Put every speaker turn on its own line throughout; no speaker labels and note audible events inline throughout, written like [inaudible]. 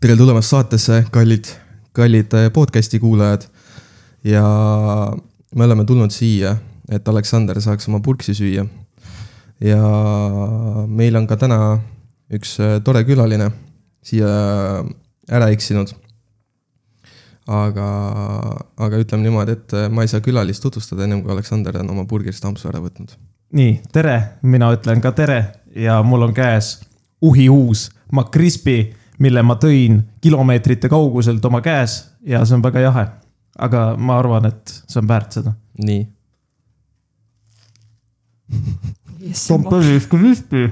tere tulemast saatesse , kallid , kallid eh, podcast'i kuulajad . ja me oleme tulnud siia , et Aleksander saaks oma purksi süüa . ja meil on ka täna üks eh, tore külaline siia äh, ära eksinud . aga , aga ütleme niimoodi , et eh, ma ei saa külalist tutvustada ennem kui Aleksander on oma burgerist ampsu ära võtnud .
nii , tere , mina ütlen ka tere ja mul on käes uhiuus McCrispy , mille ma tõin kilomeetrite kauguselt oma käes ja see on väga jahe . aga ma arvan , et see on väärt seda .
nii ,
Pompeii Crispy .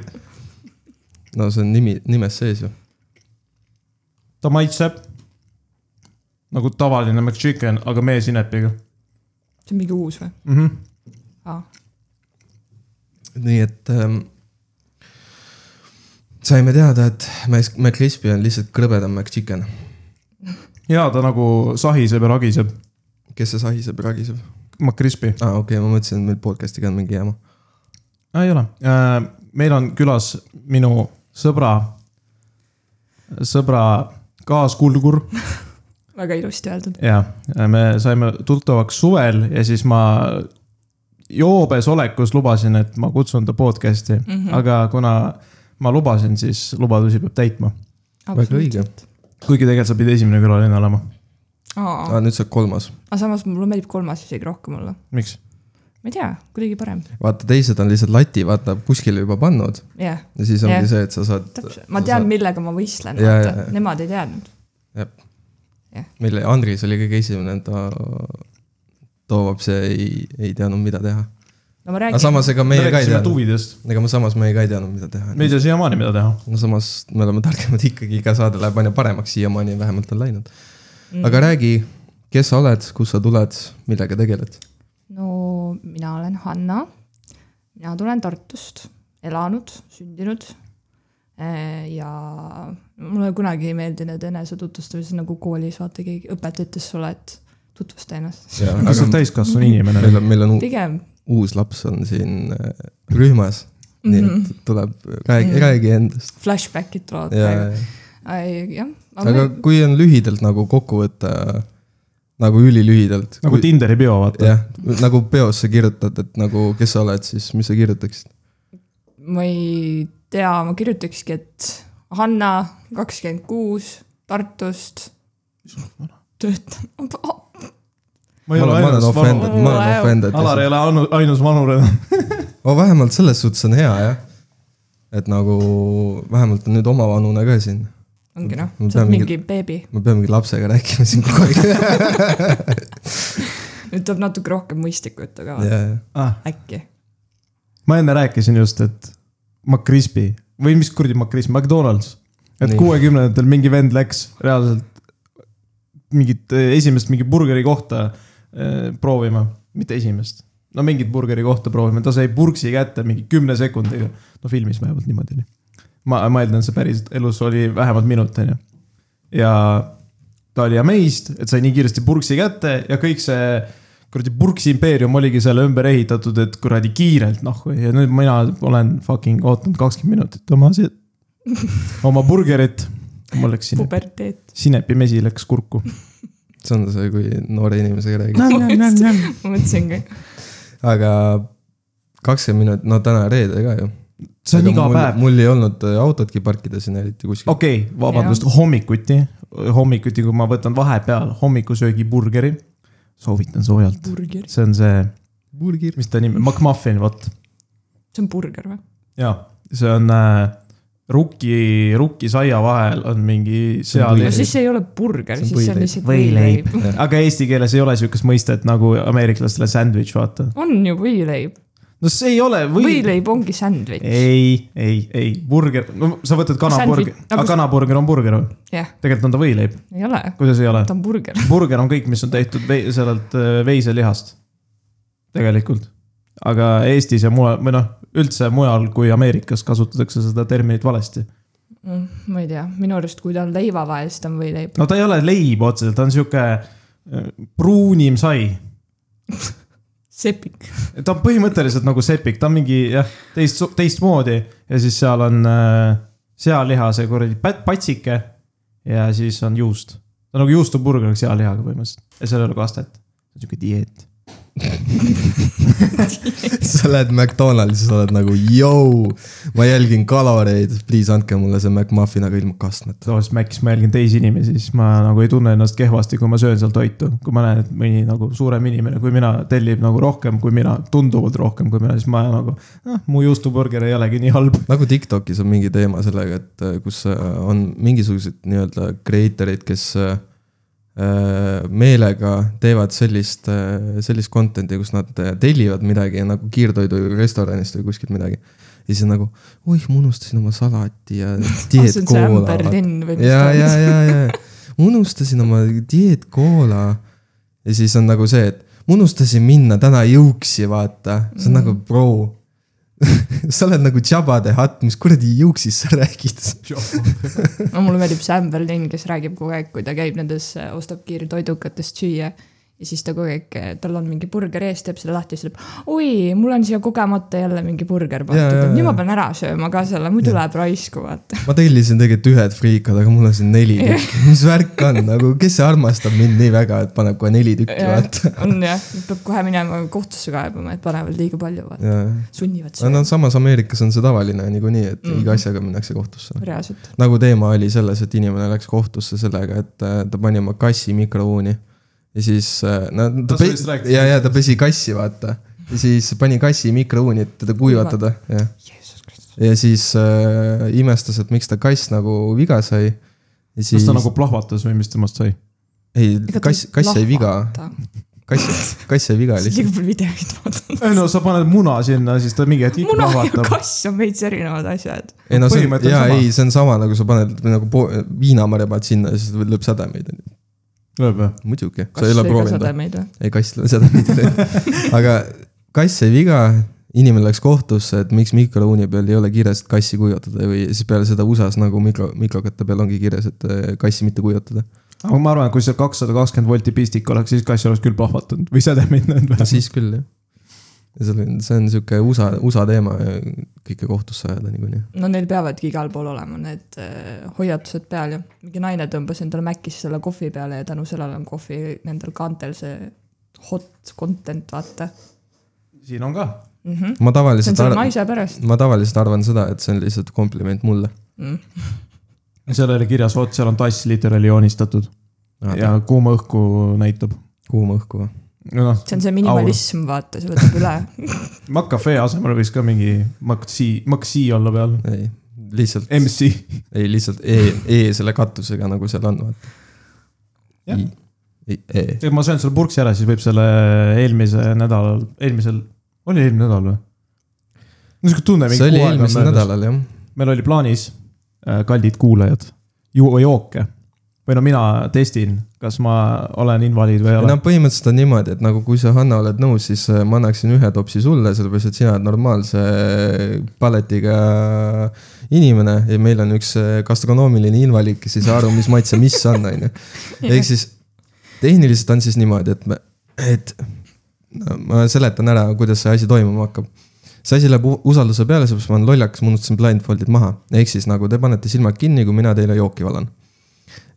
no see on nimi , nimes sees ju .
ta maitseb nagu tavaline McChicken , aga meesinepiga
see on mingi uus või ?
mm . -hmm.
aa ,
nii et ähm, saime teada , et Mac- McCrispy on lihtsalt krõbedam McChicken ,
ja ta nagu sahiseb ja ragiseb ,
kes see sahiseb ja ragiseb .
McCrispy .
aa ah, , okei okay, , ma mõtlesin , et meil podcast'iga on mingi jama .
ei ole , meil on külas minu sõbra , sõbra kaaskulgur
väga ilusti öeldud .
ja me saime tuttavaks suvel ja siis ma joobes olekus lubasin , et ma kutsun ta podcast'i
Mhm.
mm ,
Mhm,
-hmm. aga kuna ma lubasin , siis lubadusi peab täitma .
väga õige .
kuigi tegelikult sa pidid esimene külaline olema ,
aa , Ah.
aa , Ah, nüüd saab kolmas .
aga samas mulle meeldib kolmas isegi rohkem olla .
miks ?
ma ei tea , kuidagi parem ,
vaata , teised on lihtsalt lati , vaata , kuskile juba pannud
jah yeah, ,
ja siis ongi
Jah.
yeah. see , et sa saad ,
täpselt , ma tean , millega ma võistlen ,
Jaa,
vaata
jaa, jaa. ,
nemad ei teadnud .
mille Andris oli kõige esimene , ta toob see , ei , ei teadnud , mida teha .
no
aga
ma räägin ,
samas , ega meie ka ei teadnud ,
tuvidest ,
ega ma samas meie ka ei teadnud , mida teha .
me ei tea siiamaani , mida teha .
no samas me oleme targemad [laughs] ikkagi , iga saade läheb aina paremaks , siiamaani vähemalt on läinud mm. . aga räägi , kes sa oled , kust sa tuled , millega tegeled ?
no mina olen Hanna , mina tulen Tartust , elanud , sündinud Eh, ja mulle kunagi ei meeldi need enesetutvustamised nagu koolis , vaata keegi , õpetaja ütles sulle , et tutvusta ennast .
kas sa oled
meil
täiskasvanu inimene ?
on , meil on u-
pigem
uus laps on siin äh, rühmas mm , -hmm. nii et tuleb , räägi , räägi endast .
flashback'id tulevad
ja ,
praegu . jah ,
aga kui on lühidalt nagu kokku võtta , nagu ülilühidalt .
nagu Tinderi peo , vaata .
jah , nagu peos sa kirjutad , et nagu , kes sa oled , siis mis sa kirjutaksid ?
ma ei tea , ma kirjutakski , et Hanna , kakskümmend kuus , Tartust . töötan ,
ma ei ole ainus vanur .
offended , ma olen
Valu-
Alar
offended .
ei ole ainu- ainus vanur enam .
aga vähemalt selles suhtes on hea jah . et nagu vähemalt on nüüd omavanune ka siin .
ongi noh ,
Ma
sa
pean
oled
mingi-
mingi beebi .
me peamegi lapsega rääkima siin kogu
[laughs]
aeg .
nüüd tuleb natuke rohkem mõistlikku juttu ka ,
ja ,
ah ,
äkki .
ma enne rääkisin just , et McCrispy või mis kuradi McCrispy , McDonalds . et
Nii.
kuuekümnendatel mingi vend läks reaalselt mingit eh, esimest mingi burgeri kohta eh, proovima , mitte esimest . no mingit burgeri kohta proovima , ta sai purksi kätte mingi kümne sekundiga . no filmis vähemalt niimoodi oli . ma , ma eeldan , see päris elus oli vähemalt minut , on ju . ja ta oli amazed , et sai nii kiiresti purksi kätte ja kõik see kuradi purksi impeerium oligi selle ümber ehitatud , et kuradi kiirelt noh , ja nüüd mina olen fucking ootanud kakskümmend minutit oma si- , oma burgerit . mul läks sinep ,
puberteet . [laughs]
sinepimesi läks kurku .
ja see on see , kui noore inimesega räägid .
täna
ma mõtlesin ka ,
aga kakskümmend minutit , no täna reede ka ju .
see on iga päev .
mul ei olnud äh, autotki parkida siin eriti kuskil .
okei okay, , vabandust , hommikuti , hommikuti , kui ma võtan vahepeal hommikusöögi burgeri , soovitan soojalt .
burger .
see on see ,
burger .
mis ta nimi , McMuffin , vot .
see on burger või ?
jaa , see on äh, rukki , rukkisaia vahel on mingi
See on
seal
Ei.
no . siis see ei ole burger ,
See on
siis see on
võileib.
lihtsalt
Võileib.
võileib .
aga eesti keeles ei ole sihukest mõistet nagu ameeriklastele sandwich , vaata .
on ju võileib .
no see ei ole või... .
võileib ongi sandwich .
ei , ei , ei , burger , no sa võtad kanaburger
Sandwich- ,
aga
aga-
kanaburger on burger või ?
jah ,
tegelikult on ta võileib ,
ei ole ,
kuidas ei ole ?
ta on burger .
burger on kõik , mis on tehtud vei- , sellelt äh, veiselihast . tegelikult , aga Eestis ja mujal või noh , üldse mujal kui Ameerikas kasutatakse seda terminit valesti .
Mm, ma ei tea , minu arust , kui ta on leiva vahel , siis ta on võileib .
no ta ei ole leib otseselt , ta on sihuke äh, pruunim sai ,
sepik .
ta on põhimõtteliselt nagu sepik , ta on mingi jah , teist , teistmoodi ja siis seal on äh, sealiha , see kuradi pat- patsike ja siis on juust . ta on nagu juustuburger , oleks hea lihaga põhimõtteliselt ja seal ei ole kastet . sihuke dieet .
[laughs] sa lähed McDonaldsi , sa oled nagu , jõu , ma jälgin kaloreid , please andke mulle see McMuffin , aga ilma kastmeta .
tavaliselt Macis ma jälgin teisi inimesi , siis ma nagu ei tunne ennast kehvasti , kui ma söön seal toitu . kui ma näen , et mõni nagu suurem inimene kui mina tellib nagu rohkem kui mina , tunduvalt rohkem kui mina , siis ma nagu , noh , mu juustuburger ei olegi nii [laughs] halb .
nagu Tiktokis on mingi teema sellega , et äh, kus äh, on mingisugused nii-öelda creator eid , kes äh, äh, meelega teevad sellist , sellist content'i , kus nad äh, tellivad midagi nagu kiirtoidurestoranist või kuskilt midagi . ja siis on nagu , oih , ma unustasin oma salati
[laughs]
ja dieet
Ah, see on see
koola .
ämberlinn või mis
ja , ja ,
ta on .
ja ,
[laughs]
ja unustasin oma dieet koola . ja siis on nagu see , et ma unustasin minna täna jõuksi , vaata , see on mm. nagu bro . sa oled nagu Jabba the Hutt , mis kuradi juuksist sa räägid ?
no mulle meeldib see ämberlinn , kes räägib kogu aeg , kui ta käib nendes , ostab kiirtoidukatest süüa . ja siis ta kogu aeg , tal on mingi burger ees , teeb selle lahti ja siis ütleb , oi , mul on siia kogemata jälle mingi burger
ja,
pandud ,
ja.
nüüd ma pean ära sööma ka selle , muidu läheb raisku , vaata .
ma tellisin tegelikult ühed friikad , aga mul on siin neli tükki , mis värk on nagu , kes armastab mind nii väga , et paneb kohe neli tükki , vaata .
[laughs] on jah , peab kohe minema kohtusse kaebama , et panevad liiga palju , vaata , sunnivad
no
sööma ,
samas Ameerikas on see tavaline niikuinii , et mm. iga asjaga minnakse kohtusse .
reaalselt .
nagu teema oli selles , et inimene läks kohtusse sellega , et äh, ta pani oma kassi mikrouuni . ja siis äh, no ta
Ah, sa vist
pesi ,
rääkisid
ja , ja ta pesi kassi , vaata . ja siis pani kassi mikrouuni , et teda kuivatada , jah .
Jeesus Kristus .
ja siis äh, imestas , et miks ta kass nagu viga sai . ja siis
kas , ta nagu plahvatas või mis temast sai ?
ei , kass , kass sai viga , kass , kass sai viga lihtsalt .
liiga palju videoid vaadanud .
ei no sa paned muna sinna , siis ta mingi hetk ikka
muna ja
plahvatab .
kass on veits erinevad asjad .
ei no see on ,
põhimõte on
jaa ,
sama.
ei , see on sama nagu sa paned nagu po- viinamarja paned sinna ja siis lööb sädemeid ,
lööb või ?
muidugi . sa ei ole proovinud või ?
või ?
ei kass seda ei tee . [laughs] aga kass sai viga , inimene läks kohtusse , et miks mikrouuni peal ei ole kirjas , et kassi kuivatada või siis peale seda USA-s nagu mikro , mikrokatte peal ongi kirjas , et äh, kassi mitte kuivatada .
aga ma arvan , et kui seal kakssada kakskümmend volti pistik oleks , siis kass oleks küll plahvatanud või sädemeid näinud
no
või ?
siis küll jah . ja see on , see on sihuke USA , USA teema , kõike kohtusse ajada niikuinii .
no neil peavadki igal pool olema need äh, hoiatused peal ja mingi naine tõmbas endale Macis selle kohvi peale ja tänu sellele on kohvi nendel kaantel see hot content , vaata
siin on ka .
mm . -hmm.
ma
see on
tavaliselt
selle
arvan ,
naise pärast .
ma tavaliselt arvan seda , et see on lihtsalt kompliment mulle .
Mhm.
seal oli kirjas , vot seal on tass literaali joonistatud ja kuuma õhku näitab .
kuuma õhku .
noh ,
see on see minimalism , vaata , see võtab üle .
Macafe asemel võiks ka mingi Maxi , Maxi olla peal .
ei , lihtsalt ,
MC .
ei lihtsalt E , E selle katusega nagu seal on , vaata .
Jah.
I , E
ma söön selle purksi ära , siis võib selle eelmise nädalal , eelmisel , oli eelmine nädal või ? no sihuke tunne .
see oli eelmisel . nädalal jah ,
meil oli plaanis , kallid kuulajad , juua jooke . või no mina testin , kas ma olen invaliid või ei ole
no . põhimõtteliselt on niimoodi , et nagu kui sa , Hanna , oled nõus , siis äh, ma annaksin ühe topsi sulle , sellepärast et sina oled normaalse äh, paletiga inimene ja meil on üks äh, gastronoomiline invaliid , kes ei saa aru , mis maitse mis on , on
[laughs]
ju . ehk siis tehniliselt on siis niimoodi , et me , et no, ma seletan ära , kuidas see asi toimuma hakkab . see asi läheb u- usalduse peale , sellepärast ma olen lollakas , ma unustasin blindfold'id maha , ehk siis nagu te panete silmad kinni , kui mina teile jooki valan .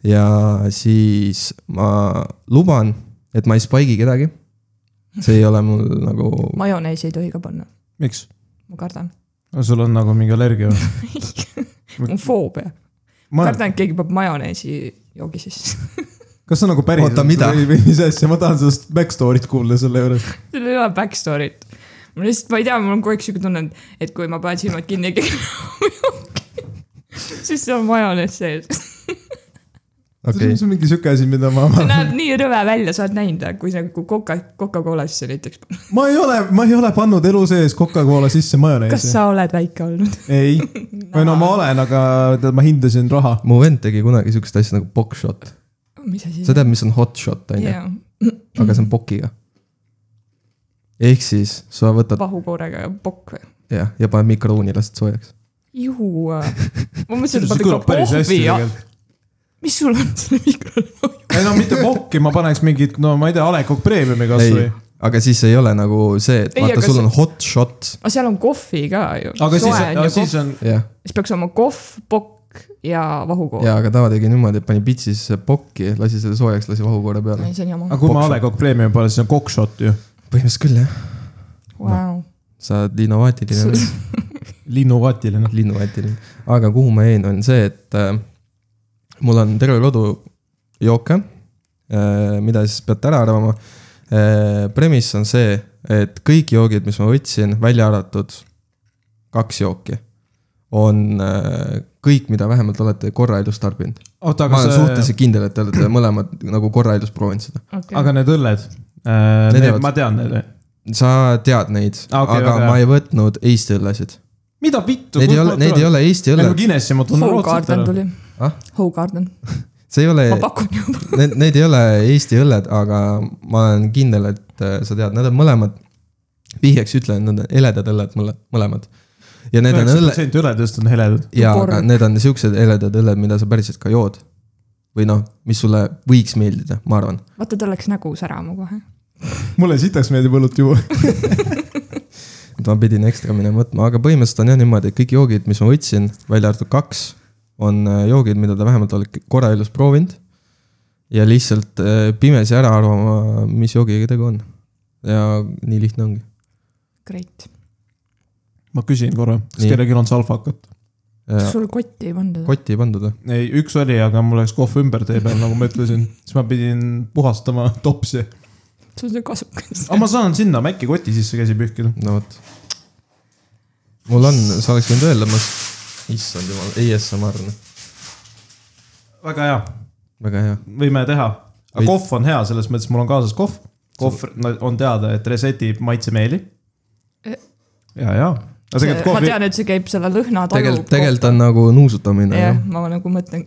ja siis ma luban , et ma ei spike'i kedagi . see ei ole mul nagu ,
majoneesi ei tohi ka panna ,
miks ?
ma kardan .
sul on nagu mingi allergia
[laughs]
või ?
mul on foobia .
ma ,
kardan , et keegi paneb majoneesi joogi sisse . [laughs]
kas see on nagu päris
Oota, mida?
või või mis asja , ma tahan sellest backstory't kuulda selle juures .
seal ei ole backstory't . mul lihtsalt , ma ei tea , mul on kogu aeg siuke tunne , et , et kui ma panen silmad kinni ja keegi [laughs] joob joogi , siis seal on majonees sees .
okei okay. ,
see on mingi sihuke asi , mida ma ,
[laughs] see näeb nii rõve välja , sa oled näinud , kui sa nagu Coca , Coca-Colasse näiteks .
ma ei ole , ma ei ole pannud elu sees Coca-Cola sisse
kas
majoneesi .
sa oled väike olnud ? [laughs]
ei , või no ma olen , aga tead, ma hindasin raha .
mu vend tegi kunagi siukest asja nagu bockshot .
mis asi
sa ? tead , mis on hotshot , on ju ,
jaa ,
aga see on bokiga . ehk siis sa võtad
pahukoorega pokk või ?
jah , ja paned mikrouuni , lased soojaks .
juhu .
[laughs]
ma mõtlesin , et ma tegin kohvi ja mis sul on selle mikro ?
ei no mitte pokki , ma paneks mingit , no ma ei tea , A Le Coq Premiumi kasvõi
ei ., aga siis ei ole nagu see , et
Ei,
vaata ,
aga
sul
see-
on hot shot ,
aga seal on kohvi ka ju .
aga
soe
siis ,
on
aga
ju kohv
siis , on ,
jah .
siis peaks olema kohv , pokk ,
jääk ja vahukoor .
jaa , aga tava tegi niimoodi , et pani pitsis pokki , lasi selle soojaks , lasi vahukoore peale .
see on jama
aga . kui ma
Kokk-shot.
A Le Coq Premiumi poole , siis on kokk-shot ju .
põhimõtteliselt küll jah ,
Vau .
sa oled innovaatiline ,
[laughs]
linnuvatiline .
linnuvaatiline . aga kuhu ma jäin , on see , et äh, mul on terve lodu jooke äh, , mida siis peate ära arvama äh, . Premise on see , et kõik joogid , mis ma võtsin , välja arvatud kaks jooki , on äh, kõik , mida vähemalt olete korra elus tarbinud .
oota ,
ma
aga
olen
see ,
suhteliselt kindel , et te olete mõlemad nagu korra elus proovinud seda .
okei .
aga need õlled
Need
äh,
jäävad- ?
ma tean neid .
sa tead neid
Aa,
ah, , okay,
okei,
aga
väga
ma
hea.
ei võtnud Eesti õllesid .
mida vittu ?
Neid ei ole , neid ei . ole Eesti
Lähme
õlled ,
Guinessi , Nagu ma tunnen
Hoe
Rootsit
Garden
ära .
tuli .
Ah?
Hoe Garden ,
see ei ole ,
ma pakun juba .
[laughs] need , need ei ole Eesti õlled , aga ma olen kindel , et äh, sa tead , nad on mõlemad . vihjeks ütlen , need on heledad õlled , mõle- , mõlemad . ja need on õlle- ,
protsenti õledest on heledad .
jaa , aga
porg.
need on siuksed heledad õlled , mida sa päriselt ka jood . või noh , mis sulle võiks meeldida , ma arvan .
vaata , tal läks nägu särama kohe .
mulle sitaks meeldib õlut juua .
et ma pidin ekstra minema võtma , aga põhimõtteliselt on jah niimoodi , et kõik joogid , mis ma võtsin , välja arvatud kaks , on äh, joogid , mida te vähemalt olete korra elus proovinud . ja lihtsalt äh, pimesi ära arvama , mis joogiga tegu on . ja nii lihtne ongi .
Great .
ma küsin korra , kas
Nii.
kellelgi on salfakat ?
kas sul kotti ei pandud ?
Äh, kotti ei pandud või ?
ei , üks oli , aga mul läks kohv ümber tee peal , nagu ma ütlesin , siis ma pidin puhastama [laughs] topsi .
sul on see kasukas .
aga ma saan sinna , ma äkki koti sisse käsi pühkida .
no vot . mul on , sa oleks võinud öelda , ma , issand jumal , ASMR ,
väga hea ,
noh. väga hea .
võime teha . aga
Või-
kohv on hea , selles mõttes mul on kaasas kohv . kohv no, on teada , et resetib maitsemeeli .
Eh.
ja , ja . aga tegelikult
Äh, ma
kohv ,
tean , et see käib selle lõhna talu
tegelikult , tegelikult on nagu
noh,
nuusutamine
jah
yeah. ,
ma nagu mõtlen .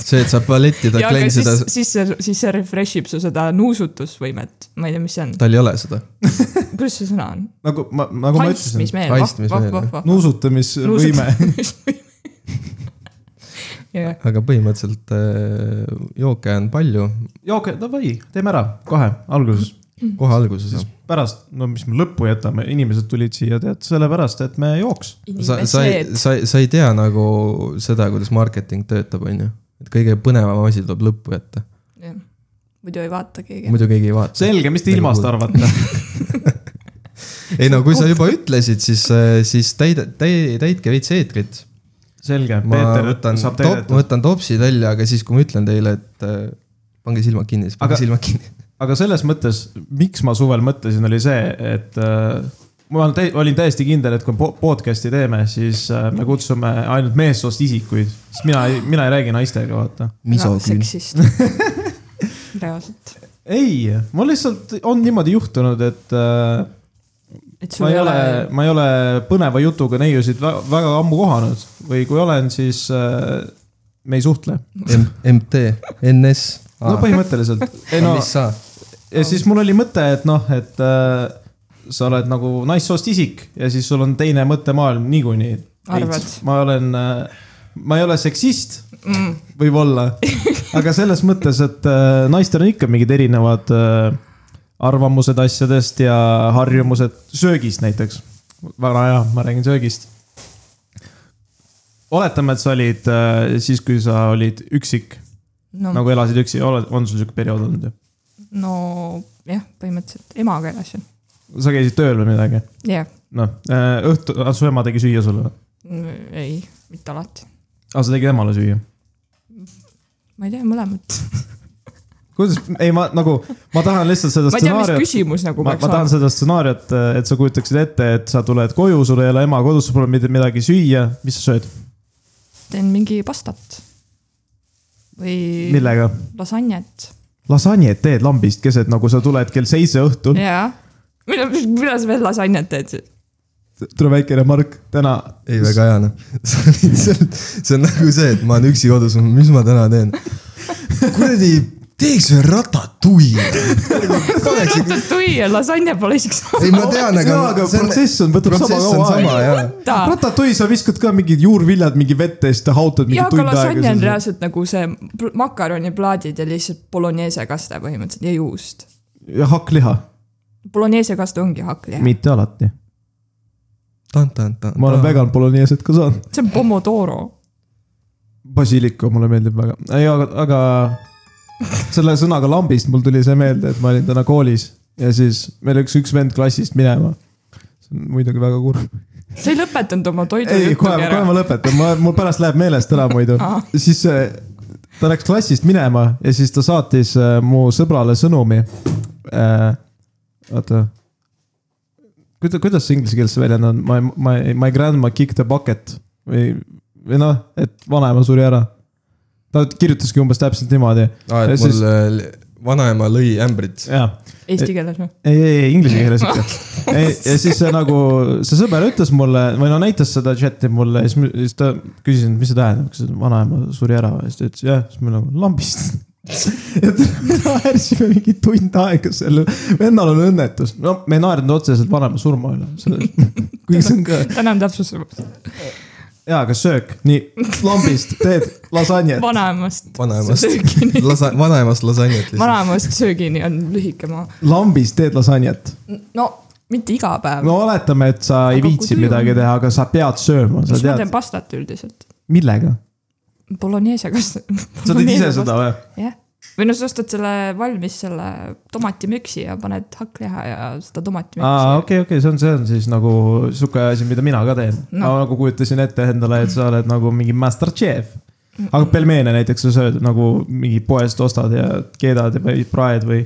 see , et sa palettida ,
ja , aga siis
klensida ,
siis see , siis see refresh ib su seda nuusutusvõimet , ma ei tea , mis see on ,
tal ei ole seda .
kuidas see sõna on ?
nagu ma , nagu ma ütlesin ,
haistmismeel ,
Haistmismeel, jah.
vah , vah ,
nuusutamisvõime .
[laughs] vah . jah ,
aga põhimõtteliselt äh, jooke on palju ,
jooge , davai , teeme ära , kohe , alguses .
kohe alguses jah.
pärast , no mis me lõppu jätame , inimesed tulid siia , tead , sellepärast , et me jooks .
sa , sa ei ,
inimesed ,
sa , sa ei tea nagu seda , kuidas marketing töötab , on ju . et kõige põnevam asi tuleb lõppu jätta ,
muidu ei vaata keegi .
muidu keegi ei vaata .
selge , mis te ilmast arvate ?
ei no kui sa juba ütlesid , siis , siis täida , täi- , täitke veits eetrit .
selge ,
ma
Peeter
võtan
saab ,
top,
täidetud .
võtan topsid välja , aga siis , kui ma ütlen teile , et äh, pange silmad kinni , siis pange
Aga-
aga... silmad kinni .
aga selles mõttes , miks ma suvel mõtlesin , oli see , et äh, ma olen täi- olin täiesti kindel , et kui po- podcast'i teeme , siis äh, me kutsume ainult meessoost isikuid , sest mina , mina ei räägi naistega , vaata .
misoküün .
seksist . [laughs] reaalselt ,
ei , mul lihtsalt on niimoodi juhtunud , et äh,
et
ma
sul
ei ole , ma ei ole põneva jutuga neiusid vä- väga ammu kohanud või kui olen , siis äh, me ei suhtle .
MT , NS .
no põhimõtteliselt , ei no
Ah. mis sa ?
ja siis mul oli mõte , et noh , et äh, sa oled nagu naissoost isik ja siis sul on teine mõttemaailm niikuinii .
Arvad?
ma olen äh, , ma ei ole seksist ,
mm, . [laughs]
võib-olla , aga selles mõttes , et äh, naistel on ikka mingid erinevad äh, arvamused asjadest ja harjumused söögist näiteks . väga hea , ma räägin söögist . oletame , et sa olid äh, siis , kui sa olid üksik ,
no,
nagu elasid üksi , on sul sihuke periood olnud ju ?
no jah , põhimõtteliselt emaga elasin ,
sa käisid tööl või midagi ?
jah ,
noh , õhtu , su ema tegi süüa sulle või ?
ei , mitte alati ,
aa , sa tegid emale süüa ?
ma ei tea , mõlemat .
kuidas , ei ma nagu , ma tahan lihtsalt seda
ma ei tea , mis
stsenaariot ,
küsimus nagu
ma, ma
peaks
tahan seda stsenaariot , et sa kujutaksid ette , et sa tuled koju , sul ei ole ema kodus , sul pole mitte midagi süüa , mis sa sööd ,
teen mingi pastat . või
millega ?
lasanjet
lasanjet teed lambist keset , nagu sa tuled kell seitse õhtul .
jaa . mida , mida sa veel lasanjet teed siis ?
tule väike remark , täna .
ei , väga hea noh . [laughs] sa lihtsalt , see on nagu see , et ma olen üksi kodus , mis ma täna teen . kuradi , teeks ühe ratatouille'i . paneksin ,
ratatouille ja lasanje pole isegi sama .
ei ma tean , aga .
jaa , aga protsess on , võtab sama
protsess on
kaua
sama
aega .
jaa .
ratatouille , sa viskad ka mingid juurviljad mingi vette ja siis ta hautad mingi
jaa , aga
tund
lasanje on
aega .
reaalselt nagu see pl- makaroniplaadid ja lihtsalt bolognese kaste põhimõtteliselt ja juust .
ja hakkliha ,
Bolognese kaste ongi hakkliha ,
mitte alati .
ma
ma olen vegan bolognese ka saanud .
see on pomodoro .
basiiliku mulle meeldib väga , ei , aga , aga selle sõnaga lambist mul tuli see meelde , et ma olin täna koolis ja siis meil läks üks vend klassist minema . see on muidugi väga kurb .
sa ei lõpetanud oma
ei ,
toidujuttu
kohe , kohe
ära .
ma lõpetan , ma , mul pärast läheb meelest ära muidu
Ahah. .
siis äh, ta läks klassist minema ja siis ta saatis äh, mu sõbrale sõnumi . oota . kuidas , kuidas see inglise keeles see väljend on ? My , my , my grandma kicked a bucket või , või noh , et vanaema suri ära . ta kirjutaski umbes täpselt niimoodi .
aa , et
Ja siis-
mul äh, vanaema lõi ämbrit .
jaa ,
Eesti keeles
noh.
või ?
ei , ei , ei inglise keeles ikka .
[laughs]
ja siis see nagu , see sõber ütles mulle või no näitas seda chat'i mulle ja siis ma- siis ta küsis , et mis see tähendab , kas vanaema suri ära või , siis ta ütles jah , siis me nagu lambist . [laughs] et naersime mingi tund aega selle , vennal on õnnetus , no me ei naernud otseselt vanaema surma üle , selle ,
[laughs]
kuigi see on ka ,
tänan täpsustamast .
jaa , aga söök , nii , lambist teed lasanjet .
vanaemast
vanaemast ,
söögini .
[laughs] lasa- , vanaemast lasanjat lihtsalt .
vanaemast söögini on lühike maa .
lambist teed lasanjet .
no mitte iga päev .
no oletame , et sa ei
Aga kui
viitsi
tuju-
midagi teha , aga sa pead sööma , sa
siis ma teen
tead ,
pastat üldiselt .
millega
Bolognese kas .
sa teed ise seda ? või ?
jah , või noh , sa ostad selle valmis selle tomatimüksi ja paned hakkliha ja seda
aa ,
tomatimüksi .
okei , okei , see on , see on siis nagu sihuke asi , mida mina ka teen no. . ma nagu kujutasin ette endale , et sa oled nagu mingi master chef . aga pelmeene näiteks sa sööd nagu mingi poest ostad ja keedad või praed või ?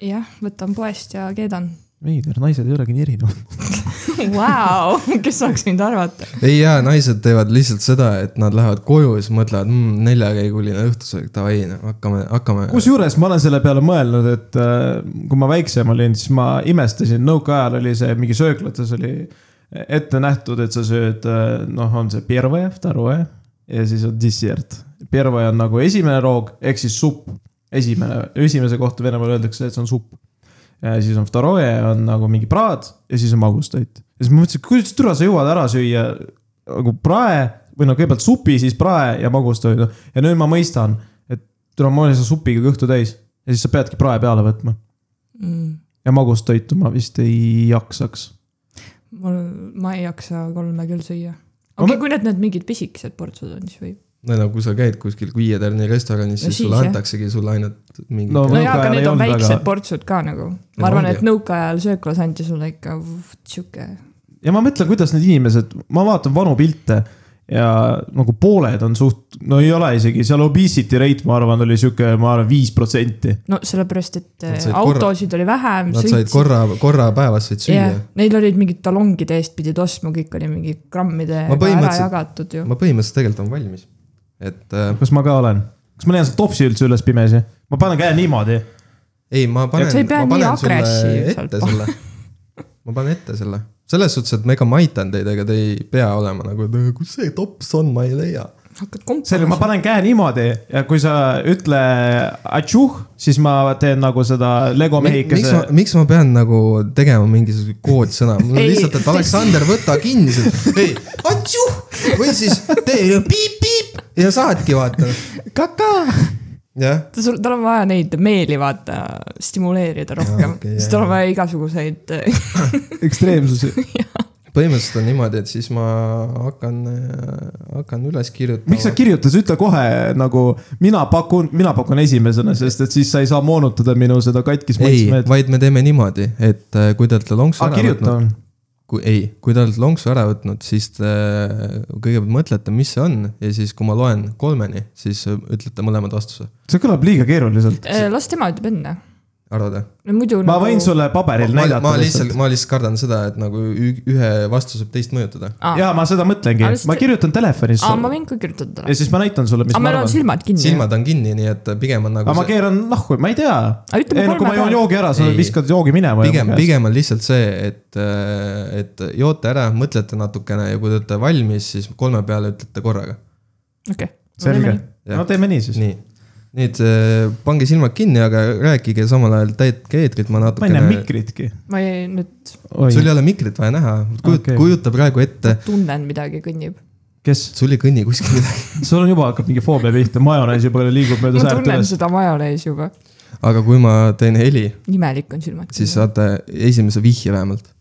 jah , võtan poest ja
[laughs]
keedan .
veider , naised ei olegi nii erinevad .
Vau , kes oleks võinud arvata .
ei jaa , naised teevad lihtsalt seda , et nad lähevad koju ja siis mõtlevad mmm, , neljakäiguline õhtusöök , davai , hakkame , hakkame .
kusjuures ma olen selle peale mõelnud , et äh, kui ma väiksem olin , siis ma imestasin , nõukaajal oli see mingi sööklates oli ette nähtud , et sa sööd , noh , on see pirve , taroe ja siis on dessert . pirve on nagu esimene roog ehk siis supp , esimene , esimese kohta Venemaal öeldakse , et see on supp . ja siis on taroe on nagu mingi praad ja siis on magustoit . ja siis ma mõtlesin , kuidas türa sa jõuad ära süüa nagu prae või no kõigepealt supi , siis prae ja magustoidu ja nüüd ma mõistan , et türa , ma olin selle supiga kõhtu täis ja siis sa peadki prae peale võtma
Mm.
ja magustoitu ma vist ei jaksaks .
mul , ma ei jaksa kolme küll süüa .
Ma
okei
mõ-
okay, , kui need , need mingid pisikesed portsud on , siis võib .
no no kui sa käid kuskil viie tärni restoranis ,
No
siis
siis,
sulle
jah.
antaksegi sulle ainult mingi
No
no, .
no jaa , aga
Nõukaajal ei
need on
olnud
väiksed
väga-
väga... portsud ka nagu .
No
ma arvan ,
ongi.
et nõukaajal sööklas anti sulle ikka vot sihuke .
ja ma mõtlen , kuidas need inimesed , ma vaatan vanu pilte ja nagu pooled on suht , no ei ole isegi , seal obesity rate , ma arvan , oli sihuke , ma arvan , viis protsenti .
no sellepärast , et
Nad
eh,
said korra-
autosid oli vähem .
Nad said korra , korra päevas said süüa
jah , neil olid mingid talongid eest pidid ostma , kõik oli mingi grammide
Ma
ära
põhimõtteliselt-
jagatud ju .
ma põhimõtteliselt tegelikult olen valmis , et äh,
kas ma ka olen ? kas ma leian sealt topsi üldse üles pimesi ? ma panen käe niimoodi .
ei , ma panen .
sa ei pea nii agressiivselt
ette
olema.
selle , ma panen ette selle , selles suhtes , et ma ega ma aitan teid , ega te ei pea olema nagu , kus see tops on , ma ei leia .
hakkad
selge , ma
kompama .
panen käe niimoodi ja kui sa ütle atšuh , siis ma teen nagu seda Lego
miks ma
mehikese ,.
miks ma pean nagu tegema mingisuguse koodsõna , mul on
Ei.
lihtsalt , et Aleksander , võta kinni sealt , ei , atšuh või siis tee piip-piip ja saadki vaata ,
[laughs] kaka .
jah .
sul , tal on vaja neid meeli vaata stimuleerida rohkem ,
okei,
siis
jah,
tal on vaja igasuguseid [laughs] eh,
ekstreemsusi .
põhimõtteliselt on niimoodi , et siis ma hakkan , hakkan üles kirjutama .
miks sa kirjutas , ütle kohe nagu mina pakun , mina pakun esimesena , sest et siis sa ei saa moonutada minu seda katkis
ei ,
maitsmeed .
vaid me teeme niimoodi , et äh, kui te olete lonksu
aga
ära
kirjuta
võtnud ,. kui ei , kui te olete lonksu ära võtnud , siis te äh, kõigepealt mõtlete , mis see on ja siis , kui ma loen kolmeni , siis äh, ütlete mõlemad vastuse ,
see kõlab liiga keeruliselt .
las tema ütleb enne .
arvad või ?
muidu nagu-
ma võin . sulle paberil
ma,
näidata
ma lihtsalt , ma lihtsalt kardan seda , et nagu ü- ühe vastus võib teist mõjutada .
ja ma seda mõtlengi
Aga lihtsalt- ,
ma kirjutan telefonis
aa ,
sulle
ma võin ka kirjutada talle .
ja siis ma näitan sulle , mis
aga
ma
meil on
arvan .
silmad kinni .
silmad on kinni , nii et pigem on nagu
aga ma
see,
keeran nahku , ma ei tea .
Aga ütleme
ei no kui
kolme
ma joon
peale.
joogi ära , sa
Ei.
viskad joogi minema .
pigem , pigem on lihtsalt see , et , et joote ära , mõtlete natukene ja kui te olete valmis , siis kolme peale ütlete korraga .
okei .
selge .
Jah.
no teeme nii siis .
nii , nüüd äh, pange silmad kinni , aga rääkige samal ajal täitke eetrit , ma
ma ei näe
natukene .
mikritki .
ma ei , nüüd
sul ei ole mikrit vaja näha , kujut-
Okei.
okay. , kujuta praegu ette ,
tunnen midagi kõnnib .
kes ?
sul ei kõnni kuskil midagi ,
sul on juba hakkab mingi foobia pihta , majonees juba liigub mööda
ma
säärt
tunnen
üles .
seda majonees juba .
aga kui ma teen heli ,
imelik on silmad
siis . saate esimese vihje vähemalt . [laughs]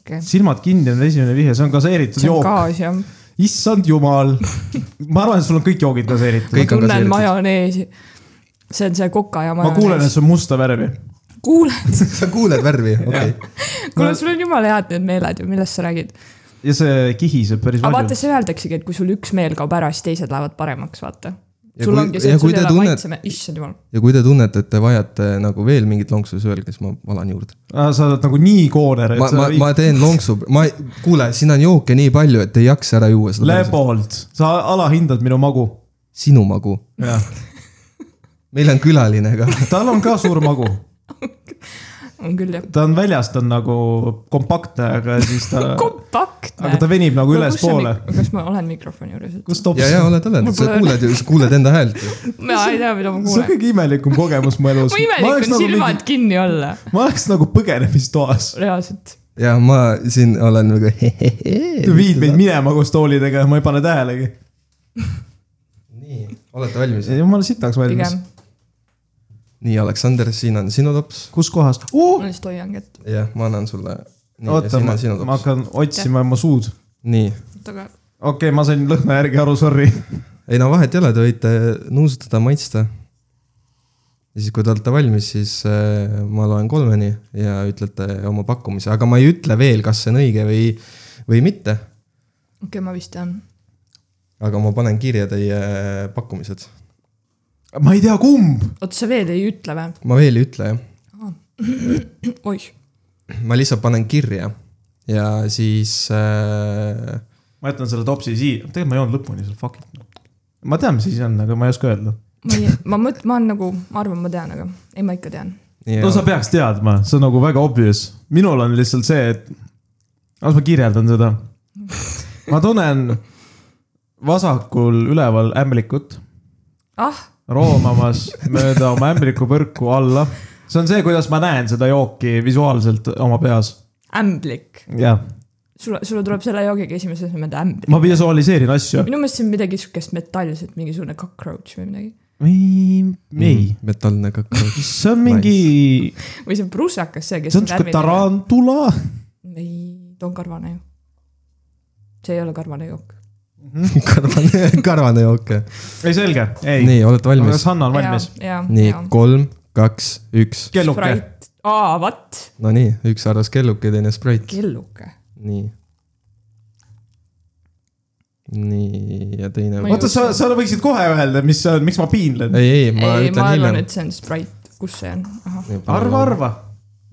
okei ,
silmad kinni on esimene vihje , see on gaseeritud
see on
jook
gaas jah .
issand jumal . ma arvan , et sul on kõik joogid gaseeritud .
Kõik
ma
on
tunnen
gaseeritud.
majoneesi . see on see koka ja
ma kuulen , et
majonees .
see on musta värvi .
[laughs]
kuulen ,
sa kuuled värvi , okei okay. .
kuule , sul on jumala head need meeled ju , millest sa räägid .
ja see kihiseb päris
aga vaata ,
palju .
see öeldaksegi , et kui sul üks meel kaob ära , siis teised lähevad paremaks , vaata .
Ja
sul
kui-
ongi see ,
ja
et
kui
sul ei
te
ole
tunned-
maitseme , issand jumal .
ja kui te tunnete , et te vajate nagu veel mingit lonksu , siis öelge , siis ma valan juurde .
sa oled nagu nii kooner ,
ma
et ,
ma ,
sa
ma teen lonksu , ma , kuule , siin on jooke nii palju , et ei jaksa ära juua seda .
lebolt , sa alahindad minu magu .
sinu magu , meil on külaline
[laughs]
ka .
tal on ka suur magu ,
on küll jah .
ta on väljas , ta on nagu kompaktne , aga siis ta ,
[laughs] kompaktne .
aga ta venib nagu ülespoole .
kas ma olen mikrofoni juures ?
kus tops
ja , ja oled , oled ,
Mul
sa
pole-
kuuled ju , sa kuuled enda häält ju .
ma ei tea ,
[laughs]
mida
see
ma
on
kuulen .
kõige imelikum kogemus mu elus .
mu imelik
nagu
on silmad kinni olla ,
ma oleks nagu põgenemistoas .
reaalselt .
ja ma siin olen nagu hehehe .
viid meid minema koos toolidega ja ma ei pane tähelegi .
nii , olete valmis ?
jumala sitaks valmis
pigem .,
nii , Aleksander , siin on sinu tops .
kus kohas
Oh!
uh! ?
ma lihtsalt hoian kätt .
jah , ma annan sulle . nii , ja
oota ,
siin
ma
on sinu
ma
tops .
hakkan otsima oma suud .
nii ,
oota , aga
okei okay, , ma sain lõhna järgi aru , sorry .
ei no vahet ei ole , te võite nuusutada , maitsta . ja siis , kui te olete valmis , siis äh, ma loen kolmeni ja ütlete oma pakkumise , aga ma ei ütle veel , kas see on õige või , või mitte .
okei okay, , ma vist tean .
aga ma panen kirja teie äh, pakkumised .
ma ei tea , kumb .
oota , sa veel ei ütle või ?
ma veel ei ütle , jah .
oih ,
ma lihtsalt panen kirja ja siis äh,
ma jätan selle topsi siia , tegelikult ma ei joonud lõpuni seal , fuck it . ma tean , mis asi see on , aga ma ei oska öelda .
ma ei , ma mõt- , ma olen nagu , ma arvan , ma tean , aga ei , ma ikka tean .
ja,
no sa peaks teadma , see on nagu väga obvious . minul on lihtsalt see , et , las ma kirjeldan seda . ma tunnen vasakul üleval ämblikut
ah ,
roomamas mööda oma ämblikupõrku alla . see on see , kuidas ma näen seda jooki visuaalselt oma peas .
ämblik .
jah ,
sulle , sulle tuleb selle joogiga esimese asemel ämblik .
ma visualiseeriin asju .
minu meelest see on midagi siukest metallset , mingisugune cockroach või midagi .
ei , ei ,
Mm, metallne kakao .
see on mingi ,
või see on prussakas , see , kes
see on sihuke . tarantula .
ei , too on karvane ju . see ei ole karvane jook .
[laughs] karvane , karvane jook .
ei , selge , ei .
nii , olete valmis ?
kas Hanna on valmis ??
jaa ,
nii
jaa ,.
kolm , kaks , üks .
kelluke ,
Sprite , aa , vat ,
Nonii , üks arvas kelluke , teine Sprite .
kelluke .
nii . nii ja teine .
Ma ei
oota , sa , sa võiksid kohe öelda , mis see on , miks ma piinlen ?
ei , ei , ma
ei ,
ütlen
ma arvan ,
hiljem .
et see on Sprite , kus see on ? ahah ,
arva ,. arva .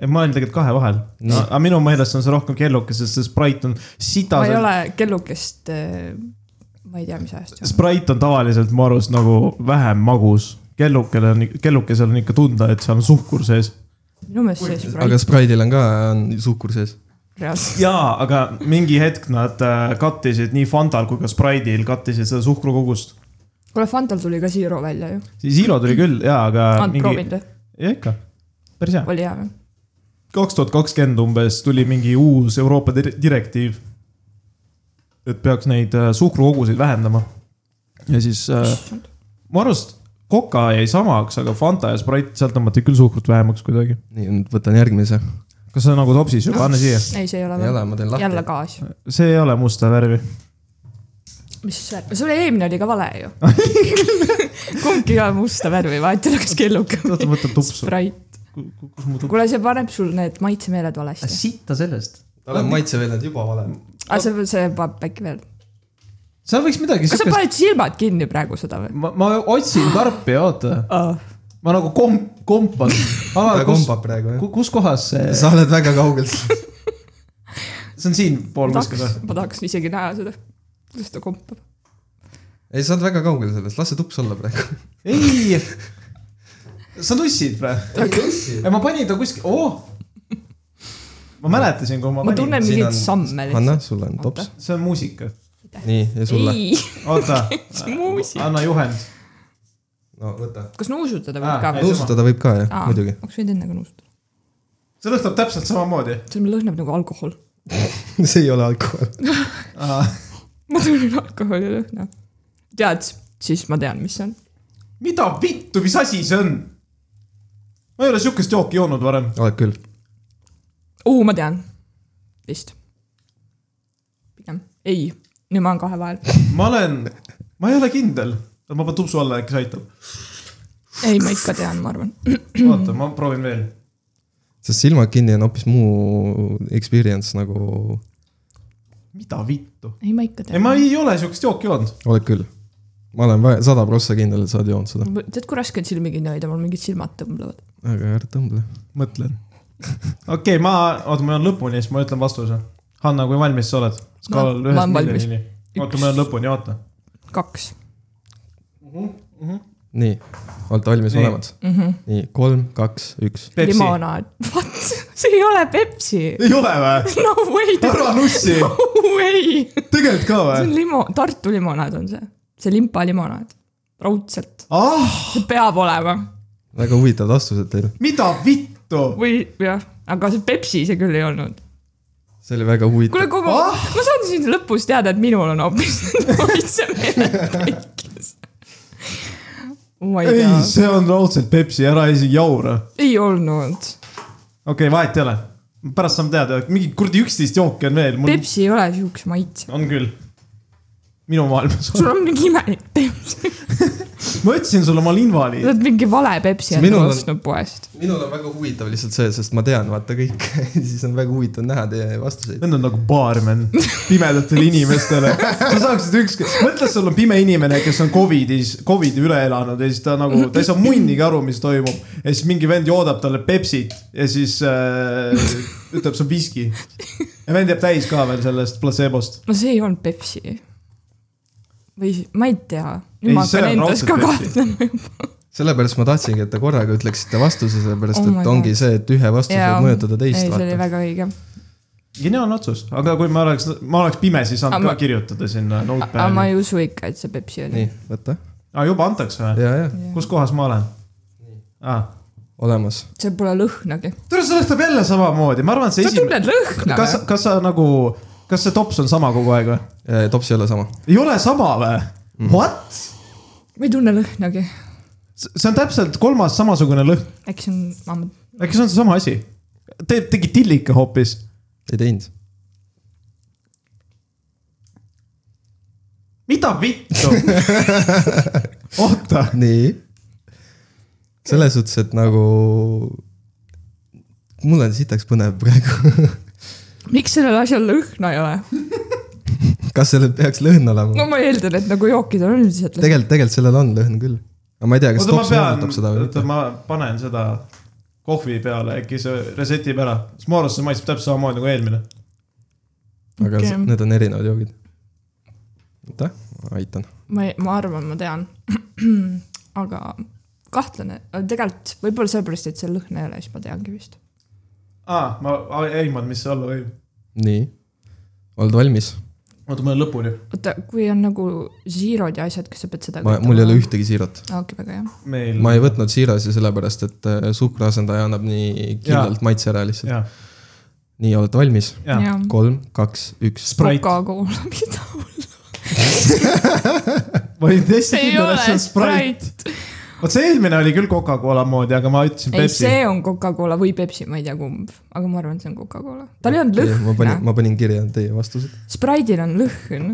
ma olen tegelikult kahe vahel no. , aga minu meelest on see rohkem kelluke , sest see Sprite on
ma ei
sitas .
ole kellukest , ma ei tea , mis ajast see on .
Sprite on tavaliselt mu arust nagu vähem magus . kellukene on , kellukesel on ikka tunda , et seal on suhkur sees .
minu meelest see
aga
Sprite
Sprite'il on ka , on suhkur sees .
reaalselt ,
jaa , aga mingi hetk nad äh, kattisid nii Fantal kui ka Sprite'il kattisid seda suhkrukogust .
kuule Fantal tuli ka Zero välja ju ,
Zero tuli küll jaa , aga .
oled proovinud või ?
jah , ikka . päris hea .
oli hea või ?
kaks tuhat kakskümmend umbes tuli mingi uus Euroopa dir- direktiiv . et peaks neid äh, suhkrukoguseid vähendama . ja siis äh, mu arust Coca jäi samaks , aga Fanta ja Sprite , sealt tõmmati küll suhkrut vähemaks kuidagi .
nii , nüüd võtan järgmise .
kas see on nagu topsis juba , anna siia .
ei , see ei ole
ei ole
veel ,,
ma teen
jälle
lahti .
gaas .
see ei ole musta värvi .
mis värv , sul eelmine oli ka vale ju . kumbki ei ole musta värvi , vahet ei ole , kas kelluke
oota , ma võtan tupsu .
Sprite .
kus mu tups ?
kuule , see paneb sul need maitsemeeled valesti .
sitta sellest .
olen maitseveeled juba valem .
aga see , see paneb äkki veel .
seal võiks midagi
kas sa
siukest ,
paned silmad kinni praegu seda või ?
ma , ma otsin karpi , oota . ma nagu komp- , kompan . [laughs]
ta kombab praegu , jah .
kus kohas see ,
sa oled väga kaugelt .
see on siinpool
ma
kuskil
tahaks
või ?,
ma tahaks isegi näha seda , kuidas ta kompab .
ei , sa oled väga kaugel sellest , las see tups olla praegu .
ei , sa nussid või ? ma panin ta kuskil , oo . ma mäletasin , kui ma
ma
panin .
tunnen mingeid samme
Hanna
lihtsalt .,
sul on tops .
see on muusika .
nii , ja sulle .
ei ,
[laughs] oota ,
muusika .
anna juhend .
no võta .
kas nuusutada
Aa,
võib ka või ?
nuusutada võib ka , jah , muidugi . [laughs]
oleks võinud enne ka nuusutada .
see lõhnab täpselt samamoodi .
see lõhnab nagu alkohol .
see ei ole alkohol .
ma tunnen alkoholi lõhna . tead , siis ma tean , mis see on .
mida vittu , mis asi see on ? ma ei ole sihukest jooki joonud varem .
oled küll .
oo , ma tean . vist . pigem , ei , nüüd ma olen kahe vahel .
ma olen , ma ei ole kindel , ma panen tupsu alla , äkki see aitab .
ei , ma ikka tean , ma arvan .
oota , ma proovin veel .
sest silmad kinni on hoopis muu experience nagu ,
mida vittu ?
ei , ma ikka
ei ,
tean .
ma ei ole siukest jooki joonud .
oled küll . ma olen vä- sada prossa kindel , et sa oled joonud seda ,
tead , kui raske on silmi kinni hoida , mul mingid silmad tõmblevad .
aga ära tõmble .
mõtlen . okei okay, , ma , oota , ma jään lõpuni , siis ma ütlen vastuse . Hanna , kui valmis sa oled ? skaalal
Ma- ma
ühest
olen valmis.
miljonini . oota , ma jään lõpuni , oota .
kaks .
nii , olete valmis
Nii.
mõlemad ?
Mhm.
nii , kolm , kaks , üks .
Pepsi .
limonaad . What ? [laughs] see ei ole Pepsi .
ei ole või ?
no
[laughs]
way .
ära nussi ,
no way .
tegelikult ka
see on
või ?
limo , Tartu limonaad on see , see limpa limonaad , raudselt ,
ah ,
see peab olema
väga huvitavad vastused teil .
mida vittu ?
või jah , aga see Pepsi see küll ei olnud .
see oli väga huvitav
kuule , kui ma
Ah!
ah! , ma saan siin lõpus teada , et minul on hoopis [laughs] maitse meelepäikis . Oh my
ei ,
god ,
see on raudselt Pepsi , ära isegi jaura .
ei olnud ,
okei okay, , vahet ei ole . pärast saame teada , mingi kuradi üksteist jooki on veel mul... .
Pepsi ei ole siukse maitse ,
on küll . minu maailmas on .
sul on mingi imelik Pepsi ,
ma ütlesin sulle , ma olen
sa
invaliid .
oled mingi vale Pepsi
See
endale
minul on-
ostnud poest .
minul on väga huvitav lihtsalt see , sest ma tean , vaata kõike , [laughs] siis on väga huvitav näha teie vastuseid .
Need on nagu baarmen pimedatele inimestele . sa saaksid ükskõik , mõtle , sul on pime inimene , kes on Covidis , Covidi üle elanud ja siis ta nagu , ta ei saa munnigi aru , mis toimub . ja siis mingi vend joodab talle Pepsit ja siis äh, ütleb , see on viski . ja vend jääb täis ka veel sellest platseebost .
no see ei olnud Pepsi . või , ma ei tea ,
Ei,
nüüd ma
see on
hakkan endas
raudselt
ka
Pepsi.
kahtlema .
sellepärast ma tahtsingi , et te korraga ütleksite vastuse , sellepärast
Oh my
et ongi
God.
see , et ühe vastuse võib mõjutada teist ,
ei , see oli
vaata .
väga õige .
geniaalne otsus , aga kui ma oleks , ma oleks pime , siis saanud
Aga
ka
ma-
kirjutada sinna
aga ma
notepad'i .
ei usu ikka , et see Pepsi oli
nii ., võta .
aa , juba antakse või ?
ja , ja ,
kus kohas ma olen ? aa ,
olemas .
seal pole lõhnagi .
tule , sellest läheb jälle samamoodi , ma arvan , et see
sa
esimene ,
tunned lõhna
kas
või ?,
kas sa nagu , kas see tops on sama kogu aeg või ?
tops ei ole sama .
ei ole sama või ? What ?
ma ei tunne lõhnagi .
see on täpselt kolmas samasugune lõhn ,
äkki see on , ma ,
äkki see on seesama asi ? Te tegi tillika hoopis .
ei teinud .
mida [laughs] vittu ? oota ,
nii . selles suhtes , et nagu mul on sitaks põnev praegu . [laughs]
miks sellel asjal lõhna ei ole ?
kas sellel peaks lõhn olema
no ? ma eeldan , et nagu jookidel on üldiselt lõhn .
tegelikult , tegelikult sellel on lõhn küll . aga ma ei tea , kas
oota ma
tops
pean
meenutab seda , või
oota
mitte .
ma panen seda kohvi peale , äkki see reset ib ära , sest mu arust see maitseb täpselt samamoodi nagu eelmine .
aga
Okei.
s- need on erinevad joogid . aitäh , aitan .
ma ei , ma arvan , ma tean . [clears throat] aga kahtlane , tegelikult võib-olla sellepärast , et seal lõhna ei ole , siis ma teangi vist .
aa , ma a- ei aimanud , mis see olla võib .
nii , oled valmis ?
oota , ma olen lõpuni .
oota , kui on nagu zero'd ja asjad , kas sa pead seda
ma , mul ei ole ühtegi siirot .
aa , okei , väga hea .
meil .
ma ei võtnud siirasi sellepärast , et äh, suhkruasendaja annab nii kindlalt maitse ära lihtsalt .
jaa ,
nii , olete
Mm.
valmis ?
jaa .
jaa .
kolm , kaks , üks .
Sprite ,
Coca-Cola , mida
ma olin täiesti
see ei
kindel ,
ole
et see on Sprite .
Sprite .
vot see eelmine oli küll Coca-Cola moodi , aga ma ütlesin
ei ,
Pepsi .
see on Coca-Cola või Pepsi , ma ei tea kumb , aga ma arvan , et see on Coca-Cola . tal ei olnud
ma
lõhna
panin ,, ma panin kirja teie vastused .
Sprite'il on lõhn .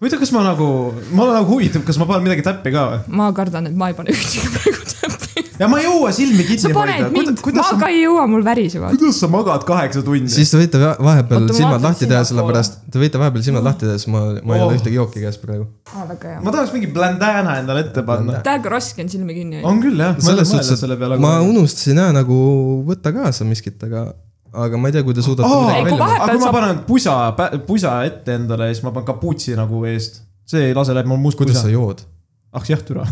huvitav , kas ma nagu , ma olen nagu huvitav , kas ma panen midagi täppi ka või ?
ma kardan , et ma ei pane ühtegi praegu täppi .
ja ma ei jõua silmi kinni
sa
hoida
paned . mind , ma
kuidas sa ,
ka ei jõua , mul värisevad .
kuidas sa magad kaheksa tundi ?
siis te võite va- vahepeal
Oota, ma
silmad
vaatan
lahti teha ,
sinnapoole.
sellepärast , te võite vahepeal silmad lahti teha , sest ma , ma ei
Oh.
ole ühtegi jooki käes praegu .
aa , Ah, väga hea .
ma tahaks mingi blandana endale ette panna .
tead , kui raske on silmi kinni hoida .
on küll jah , ma ei ole
selles suhtes ,
mõelnud selle peale
et . ma unustasin jah nagu võtta kaasa miskit , aga , aga ma ei tea , kui te suudate
aa ,
midagi
Ei,
välja
kui
mõelda .
vahepeal
aga kui ma
saab-
panen pusa , pusa ette endale ja siis ma panen kapuutsi nagu eest . see ei lase läbi mul must
kuidas
pusa
sa . jood ?
ah jah , türa .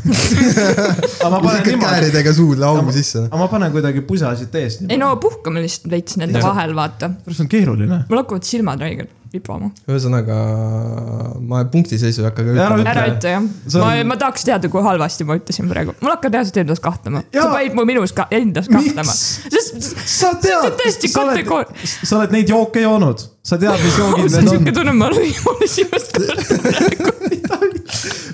[laughs] aga ma panen
ikka
niimoodi ,
kääridega suud laugu
Aga-
sisse . noh.
aga ma panen kuidagi pusa siit eest .
ei no puhkame lihtsalt veits nende
Jah.
vahel , vaata .
see on keeruline .
mul hakkavad silmad haigelt vibama .
ühesõnaga , ma punktiseisu ei hakka ka
Ära
ütlema .
ära
Ütle.
ütle jah .
See
ma ,
on-
ma tahaks teada , kui halvasti ma ütlesin praegu . mul hakkab reaalselt endas kahtlema . sa
Jaa.
panid mu minus ka , endas kahtlema . sest
sa
see
tead
on , täiesti
sa oled
kategoor- ,
sa oled neid jooke joonud , sa tead ,
[laughs]
mis joogid need
ausalt ,
on
Oh, siuke . tunne , ma lõin mulle silmast korda .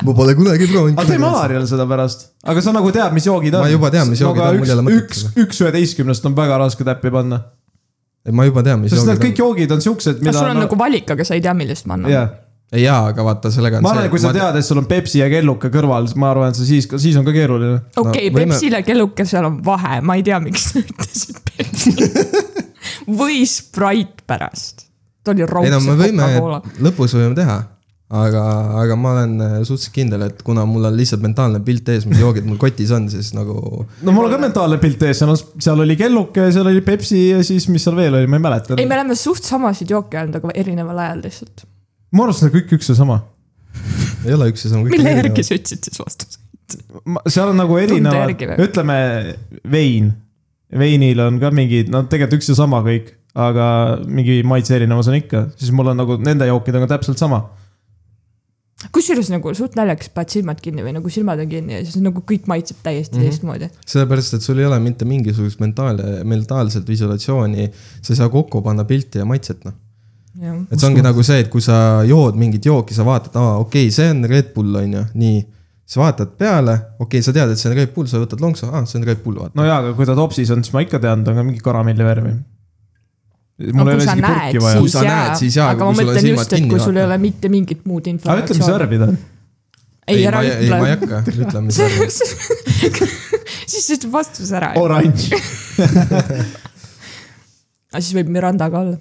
ma pole kunagi proovinud .
aga teeme Alarial seda pärast , aga sa nagu tead , mis joogid on .
Ma juba tean, mis joogid on, mul ei ole mõtet
üks ,
seda.
üks , üks üheteistkümnest on väga raske täppi panna ,
ma juba tean , mis
sest need
joogid
kõik
on .
joogid on siuksed ,
kas nagu-
mida .
sul on nagu valik , aga sa ei tea , millest ma annan ?
jah ,
jaa , aga vaata , sellega on
ma arvan , et kui sa tead , et sul on Pepsi ja kelluke kõrval , siis ma arvan , et sa siis , siis on ka keeruline .
Okei, No,
okei no, ,
võime-
Pepsil ja kellukesel on vahe , ma ei tea , miks sa ütlesid
[laughs]
Pepsi või Sprite pärast . ta oli
ei no
raudselt
me võime
Coca-Cola .,
lõpus võime teha , aga , aga ma olen äh, suhteliselt kindel , et kuna mul on lihtsalt mentaalne pilt ees , mis joogid mul kotis on , siis nagu
no mul on ka mentaalne pilt ees , seal on , seal oli kelluke , seal oli Pepsi ja siis , mis seal veel oli , ma ei mäleta .
Mm.
ei , me oleme suht samasid jooke olnud , aga erineval ajal lihtsalt .
ma arvan , et see on kõik üks ja sama .
ei ole üks ja sama .
mille järgi sa ütlesid siis vastuse ?
Ma- seal on nagu erinevad
järgi või? ,
ütleme vein . veinil on ka mingi , no tegelikult üks ja sama kõik , aga mingi maitse erinevus on ikka , siis mul on nagu nende jookidega täpselt sama .
kusjuures nagu suht naljakas , paned silmad kinni või nagu silmad on kinni ja siis nagu kõik maitseb täiesti
Mhm.
mm -hmm. teistmoodi .
sellepärast , et sul ei ole mitte mingisugust mentaal , mentaalset visualisatsiooni , sa ei saa kokku panna pilti ja maitset , noh .
jah ,
et see ongi nagu see , et kui sa jood mingit jooki , sa vaatad , aa , okei okay, , see on Red Bull , on ju , nii . sa vaatad peale , okei okay, , sa tead , et see on Red Bull , sa võtad lonksu , aa , see on Red Bull , vaata .
no jaa , aga kui ta topsis on , siis ma ikka tean , ta on ka mingi karamelli värvi . mul
aga
ei
kui
ole
sa
isegi
näed ,
pürki vaja .
Kui
siis
sa
jaa
näed, , siis jaa,
aga
kui
ma
sul on
mõtlen
silmad
just , et
kinni,
kui sul ei
vaata.
ole mitte mingit muud
aga ütle , mis
informatsiooni .
värvi ta on .
ei , ära
ei , ma ei
ütle .
hakka , ütleme
[laughs]
mis värvi .
siis ütle vastus ära .
Oh, oranž ,
aga siis võib Miranda ka olla .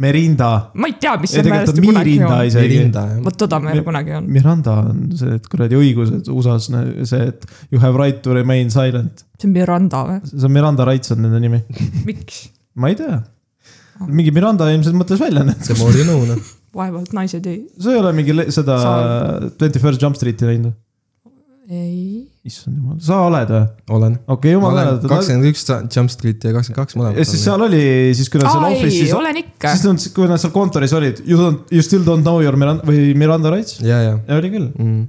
Merinda .
ma ei tea , mis
ei ,
see
tegelikult on
määrasti kunagi
Mirinda
on .
ei
isegi .
rinda , jah .
vot toda meil
Mi-
kunagi on .
Miranda on see , et kuradi õigused USA-s , see , et you have right to remain silent .
see on Miranda või ?
see on Miranda Rights on nende nimi .
miks ?
ma ei tea .
Ah.
mingi Miranda ilmselt mõtles välja need .
see moodi nõu , noh .
vaevalt naised ei ,
sa ei ole mingi le- seda
Sa-
Twenty First Jump Street'i näinud või ?
ei .
issand jumal , sa oled või ?
olen .
okei ,
ma
jumal
olen
tänatud .
kakskümmend üks Jump Street ja kakskümmend kaks mõlemad .
ja siis seal oli , siis kui nad seal
aa ei ,
office'is ,
olen ikka .
siis nad , kui nad seal kontoris olid , you don't , you still don't know your Miranda või Miranda Rights .
ja , ja
ja oli küll ,
mm. .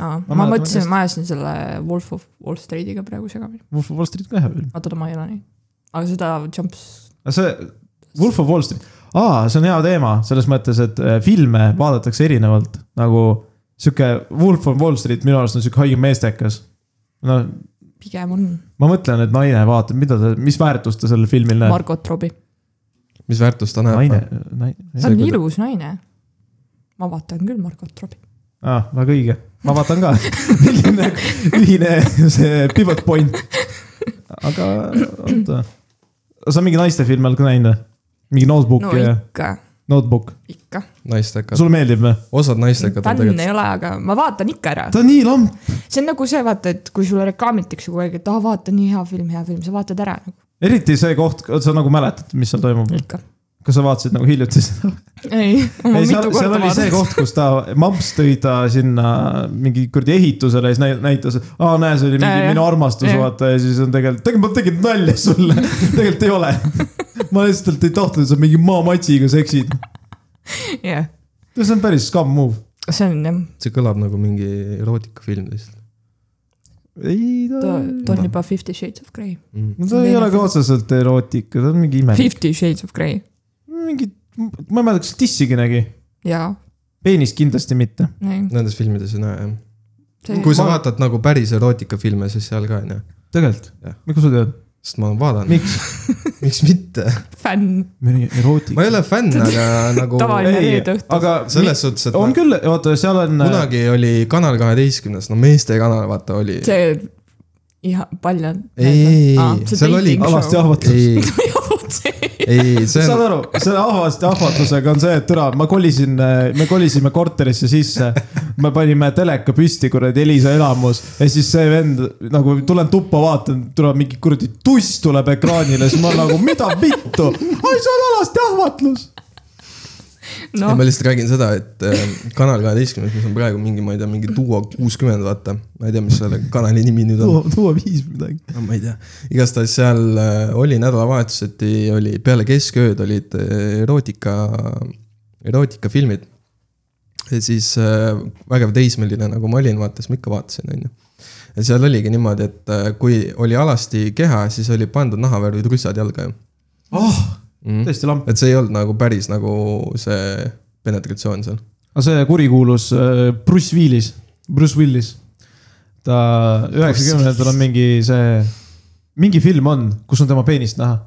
Ma
ma
mäletan
mõtlesin ,
hästi.
ma ajasin selle Wolf of Wall Streetiga praegu segamini .
Wolf of Wall Street ka hea film .
oota , ma ei ole näinud . aga seda Jumps ,
aga see Wolf of Wall Street , aa , see on hea teema selles mõttes , et äh, filme vaadatakse erinevalt nagu sihuke Wolf of Wall Street minu arust on sihuke haige meestekas . no
pigem on
ma mõtlen , et naine vaatab , mida ta , mis väärtust ta sellel filmil näeb .
Margot Robbie .
mis väärtust ta näeb ?
naine , naine ,
ta on
See, kui ta-
ilus naine . ma vaatan küll Margot Robbie .
aa , väga õige , ma vaatan ka , [laughs] milline ühine see pivot point . aga oota , sa mingi naiste filme oled ka näinud või ? mingi notebook
no
no, ja
ikka ,
notebook ,
ikka .
naistekad ,
sulle meeldib või ?
osad naistekad on
fänn
tegelikult
ei ole , aga ma vaatan ikka ära .
ta on nii lamp .
see on nagu see , vaata , et kui sulle reklaamitakse kogu aeg , et aa , vaata , nii hea film , hea film , sa vaatad ära nagu
eriti see koht , sa nagu mäletad , mis seal toimub ,
ikka .
kas sa vaatasid nagu hiljuti seda ?
ei , ma
ei , seal ,
mitu
seal
korda
oli see
vaatasin .
koht , kus ta , mamps tõi ta sinna mingi kuradi ehitusele ja siis näi- näitas , et aa , näe , see oli
Jaa,
mingi
jah.
minu armastus ,
Jah.
vaata ja siis on tegelikult , tegelikult ma tegin nalja
[laughs]
sulle , tegelikult ei ole . ma lihtsalt ei tahtnud , et sa mingi maamatsiga seksid .
jah ,
see on päris scum move .
see on jah ,
see kõlab nagu mingi erootikafilm lihtsalt
ei ,
ta
ta ,
ta on juba Fifty Shades of Grey .
mm. .
no ta ei ole ka otseselt erootika , ta on mingi imelik ,
Fifty Shades of Grey ,
mingi , ma ei mäleta , kas tissigi nägi ,
jaa ,
peenist kindlasti mitte .
ei .
Nendes filmides ei näe jah . kui sa vaatad nagu päris erootikafilme , siis seal ka on ju ,
tegelikult
Jah. ,
miks sa tead ,
sest ma olen vaadanud ,
miks ?
miks mitte .
fänn ,
mingi erootika
ma ei ole fänn , aga nagu
Tavaline. Ei, reede õhtul.
aga
selles suhtes , et
on
ma,
küll , oota , seal on .
kunagi oli Kanal kaheteistkümnes , no meeste kanal vaata oli . ei ,
see iha , palju on ?
ei , ei , ei , seal oli .
[laughs]
Alasti ahvatlus.
ei , ei , see
saad
on ,
aru , selle ahvast , ahvatlusega on see , et türa , ma kolisin , me kolisime korterisse sisse . me panime teleka püsti , kuradi Elisa elamus ja siis see vend nagu tulen tuppa , vaatan , türa mingi kuradi tuss tuleb ekraanile , siis ma nagu mida vittu , ai see on alasti ahvatlus .
ei,
noh
ma , lihtsalt räägin seda , et äh, Kanal kaheteistkümnes , mis on praegu mingi , ma ei tea , mingi Duo kuuskümmend , vaata . ma ei tea , mis selle kanali nimi nüüd on .
tuua , tuua viis midagi .
no ma ei tea , igastahes seal äh, oli nädalavahetuseti oli peale keskööd olid äh, erootika , erootikafilmid . ja siis äh, vägev teismeline nagu ma olin , vaata siis ma ikka vaatasin , onju . ja seal oligi niimoodi , et äh, kui oli alasti keha , siis oli pandud nahavärvid russad jalga ju
oh ,
mm. .
täiesti lamp .
et see ei olnud nagu päris nagu see penetratsioon seal .
aga see kurikuulus äh, Bruce Willis , Bruce Willis . ta üheksakümnendatel on mingi see , mingi film on , kus on tema peenist näha .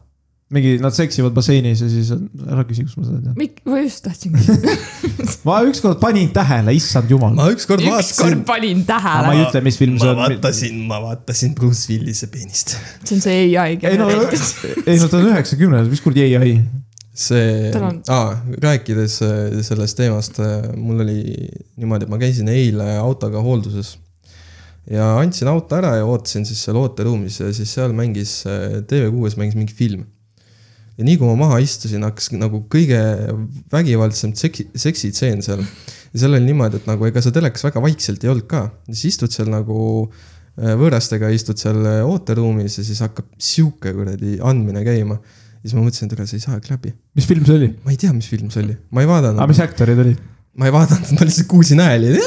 mingi , nad seksivad basseinis ja siis on , ära küsi , kus ma seda tean .
Mik- , ma just tahtsin küsida .
ma ükskord panin tähele , issand jumal .
ma ükskord
ükskord
vaatasin ,
panin
ma
tähele ,
ei ütle , mis film see
ma
on .
vaatasin , ma vaatasin Bruce Willise peenist .
see on see ai
ei no ,
genereeritud .
[laughs]
ei no ta on üheksakümnes , mis kuradi ei , ei .
see
Tal on- ,
rääkides äh, sellest teemast , mul oli niimoodi , et ma käisin eile autoga hoolduses . ja andsin auto ära ja ootasin siis seal ooteruumis ja siis seal mängis , äh, TV6-s mängis mingi film . ja nii kui ma maha istusin , hakkas nagu kõige vägivaldsem seksi , seksitseen seal . ja seal oli niimoodi , et nagu ega sa telekas väga vaikselt ei olnud ka , siis istud seal nagu äh, võõrastega istud seal äh, ooteruumis ja siis hakkab sihuke kuradi andmine käima . siis ma mõtlesin , et ega see ei saagi läbi .
mis film see oli ?
ma ei tea , mis film see oli , ma ei
aga
vaadanud ,
mis aktorid olid ?
ma ei vaadanud , ma lihtsalt kuulsin hääli ,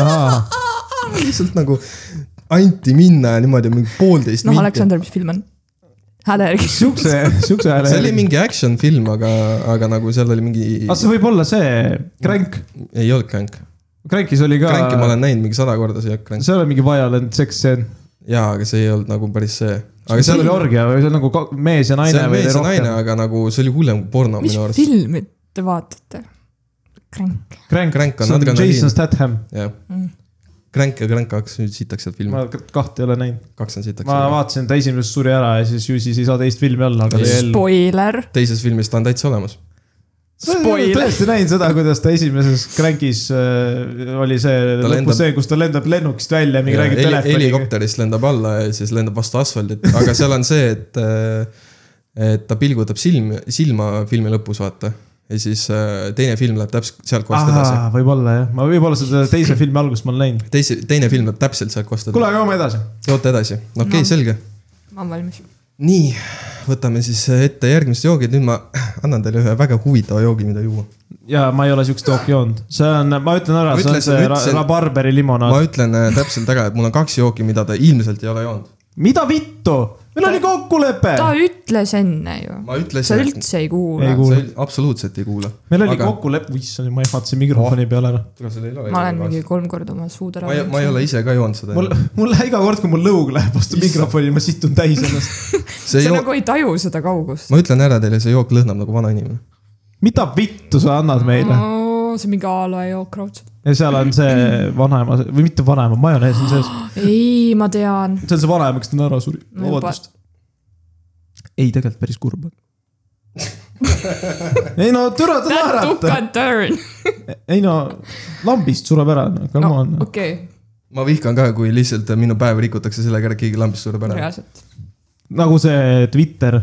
lihtsalt nagu anti minna niimoodi mingi poolteist
noh , Aleksander , mis film on ? hääle järgi .
sihukese , sihukese hääle .
see oli . mingi action film , aga , aga nagu seal oli mingi ,
aga Ah, see võib olla see Crank ,
ei olnud Crank .
Crankis oli ka .
Cranki ma olen näinud mingi sada korda , see ei olnud Crank .
seal on mingi violent seks stseen .
jaa , aga see ei olnud nagu päris see . aga
seal oli orgia või see on nagu ka- mees ja naine
see on
või
mees ja naine ,
rohkem .
aga nagu see oli hullem kui porno
mis
minu arust .
filmi te vaatate ? Crank .
Crank ,
Crank on
see on
adrenaliin.
Jason Statham .
jah .
Mm.
Crank ja Crank kaks , nüüd sitaks sealt filmi
ma , kahte ei ole näinud .
kaks on sitaks
ma . vaatasin , ta esimeses suri ära ja siis ju siis ei saa teist filmi olla , aga ta jäi ellu .
Spoiler .
teises filmis ta on täitsa olemas .
Spoiler.
tõesti näin seda , kuidas ta esimeses Crankis äh, oli see , lõpus
lendab-
lendab... see , kus ta lendab lennukist välja , mingi räägib
Heli-
telefoniga .
helikopterist lendab alla ja siis lendab vastu asfaldit , aga seal on see , et , et ta pilgutab silm , silma filmi lõpus , vaata . ja siis äh, teine film läheb täpselt sealtkohast edasi .
võib-olla jah , ma võib-olla seda teise filmi algust ma olen näinud .
teise , teine film läheb täpselt sealtkohast
kuule ,
edasi .
aga joome edasi .
joote edasi , okei okay, ,
No.
selge .
ma olen valmis .
nii , võtame siis ette järgmised joogid , nüüd ma annan teile ühe väga huvitava joogi , mida juua .
ja ma ei ole siukest jooki joonud , see on , ma ütlen ära ,
Ma
see on
ütlesin-
see ra-
ütlesin-
rabarberi limonaad
ma . ütlen äh, täpselt ära , et mul on kaks jooki , mida te ilmselt ei ole joonud .
mida vittu , meil oli kokkulepe .
ta ütles enne ju .
Äh. ma
sa
ütlesin , et
üldse ei kuula
Ei . kuula.
sa üld- absoluutselt ei kuula .
meil oli kokkulepe , issand , ma ehmatasin mikrofoni peale ära .
ma olen mingi kolm korda oma suud ära
ma ei , ma ei ole ise ka joonud seda .
mul , [laughs] mul läheb iga kord , kui mul lõug läheb vastu mikrofoni , ma situn täis ennast .
see
sa
jook ,
nagu ei taju seda kaugust .
ma ütlen ära teile , see jook lõhnab nagu vanainimene .
mida vittu sa annad meile ?
Mhm.
see on mingi a la jook raudselt .
ja seal on see vanaema või mitte vanaema , majonees on sees .
ei , ma tean .
see on see vanaema , kes täna ära suri .
No juba.
vabandust . ei , tegelikult päris kurb on ei no türa ta
that took
naerata ,
a turn .
ei no lambist sureb ära , no come no, on .
okei ,
ma vihkan ka , kui lihtsalt minu päev rikutakse sellega ära , et keegi lambist sureb ära .
reaalselt .
nagu see Twitter ,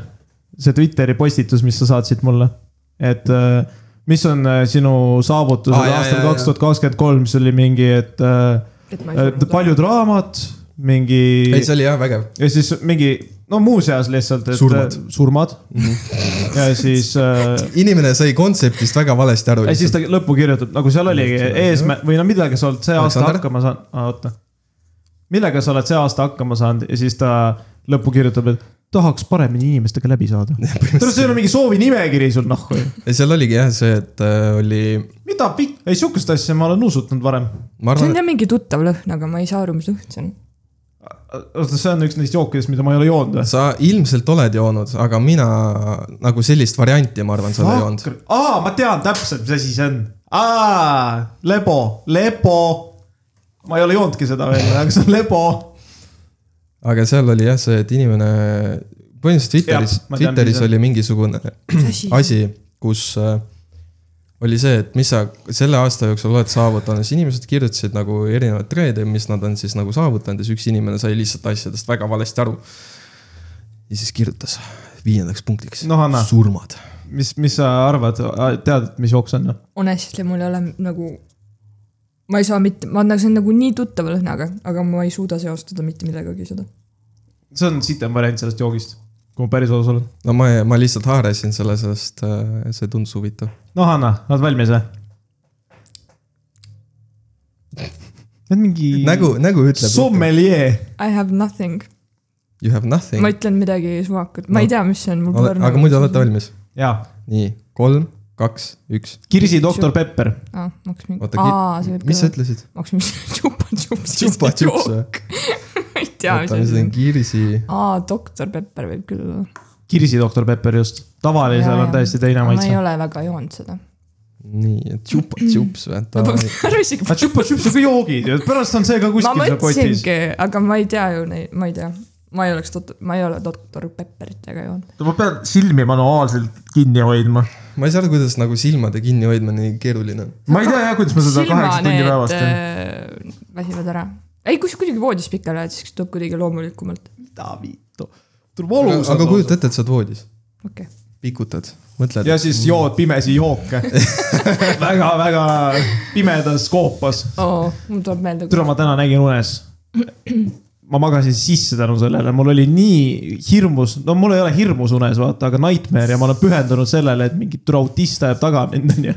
see Twitteri postitus , mis sa saatsid mulle , et äh, mis on äh, sinu saavutused
Aa, jaa,
aastal
jaa,
kaks tuhat kakskümmend kolm , mis oli mingi , et äh,
et ma ei
et paljud raamat , mingi
ei , see oli jah vägev .
ja siis mingi , no muuseas lihtsalt , et äh,
Surmad. , Mhm.
surmad. ja siis äh, ,
inimene sai kontseptist väga valesti aru
ja . siis ta lõppu kirjutab , nagu seal oligi eesmärk või no millega sa oled see aasta
Aleksander?
hakkama saanud , oota . millega sa oled see aasta hakkama saanud ja siis ta lõppu kirjutab , et tahaks paremini inimestega läbi
[laughs]
saada . tead , see ei ole mingi soovinimekiri sul nahku ju .
ja seal oligi jah see , et äh, oli ,
mida pikk , ei sihukest asja ma olen nuusutanud varem .
ma
see on
arvan ,
jah mingi tuttav lõhn , aga ma ei saa aru , mis lõhn see on .
oota , see on üks neist jookidest , mida ma ei ole joonud või
et ? sa ilmselt oled joonud , aga mina nagu sellist varianti , ma arvan , sa ei ole joonud .
aa , ma tean täpselt , mis asi see on . aa , lebo , lebo . ma ei ole joonudki seda veel , aga see on lebo .
aga seal oli jah see , et inimene , põhimõtteliselt Twitteris
Jah, , ma tean, mis
Twitteris
see on.
oli mingisugune [clears throat] asi , kus äh, oli see , et mis sa selle aasta jooksul oled saavutanud , siis inimesed kirjutasid nagu erinevaid treede , mis nad on siis nagu saavutanud ja siis üks inimene sai lihtsalt asjadest väga valesti aru . ja siis kirjutas viiendaks punktiks
Noh, anna.
surmad .
mis , mis sa arvad , tead , mis jook see on ?
honestly , mul ei ole nagu , ma ei saa mitte , ma nagu , see on nagu nii tuttava lõhnaga , aga ma ei suuda seostada mitte millegagi seda .
see on sitem variant sellest joogist , kui ma päris aus olen .
no ma , ma lihtsalt haarasin selle , sest äh, see tundus huvitav .
noh , Anna , oled valmis või ? Need mingi .
nägu , nägu ütleb .
sommeljee .
I have nothing ,
You have nothing .
ma ütlen midagi suvakat , ma
No.
ei tea , mis see on , mul pole nagu
aga muidu olete . valmis ?
jaa ,
nii , kolm , kaks , üks .
Kirsi doktor Pepper .
aa , ma hakkasin mingi ,
Oota, ki-
aa , see võib
mis sa .
[laughs]
ütlesid ?
[laughs]
ma hakkasin mingi tšupa-tšups .
Tšupa-tšups või ?
ma ei tea , mis
oota ,
asi
see on
see on .
Kirsi .
aa , doktor Pepper võib küll olla .
kirsidoktor Pepper just , tavalisel
Jaa,
on
jaa.
täiesti teine
ma ei
maitse .
ole väga joonud seda .
nii ,
[clears throat]
tšupa tšups või ?
[laughs]
ära isegi .
aga tšupa-tšups on ka joogid ju , pärast on see ka
ma
kuskil seal kotis .
mõtlesingi , aga ma ei tea ju neid , ma ei tea , ma ei oleks dot- , ma ei ole doktor Pepperit väga joonud .
ma pean silmi manuaalselt kinni hoidma .
ma ei saa aru , kuidas nagu silmade kinni hoidma nii keeruline on .
ma ei tea jah , kuidas ma seda kaheksa tundi päevas teen .
äh, väsivad ära . ei , kui sa kuidagi voodis pikali ajad , siis tuleb kuidagi loomulikumalt ,
mida viitu , tuleb
aga kujuta . ette , et sa oled voodis ,
okei okay. .
pikutad , mõtled .
ja siis jood pimesi
[laughs]
jooke . väga-väga pimedas koopas .
oo , mul tuleb meelde .
türa , ma täna nägin unes . ma magasin sisse tänu sellele , mul oli nii hirmus , no mul ei ole hirmus unes , vaata , aga nightmare ja ma olen pühendunud sellele , et mingi türa autist ajab taga mind , onju .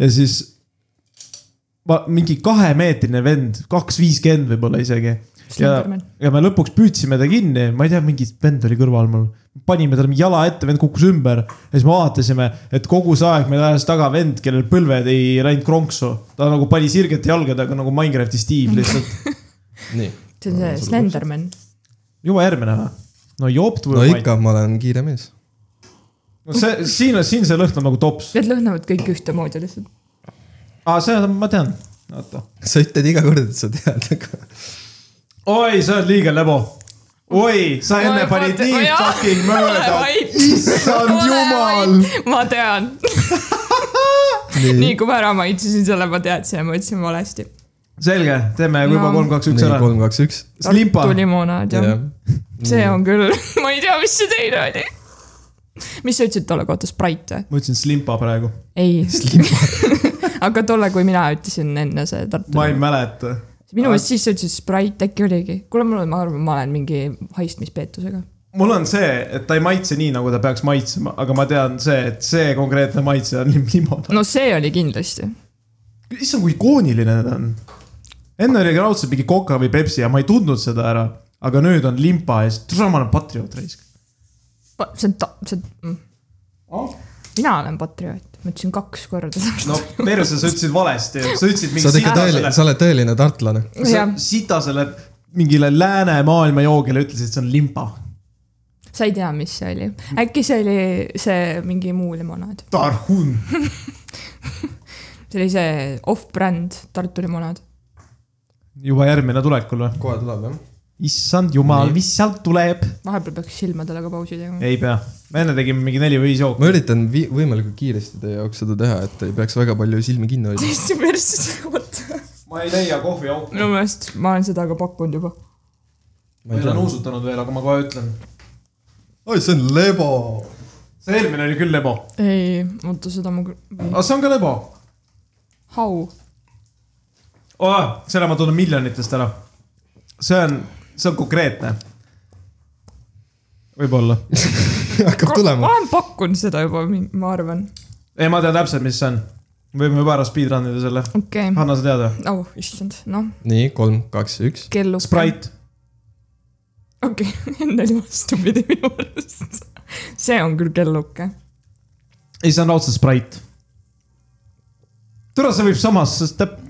ja siis ma mingi kahemeetrine vend , kaks viiskümmend võib-olla isegi . ja , ja me lõpuks püüdsime ta kinni , ma ei tea , mingi vend oli kõrval mul . panime talle mingi jala ette , vend kukkus ümber ja siis me vaatasime , et kogu see aeg meil ajas taga vend , kellel põlved ei läinud kronksu . ta nagu pani sirgete jalgadega nagu Minecrafti Steve lihtsalt .
nii .
see on see Slenderman .
juba järgmine või ? no jopt
no
või ?
ikka , ma olen kiire mees .
no see , siin , siin see lõhn on nagu tops .
Need lõhnavad kõik ühtemoodi lihtsalt .
aa , see on , ma tean , oota .
sa ütled iga kord , et sa tead , aga
oi , sa oled liiga lebo . oi , sa enne
Oi,
panid
vaata-
nii
oi, jaa.
fucking
[laughs]
mööda . issand jumal .
ma tean , nii kui ma ära maitsesin selle , ma teadsin ja ma ütlesin valesti .
selge , teeme juba
No.
kolm , kaks , üks
nii ,
ära .
kolm , kaks , üks .
Limpa .
tulimonaad jah ja. , see . on küll , [laughs] ma ei tea , mis see teine oli . mis sa ütlesid tolle kohta , Sprite või ?
ma ütlesin slimpa praegu .
ei , [laughs] aga tolle , kui mina ütlesin enne see Tartu
ma ei . mäleta .
minu meelest siis sa ütlesid Sprite äkki oligi . kuule , mul on , ma arvan , ma olen mingi haistmispeetusega .
mul on see , et ta ei maitse nii , nagu ta peaks maitsema , aga ma tean see , et see konkreetne maitse on [laughs] lim- limonaad .
no see oli kindlasti .
issand , kui ikooniline ta on . enne oli raudselt mingi Coca või Pepsi ja ma ei tundnud seda ära , aga nüüd on limpa ja siis , ma olen patrioot raisk .
see on ta- , see on mm. , mina olen patrioot , ma ütlesin kaks korda . [laughs]
no perse , sa ütlesid valesti , sa ütlesid
sa
mingi
oled ikka
sitasele
tõeline ,, sa oled tõeline tartlane .
sa sitasele mingile läänemaailma joogile ütlesid , see on limpa .
sa ei tea , mis see oli , äkki see oli see mingi muu limonaad ,
Tarhun .
see oli see off-brand Tartu limonaad .
juba järgmine tulekul või ?
kohe tuleb jah ?
issand jumal ,
Nii.
mis sealt tuleb ?
vahepeal peaks silmadele ka pausi tegema .
ei pea , me enne tegime mingi neli või viis jooki .
ma üritan vi- võimalikult kiiresti teie jaoks seda teha , et ei peaks väga palju silmi kinni
[laughs]
hoidma .
tõesti persse oota .
ma ei leia kohviauku .
minu meelest ma olen seda ka pakkunud juba .
ma ei ole . nuusutanud veel , aga ma kohe ütlen .
oi , see on lebo .
see eelmine oli küll lebo .
ei , oota seda ma küll ,
aga see on ka lebo
hau .
oh, . selle ma tunnen miljonitest ära . see on , see on konkreetne . võib-olla .
[laughs] hakkab
ma
tulema .
olen pakkunud seda juba , ma arvan ,
ei , ma tean täpselt , mis see on . võime juba ära speedrun ida selle .
okei okay. .
Hanna , sa tead või ?
oh issand , noh ,
nii , kolm , kaks , üks .
kellu .
Sprite .
okei [laughs] okay. , enne oli vastupidi minu arust . see on küll kelluke .
ei , see on raudselt Sprite . tore , see võib samas , sest täp- ,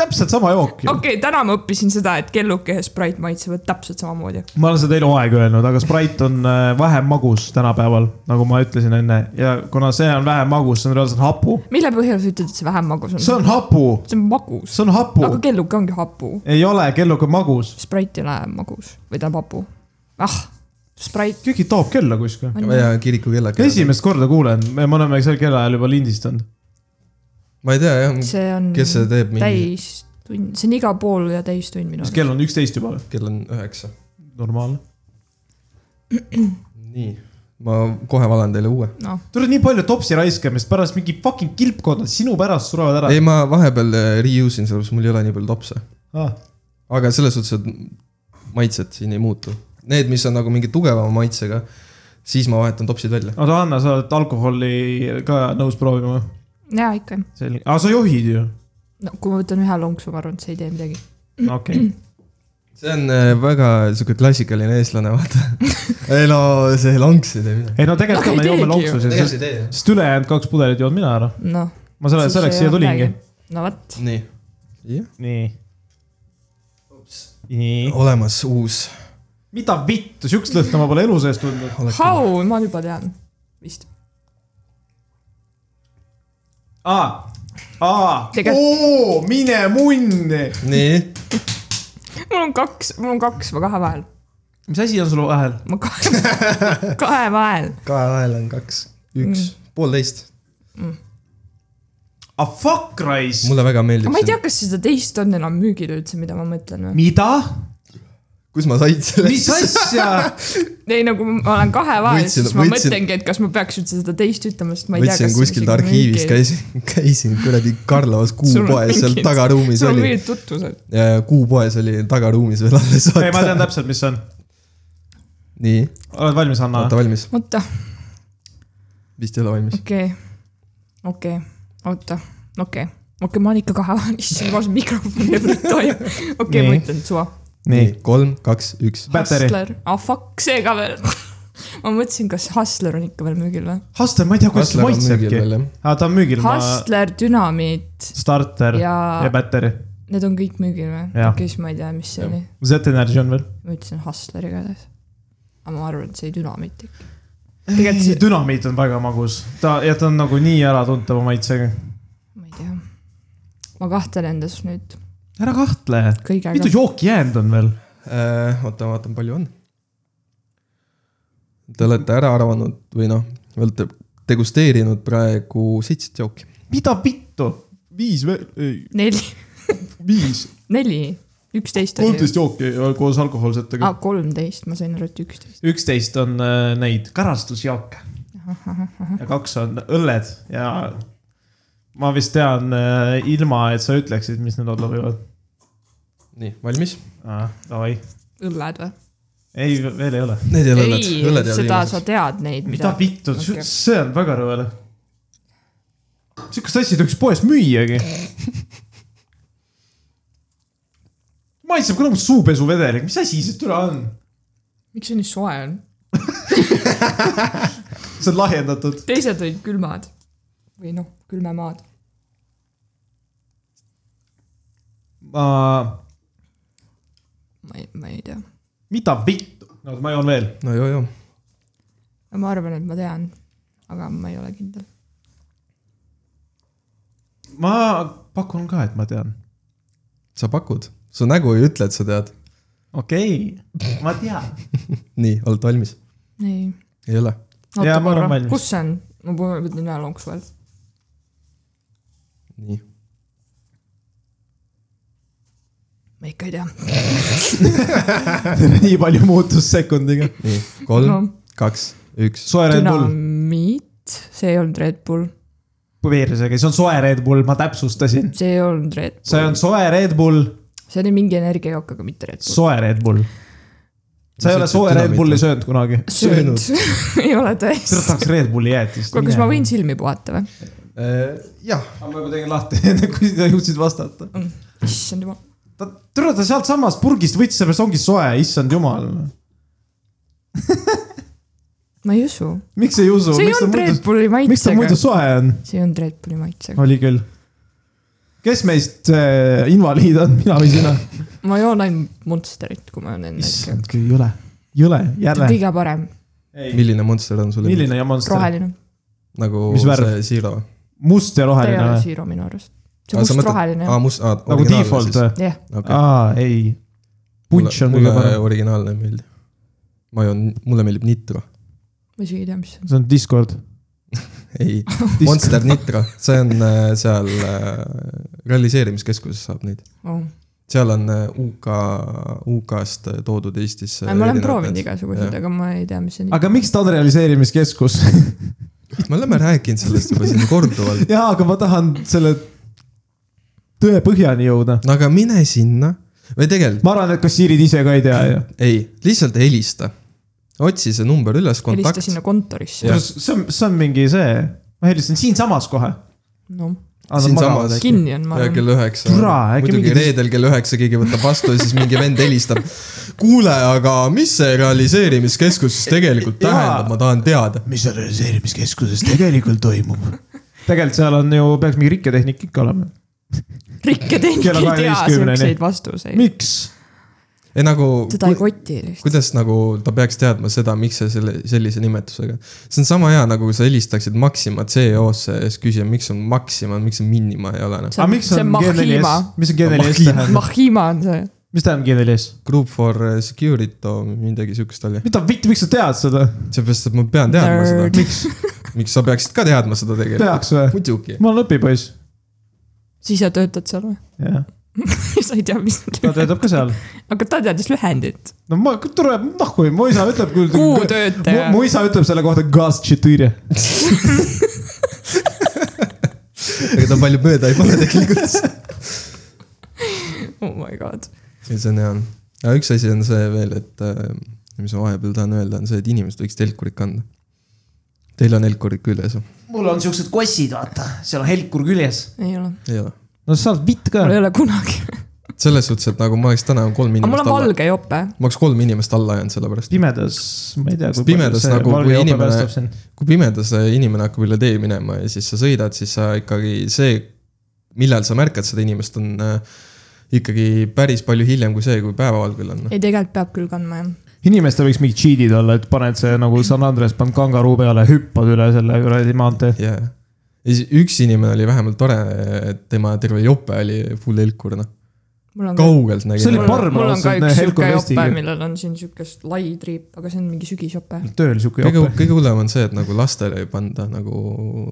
täpselt sama jook ju okay. .
okei okay, , täna ma õppisin seda , et kelluke ja Sprite maitsevad täpselt samamoodi .
ma olen seda eluaeg öelnud , aga Sprite on äh, vähem magus tänapäeval , nagu ma ütlesin enne ja kuna see on vähem magus , see on reaalselt hapu .
mille põhjal sa ütled , et see vähem magus on ?
see on hapu ,
see on magus ,
see on hapu
aga . kelluke ongi hapu .
ei ole kelluga magus .
Sprite ei ole magus või ta on hapu . ah , Sprite .
keegi toob kella kuskil .
ja kirikukellake .
esimest korda kuulen , me me oleme sel kellaajal juba lindistanud .
ma ei tea jah ,
see on
kes see teeb mingi ,
täistund , see on igal pool ja täistund
mis
minu arust .
kell on üksteist juba või ?
kell on üheksa .
normaalne .
nii , ma kohe valan teile uue .
noh ,
tuleb nii palju topsi raiskamist , pärast mingi fucking kilpkonnad sinu pärast surevad ära
ei ,. ma vahepeal eh, reuse in , sellepärast mul ei ole nii palju topse .
Ah,
aga selles suhtes , et maitsed siin ei muutu . Need , mis on nagu mingi tugevama maitsega , siis ma vahetan topsid välja .
oota , Hanna , sa oled alkoholi ka nõus proovima või ?
jaa ikka .
selge , aa sa johid ju ,
no kui ma võtan ühe lonksu , ma arvan , et see ei tee midagi .
okei okay. .
see on eh, väga sihuke klassikaline eestlane , [laughs] vaata . ei no see lonks ei tee midagi .
ei no tegelikult
Aga
ka me
ei
joome
teegi ju.
lonksusid , sest ,
ei tee jah .
sest ülejäänud kaks pudelit joon mina ära .
noh .
ma selle , selleks siia tulingi ..
no vot ,
nii . jah ,
nii . nii ,
olemas uus
mida vittu , siukest lõhna ma pole elu sees tundnud .
How , ma juba tean , vist .
aa , aa ,
Tegelikult-
oo , mine munni .
nii ,
mul on kaks , mul on kaks või kahe vahel ,
mis asi on sul vahel ?
ma kahe ,
[laughs]
kahe vahel .
kahe vahel on kaks , üks mm. , poolteist .
A fuck rice .
mulle väga meeldib
ma ei tea , kas seda teist on enam müügil üldse , mida ma mõtlen või ?
mida ?
kus ma sain selle .
mis asja ?
ei , nagu ma olen kahe vahel ,
Võtsin-
siis ma
võtsin-
mõtlengi , et kas ma peaks üldse seda teist ütlema , sest ma ei tea , kas
võtsin kuskilt arhiivist ,. käisin , [laughs] käisin kuradi Karlovas kuupoes , seal
mingid-
tagaruumis
sul on
oli .
mingid tutvused .
kuupoes oli tagaruumis veel alles .
ei , ma tean täpselt , mis see on .
nii ,
oled valmis , Anna ?
olete valmis ?
oota ,
vist ei ole valmis .
okei , okei , oota , okei , okei , ma olen ikka kahe vahel , issand , ma saan mikrofoni peal toimub . okei , ma
Nii.
ütlen suva .
nii ,
kolm , kaks , üks .
Battery.
Hustler , ah fuck , see ka veel . ma mõtlesin , kas Hustler on ikka veel müügil või ?
Hustler , ma ei tea , kuidas see maitsebki .
ma
aa , ta on müügil , ma ,
Hustler , Dünamiit
starter ja, ja
ja
Battery .
need on kõik müügil või ? okei
Jah.
okay, , siis ma ei tea , mis see oli .
Z-Energy on veel .
ma ütlesin Hustler igatahes . aga ma arvan , et see Dünamiit ikka . Tegelikult see-
Dünamiit on väga magus , ta , ja ta on nagu nii äratuntava maitsega .
ma ei tea . ma kahtlen endas nüüd
ära kahtle ,
kõige .
mitu jooki jäänud on veel ?
Äh, oota , vaatan , palju on . Te olete ära arvanud või noh , olete degusteerinud praegu seitset jooki .
mida vittu ? viis veel , ei ,
neli ,
viis ,
neli , üksteist oli .
kolmteist jooki ja koos alkohoolsetega
aa , kolmteist , ma sain aru , et üksteist .
üksteist on äh, neid karastusjooke ja kaks on õlled ja ma vist tean äh, ilma , et sa ütleksid , mis need olla võivad .
nii , valmis ?
Davai ,
õlled või ?
ei veel ei ole .
Need ei ole õlled ,
ei
õlled , ei ole
seda sa
viimased .
tead neid ,
mida
mida .
vittu
Okei. ,
see on väga rõve . sihukest asja ei tohiks poes müüagi . maitseb ka nagu suupesuvedelik , mis asi see türa on ?
miks see nii soe on ?
see on lahjendatud .
teised olid külmad või noh , külmemaad .
ma ,
ma ei , ma ei tea .
mida vittu , no ma joon veel .
no joo , joo .
ma arvan , et ma tean , aga ma ei ole kindel .
ma pakun ka , et ma tean
sa pakud , su nägu ei ütle , et sa tead .
okei okay, , ma [laughs] tean .
nii , olete valmis ?
ei .
ei ole ?
Jaa, ma olen valmis.
kus see on ? ma panen nüüd ühe lonksu veel .
nii .
ma ikka ei tea .
nii palju muutus sekundiga .
nii , kolm
No.
no. , kaks , üks .
soe Red Bull ,
dünamiit , see ei olnud Red Bull ,
veerisega , see on soe Red Bull , ma täpsustasin .
see ei olnud Red
see on soe Red Bull ,
Bull , see oli mingi energiajook , aga mitte Red Bull .
soe Red Bull . sa ei ole soe Red Bulli . söönud kunagi .
söönud. .
[laughs] ei ole
sa
tõesti .
tahaks Red Bulli jäätist .
kuule , kas ma võin ? silmi puhata või ?
Äh,
jah ,
ma juba tegin lahti , [laughs] enne kui sa jõudsid vastata .
issand jumal .
ta , tule ta sealtsamast purgist võttis , seepärast ongi soe , issand jumal .
ma ei usu .
miks ei usu ?
see ei olnud Red Bulli
miks ta muidu
maitsega .
soe on ?
see ei olnud Red Bulli maitsega .
oli küll . kes meist äh, invaliid on , mina või sina ?
ma joon ainult Monsterit , kui ma joon enne .
issand , kui jõle , jõle , jälle .
kõige parem ,
milline monster on sul ?
milline ja monster ?
roheline .
nagu
Mis värv?
see Zero ?
must ja
ta ei
roheline
ole
või ?
siiro minu arust . see on mustroheline
aa , Ah, must , aa .
nagu default või ?
jah ,
või ?
aa , ei . punš on kõige
mulle
parem .
originaalne meeldib . ma joon , mulle meeldib Nitro .
ma isegi ei tea , mis see on .
see on Discord .
ei , Monster Nitro , see on äh, seal äh, realiseerimiskeskuses saab neid .
Oh.
seal on äh, UK , UK-st äh, toodud Eestisse .
ma olen proovinud igasuguseid , aga ma ei tea , mis see on .
aga miks ta on realiseerimiskeskus ? [laughs]
me oleme rääkinud sellest juba siin korduvalt .
jaa , aga ma tahan selle tõe põhjani jõuda .
no aga mine sinna või tegelikult
ma arvan , et kassiirid ise ka ei tea ju .
ei , lihtsalt helista . otsi see number üles ,
helista
kontakt .
sinna kontorisse .
see on , see on mingi see , ma helistasin siinsamas kohe .
noh ,
Siinsamas.
tere ,
kinni on , ma
ja
arvan .
kell üheksa .
Türa, äkki
muidugi
mingi-
reedel kell üheksa keegi võtab vastu ja siis mingi vend helistab . kuule , aga mis see realiseerimiskeskus siis tegelikult
Jaa.
tähendab , ma tahan teada .
mis seal realiseerimiskeskuses tegelikult toimub .
tegelikult seal on ju , peaks mingi rikketehnik ikka olema .
rikketehnik
Kella
ei tea
kaheteistkümneni.
siukseid vastuseid .
miks ?
ei nagu ,
teda ei koti lihtsalt .
kuidas nagu ta peaks teadma seda , miks sa selle , sellise nimetusega . see on sama hea , nagu sa helistaksid Maxima CO-sse ja siis küsida , miks on Maxima , miks on Minima ei ole noh .
see
aga
on ,
miks
see on
on G4S
Mahima ,,
mis on G4S
Mahima.
tähendab ,
Mahima on see .
mis tähendab G4S ?
Group for security , midagi siukest oli .
mida , miks sa tead seda ,
seepärast , et ma pean teadma
Nerd.
seda . miks , miks sa peaksid ka teadma seda tegelikult ?
tehakse või ?
muidugi .
ma olen õpipoiss ,
sa ise töötad seal või ? [laughs]
jah ,
sa ei tea , mis .
ta töötab ka seal .
aga ta teadis lühendit .
no ma , tore , nahku , mu isa ütleb küll .
kuutöötaja .
mu isa ütleb selle kohta gaz четыре .
ega ta palju mööda ei pane tegelikult .
[laughs] oh my god .
ja see on hea . aga üks asi on see veel , et äh, mis ma vahepeal tahan öelda , on see , et inimesed võiks telkurit kanda . Teil on helkurid küljes või ?
mul on siuksed kossid , vaata , seal on helkur küljes .
ei ole ,
ei ole .
no sa oled vitt ka
mul . ei ole kunagi .
selles suhtes , et nagu ma oleks täna kolm
aga mul
inimest
on
alla ,
valge jope .
ma oleks kolm inimest alla jäänud selle pärast .
pimedas , ma ei tea .
Sest pimedas nagu, kui inimene- kui pimedas inimene hakkab üle tee minema ja siis sa sõidad , siis sa ikkagi see , millal sa märkad seda inimest , on äh, ikkagi päris palju hiljem kui see , kui päevavalgel on .
ei , tegelikult peab küll kandma jah .
inimestel võiks mingid cheat'id olla , et paned see nagu San Andres , paned kangaruu peale , hüppad üle selle kuradi maantee .
ja , ja siis üks inimene oli vähemalt tore , tema terve jope oli full helkur , noh ,
mul on ka ,
kaugelt nägin .
See oli parm-
mul on ka
parmalaadne
üks
Helko
sihuke
Vesti-
jope , millel on siin siukest lai triip , aga see on mingi sügisjope .
tööl sihuke
kõige
jope ,.
kõige hullem on see , et nagu lastele ei panda nagu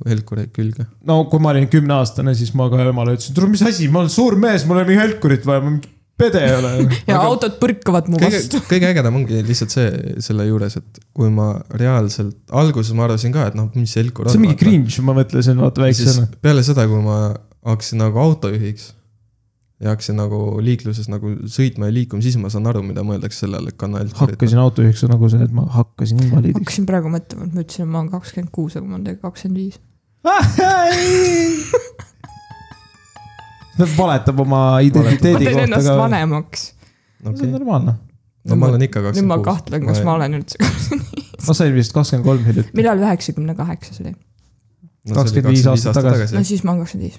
helkureid külge .
no kui ma olin kümneaastane , siis ma ka emale ütlesin , tule mis asi , ma olen suur mees , mul ei ole mingit helkurit vaja , ma mingi pede ei
[laughs]
ole .
ja aga... autod põrkavad mu
kõige
vastu .,
kõige ägedam ongi lihtsalt see selle juures , et kui ma reaalselt , alguses ma arvasin ka , et noh , mis see helkur on .
see on mingi cringe , ma mõtlesin , vaata
siis
väiksena .
peale seda , kui ma hakkasin nagu autojuhiks ja hakkasin nagu liikluses nagu sõitma ja liikuma , siis ma saan aru , mida mõeldakse selle all , et kanna helkurit .
hakkasin autojuhiks nagu see , et ma hakkasin invaliidiks .
hakkasin praegu mõtlema , et ma ütlesin , et ma olen kakskümmend kuus , aga ma olen tegelikult kakskümmend viis .
[laughs] ta valetab oma
ma
identiteedi
teen
kohta
ennast
ka .
vanemaks .
see on
okei ,
normaalne .
no ma olen ikka
nüüd
kakskümmend
ma
kuus .
kahtlen , kas ma olen üldse ,
ma sain vist kakskümmend kolm hiljuti .
millal üheksakümne kaheksas oli ?
kakskümmend viis aastat tagasi.
no siis ma olen kakskümmend viis .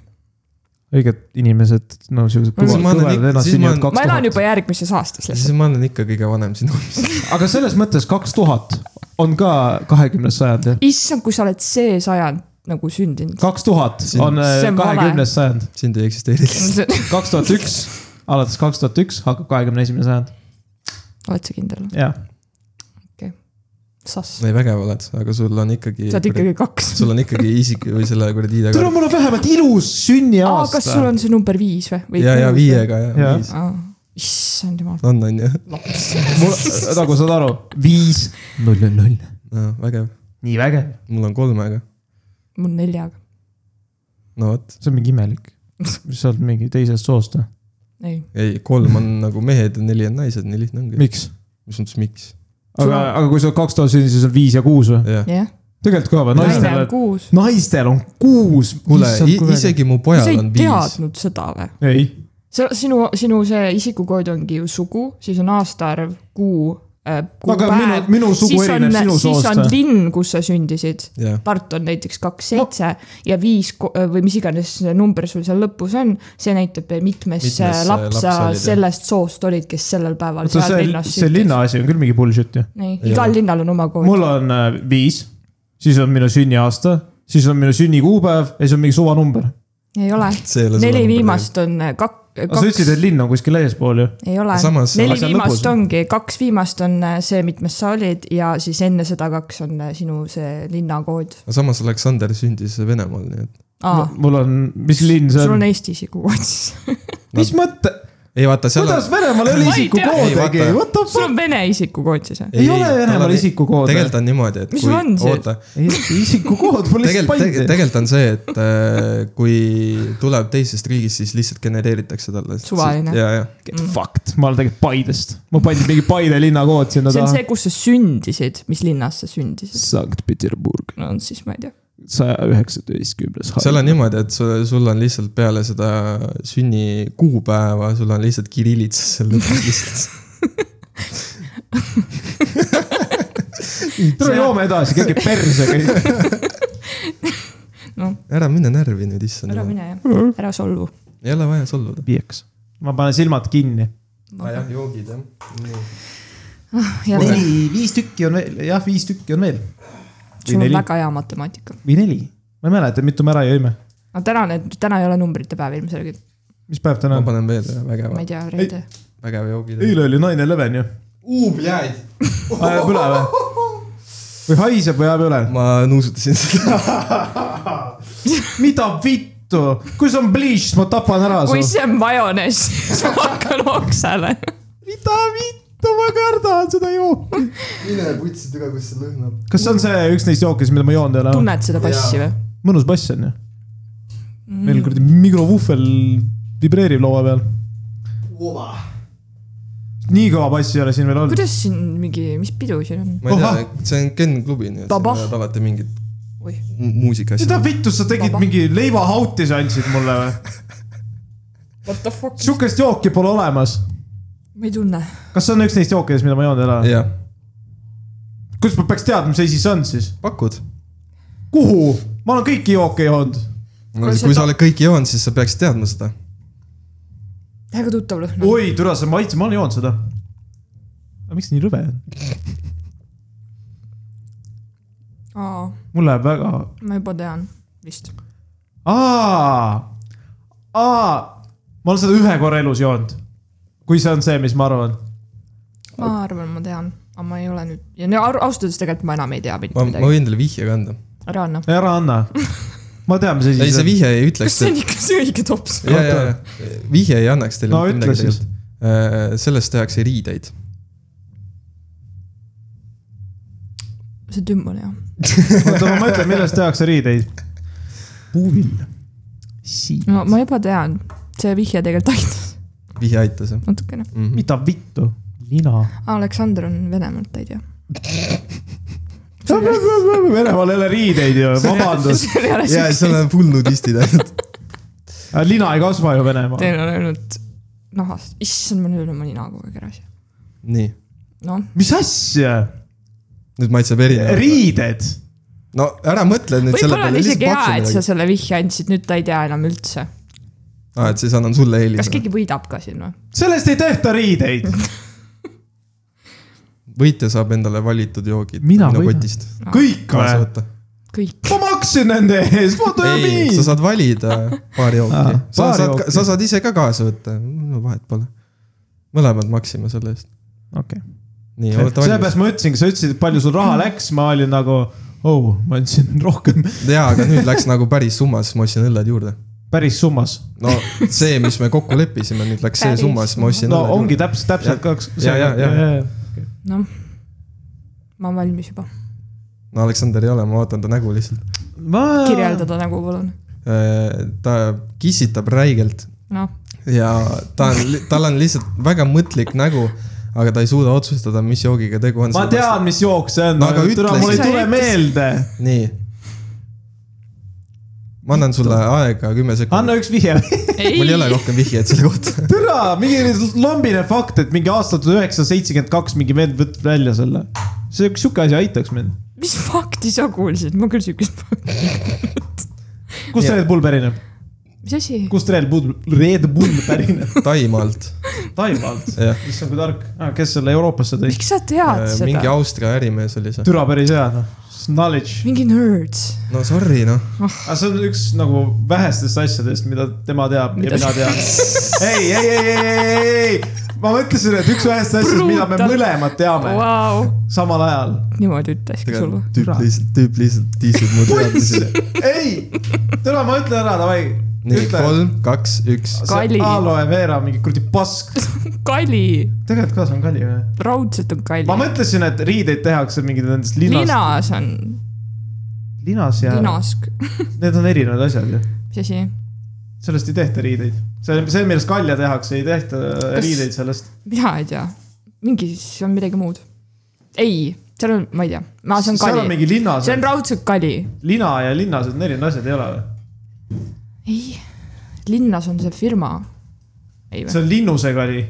õiged inimesed , no siuksed
No siis ma olen ikka- siis ma olen-
ma elan juba järgmises aastas
siis
lihtsalt .
ma olen ikka kõige vanem siin ruumis .
aga selles mõttes kaks tuhat on ka kahekümnes sajand jah .
issand , kui sa oled see sajand nagu sündinud .
kaks tuhat
See-
on äh,
see on vale.
kahekümnes sajand ,
[laughs] sind ei eksisteeri lihtsalt .
kaks tuhat üks , alates kaks tuhat üks hakkab kahekümne esimene sajand ,
oled sa kindel ?
jah .
Sass .
ei , vägev oled , aga sul on ikkagi .
sa oled ikkagi kaks .
sul on ikkagi isik või selle kuradi
tule
ID-ga .
mul on vähemalt ilus
aa , kas sul
sünniaasta .
on see number viis või- või ?
ja , ja . viiega ja
Jaa.
viis .
issand jumal ,
on , on ju ,
mul , nagu saad aru , viis , null , null , null .
vägev .
nii vägev .
mul on kolmega ,
mul neljaga ,
no vot ,
see on mingi imelik .
[laughs]
sa oled mingi teisest soost noh. või ?
ei .
ei , kolm on nagu mehed ja neli on naised , nii lihtne ongi .
miks ?
mis mõttes , miks ?
Sul
aga
on- ,
aga kui sa oled kaks tuhat sündinud , siis on viis ja kuus või ?
jah ,
jah ,
tegelikult ka või ?
naine
naistel
on
on ,
kuus .
naistel on kuus .
kuule , isegi mu
sa
pojal
ei
on viis .
teadnud seda või ?
ei ,
sa , sinu , sinu see isikukood ongi ju sugu , siis on aastaarv , kuu ,
aga minu ,
kuupäev .
minu sugu
siis on
erineb , sinu
siis
soost
on
või ?
linn , kus sa sündisid .
jah ,
Tartu on näiteks kaks , seitse ja viis ko- äh, või mis iganes see number sul seal lõpus on , see näitab , mitmes
Mitmes,
äh, laps
laps
sa
olid, jah.
sellest soost olid , kes sellel päeval
oota ,
seal
see ,
linnas
see linna . asi on küll mingi bullshit ju .
nii ,
Ei
igal
ole.
linnal on oma kood .
mul on äh, viis , siis on minu sünniaasta , siis on minu sünnikuupäev ja siis on mingi suvanumber .
ei ole ,
see ei ole .
neli . viimast on äh, kak- ,
aga sa ütlesid ,
kaks ,
et linn on kuskil eespool ju .
ei ole
Aga , samas-
neli
aga seal lõpus
viimast
on-
ongi , kaks viimast on äh, see , mitmes sa olid ja siis enne seda kaks on äh, sinu see linnakood .
aga samas Aleksander sündis Venemaal , nii et .
aa ,
mul on , mis linn see
sul
on
on ? Eesti isikukood siis .
mis mõtte ,
ei vaata , seal
kuidas Venemaal ei ole
Ma ei
isikukood
tea.
äkki ,
Ei, vaata.
what the
sul
fuck ?
on Vene isikukood siis või ?
on
ei ole Venemaal . isikukood .
tegelikult on niimoodi , et
Mis
kui
sul on , siis?
oota ,
isikukood pole lihtsalt
tegelikult ,
pandi .
tegelikult on see , et äh, kui tuleb teisest riigist , siis lihtsalt genereeritakse talle .
Suvaline.
ja , ja ,
Mm.
Fucked , ma olen tegelikult Paidest , mul pandi mingi Paide linnakood sinna
see on see
taha .,
kus sa sündisid , mis linnas sa sündisid .
Sankt-Peterburg ,
no siis ma ei tea .
saja üheksateistkümnes .
seal on niimoodi , et sul , sul on lihtsalt peale seda sünnikuupäeva , sul on lihtsalt kirillitsas seal lõpus [laughs] lihtsalt .
tule joome edasi , keegi perse
[laughs]
käib .
ära mine närvi nüüd , issand
ära
jumal .
mine jah , ära solvu .
ei ole vaja solvuda .
viieks . ma panen silmad kinni .
jah , joogid jah .
jälle ,
neli , viis tükki on veel , jah , viis tükki on veel .
sul on väga hea matemaatika .
või neli , ma ei mäleta , mitu me ära jõime .
no täna need , täna ei ole numbrite päev ilmselgelt ,
mis päev täna
ma
on ?
panen veel ühe vägeva
ma , ei tea , reede .
vägeva joogid .
eile oli naine leven ju .
jäid .
ajab üle või ? või haiseb või ajab üle ?
ma nuusutasin seda .
mida vittu , kui see on bleach , ma tapan ära
kui
su .
see on
[laughs]
majonees , siis ma hakkan oksele .
mida vittu , ma kardan seda jooki .
[laughs] mine putsi tüga , kus see lõhnab .
kas see on see üks neist jookidest , mida ma joonud ei ole ?
tunned seda bassi või ?
mõnus bass on ju . meil kuradi mikrovuhvel vibreerib laua peal . nii kõva bassi ei ole siin veel olnud .
kuidas siin mingi , mis pidu siin on ?
ma ei
Ahah.
tea , see on Ken klubi , nii et sa
Tabah.
pead alati mingit
Oih.
mu- muusikaasja
seda . vittu sa tegid
Vaba.
mingi leivahauti sa andsid mulle või ?
What the fuck ?
sihukest jooki pole olemas .
ma ei tunne .
kas see on üks neist jookidest , mida ma joonud ei ole ?
jah ,
kuidas ma peaks teadma , mis asi see on siis ?
pakud .
kuhu ? ma olen kõiki jooke joonud .
no
Kuule,
kui
see
sa oled kõiki joonud , siis sa peaksid teadma seda .
väga tuttav lõhn on .
oi , türa , see maitse , ma olen joonud seda . aga miks see nii rõve on ?
aa ,
mul läheb väga ,
ma juba tean , vist .
aa , aa , ma olen seda ühe korra elus joonud . kui see on see , mis ma arvan .
ma arvan , ma tean , aga ma ei ole nüüd , ja no ar- ausalt öeldes tegelikult ma enam ei tea mitte
ma , ma
midagi .
võin teile vihje ka anda .
ära anna .
ära anna . ma tean , mis
ei ,
asi
see
see on .
vihje ei
kas
ütleks
see . on ikka see õige tops ?
ja , ja , ja vihje ei annaks teile
no
mitte
ütle
midagi
siis
tegelikult .. sellest tehakse riideid .
see tümm on hea .
oota , ma mõtlen , millest tehakse riideid . puuvill . siit .
no ma juba tean , see vihje tegelikult aitas
vihje aitas jah
natukene .
mm -hmm. .
mida vittu ? lina .
Aleksander on Venemaalt , ei tea .
Venemaal ei ole riideid ju ,
[laughs]
[laughs]
vabandust .
see ei ole
ja ,
siukse ,
seal on full nudistid ainult .
lina ei kasva ju Venemaal .
teil on ainult ,
nahast , issand , ma löön oma nina kogu aeg ära siia .
[laughs] nii ,
noh ,
mis asja ?
nüüd maitseb erinev .
riided .
no ära mõtle nüüd selle
võib-olla on
peale ,
isegi
lihtsalt
hea , et
paksu
sa
midagi .
selle vihje andsid , nüüd ta ei tea enam üldse .
aa , et siis annan sulle
kas
eelise .
keegi võidab ka siin või ?
sellest ei tehta riideid .
võitja saab endale valitud joogid
Mina
minu
võidan.
kotist
kõik
kaasa
või ?
võtta .
kõik .
ma maksin nende eest , what do you
ei , sa
mean ?
saad
[laughs]
valida paari jooki
Aa, .
sa
paari
saad ,
jooki.
sa saad ise ka kaasa võtta , no vahet pole . mõlemad maksime selle eest .
okei ,
nii , olete valmis ?
sellepärast ma ütlesingi , sa ütlesid , et palju sul raha läks , ma olin nagu , oh , ma andsin [laughs] rohkem ,
jaa , aga nüüd läks nagu päris summa , siis ma ostsin õlled juurde .
päris summas .
no see , mis me kokku leppisime , nüüd läks see
Päris
summa , siis ma ostsin .
no ongi . täpselt , täpselt kaks .
Ja, ja, ja.
noh , ma olen valmis juba .
no Aleksander ei ole , ma vaatan ta nägu lihtsalt .
ma .
kirjeldada
nagu
nägu , palun .
ta kissitab räigelt
noh ,
ja ta on , tal on lihtsalt väga mõtlik nägu , aga ta ei suuda otsustada , mis joogiga tegu on .
ma tean , mis jook see on ,
No aga
aga
ütle
türa , mul ei
siis.
tule meelde .
nii . ma annan sulle aega kümme
anna
sekundit .
üks vihje .
[laughs] [laughs] mul ei ole rohkem vihjeid selle kohta .
türa , mingi lombine fakt , et mingi aastal tuhat üheksasada seitsekümmend kaks mingi vend võtab välja selle . see , sihuke asi aitaks mind .
mis fakti sa kuulsid , ma küll siukest ,
kust
Jah.
Red Bull pärineb ?
mis asi ?
kust Red Bull , Red Bull
[laughs]
pärineb ?
Taimaalt ,
Taimaalt .
jah .
issand , kui tark . kes selle Euroopasse tõi ?
miks sa tead
Äh, mingi
seda ?
Austria ärimees oli see .
türa päris hea , noh . Knowledge .
mingi nerd .
no sorry noh ,
aga see on üks nagu vähestest asjadest , mida tema teab mida ja
Mida
mina tean . ei , ei , ei , ei , ei , ei , ei . ma mõtlesin , et üks vähestest asjadest , mida me
Brutal.
mõlemad teame wow.
vau .
samal ajal
niimoodi ütleski sulle .
tegelikult tüüp lihtsalt , tüüp lihtsalt tiisib mu teadmisele .
ei , tule ma ütlen ära , davai .
nii , kolm , kaks , üks .
Kali.
Aloe Vera mingi kuradi pask .
kali ,
tegelikult ka see on kali või ?
raudselt on
ma
kali .
mõtlesin , et riideid tehakse mingid nendest linas Lina. ,
linas on ,
linas ja Lina.
linask ,
need on erinevad asjad ju .
mis asi ?
sellest ei tehta riideid . see , see , millest kalja tehakse , ei tehta Kas... riideid sellest .
mina ei tea . mingi , see on midagi muud . ei , seal on , ma ei tea ,
Ah,
see on
seal on
kali ,
mingi linas
see , on raudselt kali .
lina ja linnas on erinevad asjad , ei ole või ?
ei , linnas on see firma . ei või ?
see on linnuse kali .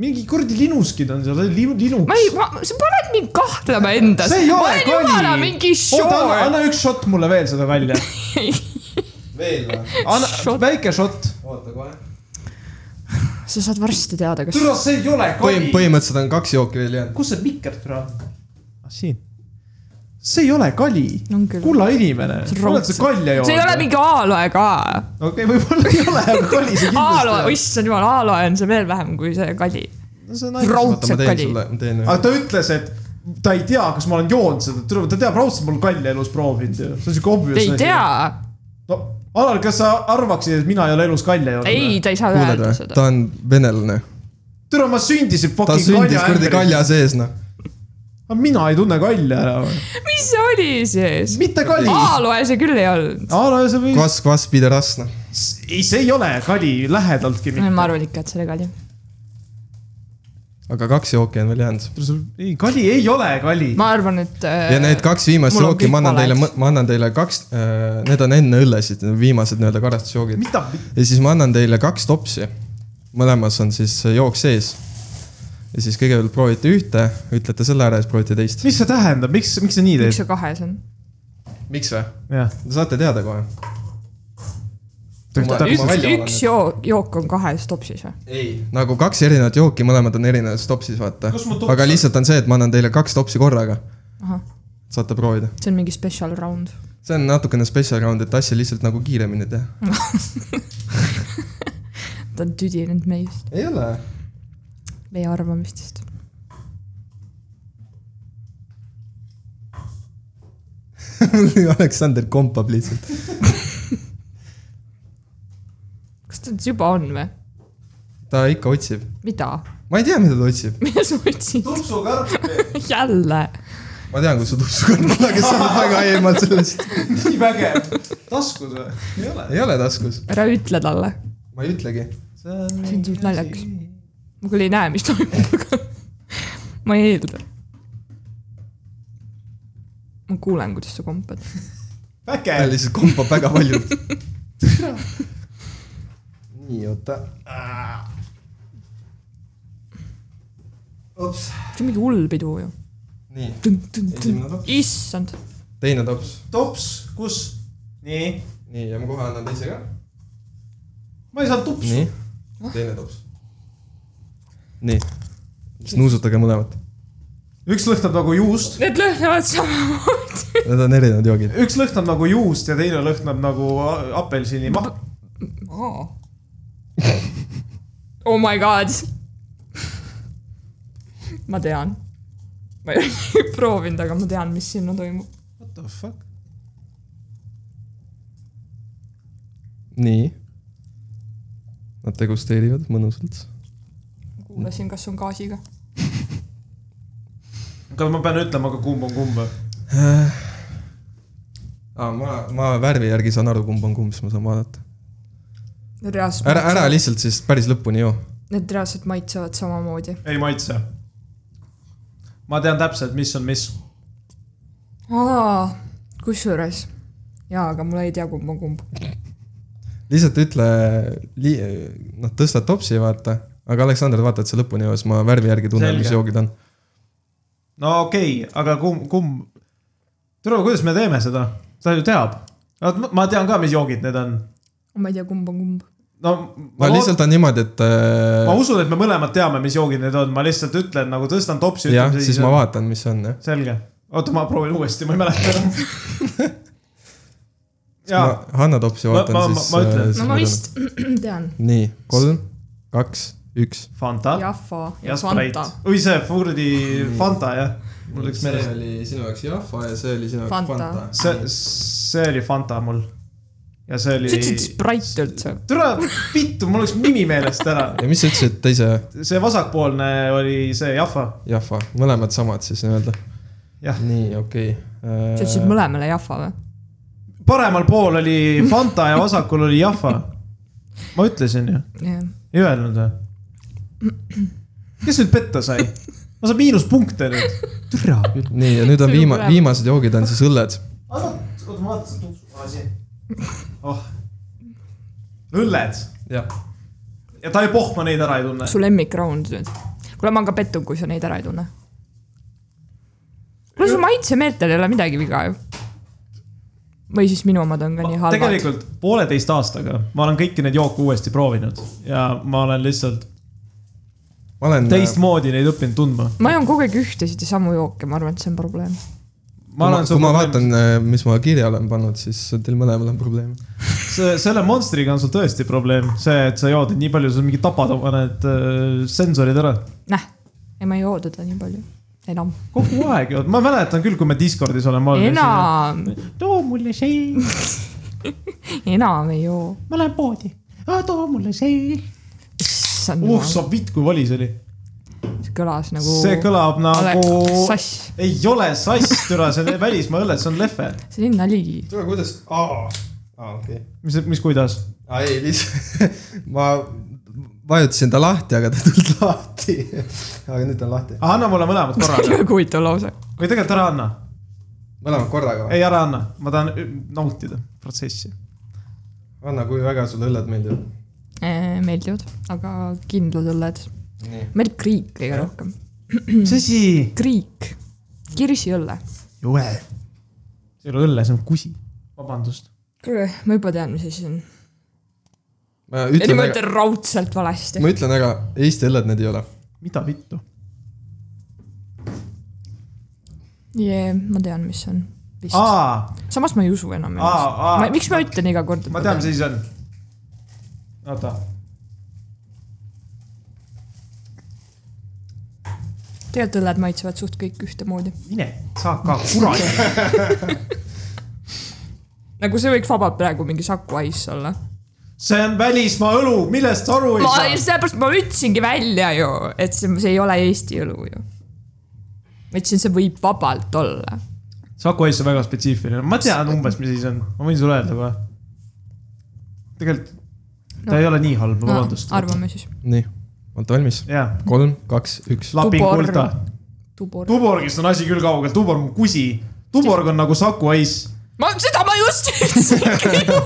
mingi kuradi linuskid on seal , linuks .
ma ei , ma , sa paned mind kahtlema endas .
See ei
ma
ole
olen
kali.
jumala mingi eh?
oota , anna ,
sure .
anna üks šott mulle veel seda
[laughs]
kalja .
veel või ?
anna
Šott.
väike šott .
oota kohe .
sa saad varsti teada , kas .
türa , see ei ole
põhim- ,
kali .
põhimõtteliselt on kaks jooki veel jäänud .
kus see mikker türa on ? siin . see ei ole kali .
on küll .
kulla inimene ,
See on
oled sa
raudselt-
kalja joonud ?
see ei ole . mingi Aaloe ka .
okei , võib-olla ei ole , aga kali see
Aaloe ,
kindlasti
issand jumal , Aaloe on see veel vähem kui see kali .
on . see on
raud-
oota , ma
ainult .
Raudselt
teen
kali.
sulle , ma teen .
aga ta ütles , et ta ei tea , kas ma olen joonud seda , tule , ta teab raudselt , ma olen kalja elus proovinud ju , see on siuke obvious .
ta ei tea ,
no Alar , kas sa arvaksid , et mina ei ole elus kalja joonud ?
ei , ta ei saa
kuuled
öelda
või ?
seda .
ta on venelane .
türa , ma sündisin
ta
fucking
sündis kuradi
kalja .
kalja sees , noh .
aga mina ei tunne kalja ära või ?
mis see oli siis ?
mitte kali .
Aaloe see küll ei olnud .
Alar , sa võid ,
kvass , kvass , pideras , noh .
ei , see ei ole kali lähedaltki mitte .
ma arvan ikka , et see oli kali .
aga kaks jooki on veel jäänud .
ei , kali ei ole kali .
ma arvan , et . äh,
ja need kaks viimast
Mul on
jooki
kõik
ma annan
valed.
teile , ma annan teile kaks , need on enne õllesid , viimased nii-öelda karastusjoogid .
mida ,
ja siis ma annan teile kaks topsi . mõlemas on siis jook sees . ja siis kõigepealt proovite ühte , ütlete selle ära ja siis proovite teist .
mis see tähendab , miks , miks sa nii
miks
teed ?
see kahes on ?
miks või ?
jah ,
Te saate teada kohe .
ta
Ma
üks
välja , valan
üks
nüüd.
joo- , jook on kahes topsis või ?
ei . nagu kaks erinevat jooki , mõlemad on erinevas topsis , vaata
Kus mu tops .
aga
on?
lihtsalt on see , et ma annan teile kaks topsi korraga .
Ahah.
saate proovida .
see on mingi special round .
see on natukene special round , et asja lihtsalt nagu kiiremini teha .
ta on tüdinenud meist ,
ei ole .
meie arvamistest .
[laughs] Aleksander kompab lihtsalt .
kas ta nüüd juba on või ?
ta ikka otsib .
mida ? [laughs]
ma ei tea , mida ta otsib .
mida sa otsid ?
tupsukarp ,
jälle ?
ma tean , kus su tupsukarv on , aga sa oled väga eemal sellest .
nii vägev . taskus või ? ei ole .
ei ole taskus .
ära ütle talle .
ma ei ütlegi .
see on
See on suht naljakas. ma küll ei näe , mis toimub , aga [laughs] ma ei eelda . ma kuulen , kuidas sa kompad .
ta
vägev .
lihtsalt kompab väga palju . nii , oota .
Äh,
ups .
see on mingi hull pidu ju .
nii , esimene tops ,
issand ,
teine tops .
tops , kus ? nii .
nii , ja ma kohe annan teise ka .
ma ei saa tupsu .
nii , teine tops . nii , siis nuusutage mõlemat .
üks lõhnab nagu juust ,
need lõhnavad samamoodi .
Need on erinevad joogid .
üks lõhnab nagu juust ja teine lõhnab nagu a- apelsinimahl .
oh my god . ma tean . ma ei [laughs] ole proovinud , aga ma tean , mis sinna toimub .
What the fuck ?
nii . Nad degusteerivad mõnusalt .
kuulasin , kas on gaasiga .
kas ma pean ütlema ka kumb on kumb või ?
Äh. Ah, ma , ma värvi järgi saan aru , kumb on kumb , siis ma saan vaadata .
reaalselt .
ära , ära . lihtsalt siis päris lõpuni joo .
Need reaalselt maitsevad samamoodi .
ei maitse . ma tean täpselt , mis on mis .
kusjuures , jaa , aga mul ei tea , kumb on kumb .
lihtsalt ütle li, , noh , tõsta topsi , vaata . aga Aleksander , vaata , et sa lõpuni joo , siis ma värvi järgi tunnen , mis
Selge.
joogid on .
no okei okay, , aga kumb , kumb ? Tõnu , kuidas me teeme seda ? ta ju teab . ma tean ka , mis joogid need on .
ma ei tea , kumb on kumb .
no
no lihtsalt on niimoodi , et
ma
äh,
usun , et me mõlemad teame , mis joogid need on , ma lihtsalt ütlen nagu tõstan topsi .
jah , siis ma . vaatan , mis see on , jah .
selge , oota , ma proovin uuesti , ma ei
[laughs]
mäleta enam jaa ,
Hanna topsi
Ma-
vaatan
ma- ma-
siis .
ma ütlen.
no ma . vist [clears throat] tean .
nii , kolm , kaks , üks .
Fanta ja,
Jaffa ja
ja Sprite
Fanta ..
oi see kuradi Fanta jah , mul läks meelest .
oli sinu jaoks Jaffa ja see oli sinu
jaoks Fanta. Fanta.
see , see oli Fanta mul . ja see
sa ütlesid
oli .
Sprite üldse ?
türa vittu , mul läks nimi meelest ära .
ja mis sa ütlesid , teise
see vasakpoolne oli see Jaffa .
Jaffa , mõlemad samad siis nii-öelda
Jah. .
nii , okei
sa
Äh.
ütlesid . mõlemale Jaffa või ?
paremal pool oli Fanta ja vasakul oli Jaffa . ma ütlesin ju ,
jah .
ei öelnud või ? kes nüüd petta sai ? ma saan miinuspunkte nüüd . türa küll .
Äh, nii , ja nüüd on
See on
viima- ,
põnev.
viimased joogid on siis õlled .
oota , ma vaatasin tuksufaasi . oh . õlled
jah ,
ja ta ei pohma neid ära ei tunne .
su lemmikround nüüd . kuule , ma olen ka pettunud , kui sa neid ära ei tunne . kuule , su maitsemeetel ei ole midagi viga ju . või siis minu omad on ka nii
Ma-
halvad .
tegelikult pooleteist aastaga ma olen kõiki neid jooke uuesti proovinud ja ma olen lihtsalt
ma olen , äh,
teistmoodi neid õppinud tundma .
ma joon kogu aeg ühtesid ja samu jooke , ma arvan , et see on probleem .
kui ma, kui ma vaatan , mis ma kirja olen pannud , siis teil mõlemal on probleem .
see , selle Monstriga on sul tõesti probleem , see , et sa jood nii palju , sa mingi tapad oma need äh, sensorid ära .
näh , ei ma ei joo teda nii palju , enam .
kogu aeg jood , ma mäletan küll , kui me Discordis oleme olnud .
enam ,
too mulle see ,
enam ei joo .
ma lähen poodi , too mulle see .
issand
uh ,
uh, ,
sa vitt , kui vali see oli .
see kõlas nagu .
see kõlab nagu ,
sass ,
ei ole sass , türa , see on välismaa õlled , see on lehve .
see oli nali .
tule , kuidas , aa , aa okei .
mis , mis kuidas ?
aa ei , lihtsalt [laughs] ma vajutasin ta lahti , aga ta ei tulnud lahti . [laughs] aga nüüd ta on lahti .
anna mulle mõlemad
[laughs]
korraga
väga huvitav lause .
või tegelikult ära anna ,
mõlemad korraga või ?
ei ära anna , ma tahan ü- nautida protsessi .
Anna , kui väga sulle õlled meeldivad ?
Äh, meeldivad , aga kindlad õlled .
Nii.
meeldib kriik kõige rohkem . Hmm.
mis asi ?
kriik , kirsiõlle .
jube .
see ei ole õlle , see on kusi . vabandust .
ma juba tean , mis asi see on .
ma
ei ,
ütlen
ma
väga ,
ütlen raudselt valesti .
ma ütlen väga , Eesti õlled need ei ole .
mida vittu ?
jee , ma tean , mis see on . vist .
aa ,
samas ma ei usu enam
Aa, aa. .
miks ma ütlen iga kord , et
ma tean , mis asi see on . oota ,
tegelikult õlled maitsevad suht kõik ühtemoodi .
mine saa ka kuradi .
nagu see võiks vabalt praegu mingi Saku Ice olla .
see on välismaa õlu , millest sa aru ei
ma ,
saa .
sellepärast ma ütlesingi välja ju , et see , see ei ole Eesti õlu ju . ma ütlesin , see võib vabalt olla .
Saku Ice on väga spetsiifiline , ma tean umbes , mis asi see on , ma võin sulle öelda kohe . tegelikult ta
No.
ei ole nii halb , vabandust .
arvame siis .
nii , olete valmis ?
jaa ,
kolm , kaks , üks .
Lapin
Tubor.
kulda .
tubor .
Tuborgist on asi küll kaugel , Tuborg on kusi . Tuborg on nagu Saku Ice .
ma , seda ma just
[laughs]
ütlesingi ju .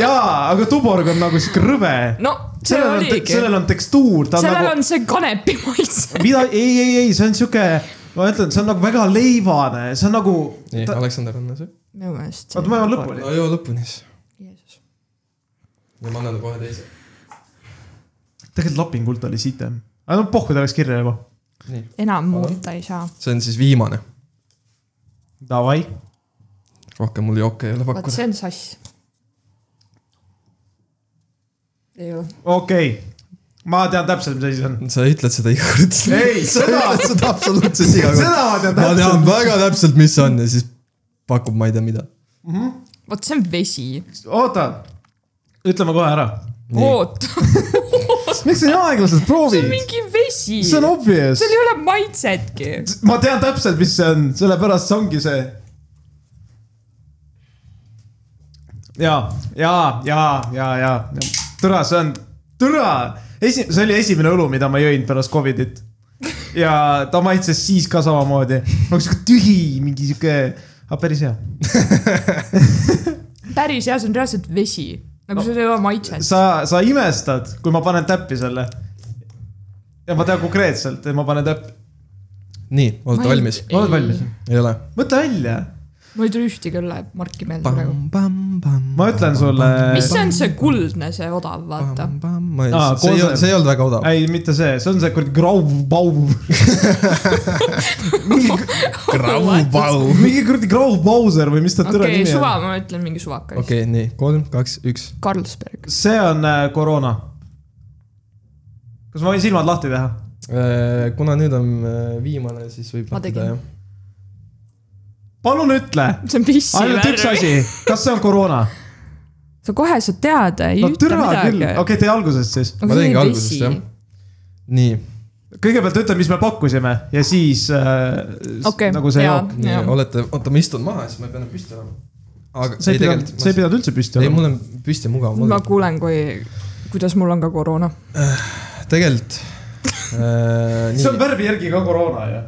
jaa , aga Tuborg on nagu sihuke rõve .
no see
sellel on ,
oligi .
sellel on tekstuur , ta on
sellel
nagu
on see kanepi maitse .
mida , ei , ei , ei , see on sihuke , ma ütlen , see on nagu väga leivane , see on nagu .
nii , Aleksander on see .
minu meelest
oota , ma jõuan . lõpuni .
no joo lõpuni siis .
Jeesus .
ja ma annan kohe teise .
tegelikult lapingult oli sitem . aga no pohhu ta läks kirja juba .
nii ,
enam muuta ei saa .
see on siis viimane .
Davai .
rohkem mul jooke ei ole
vot
pakkuda .
see on sass . ei ole .
okei okay. , ma tean täpselt , mis asi see on .
sa ütled seda iga kord .
Ei, seda-
seda absoluutselt iga kord .
seda ma tean
ma
täpselt .
tean väga täpselt , mis see on ja siis pakub ma ei tea mida .
vot see on vesi .
oota , ütleme kohe ära .
oot , [laughs]
miks sa nii aeglaselt
see on
proovid ?
mingi vesi .
see on
seal
obvious .
ei ole maitsetki .
ma tean täpselt , mis see on , sellepärast see ongi see . ja , ja , ja , ja , ja , türa , see on , türa , esi- , see oli esimene õlu , mida ma jõin pärast Covidit . ja ta maitses siis ka samamoodi , nagu sihuke tühi , mingi sihuke , aga päris hea .
päris hea , see on reaalselt vesi . nagu seal ei ole maitset .
sa , sa imestad , kui ma panen täppi selle . ja ma tean konkreetselt , et ma panen täppi .
nii , olete valmis ??
oled valmis ??
ei ole ?
mõtle välja ,
mul ei tule ühtegi õlle marki meelde praegu .
ma ütlen sulle .
mis see on , see kuldne , see odav , vaata .
ma ei
Aa, ,
see ei olnud ,
koosöö.
see ei olnud väga odav .
ei , mitte see , see on see kuradi grauvbau ,
Graubau .
mingi kuradi grauvbauser või mis ta türa
okei ,
nimi
suva
on .,
ma ütlen mingi suvakas okay. .
okei , nii kolm , kaks , üks .
Carlsberg .
see on äh, koroona . kas ma võin silmad lahti teha ?
kuna nüüd on äh, viimane , siis võib
Ma tegin.
jah .
palun ütle ,
see on pissi
ainult üks . asi , kas see on koroona ?
sa kohe saad teada , ei
no
no, ütle
türa küll ,
midagi
okei . okay, , tee algusest siis .
ma tegingi algusest jah . nii ,
kõigepealt ütle , mis me pakkusime ja siis äh,
Okei,
nagu see
jaa.
jook .
nii
Jah.
olete , oota ma istun maha , siis ma pean püsti olema . aga
sa ei pidanud , sa ei
pidanud .
pidanud üldse püsti
ei ,
olema .
mul on püsti mugav
ma
olla .
kuulen , kui , kuidas mul on ka koroona .
tegelikult äh, .
see on värvi järgi ka koroona ju .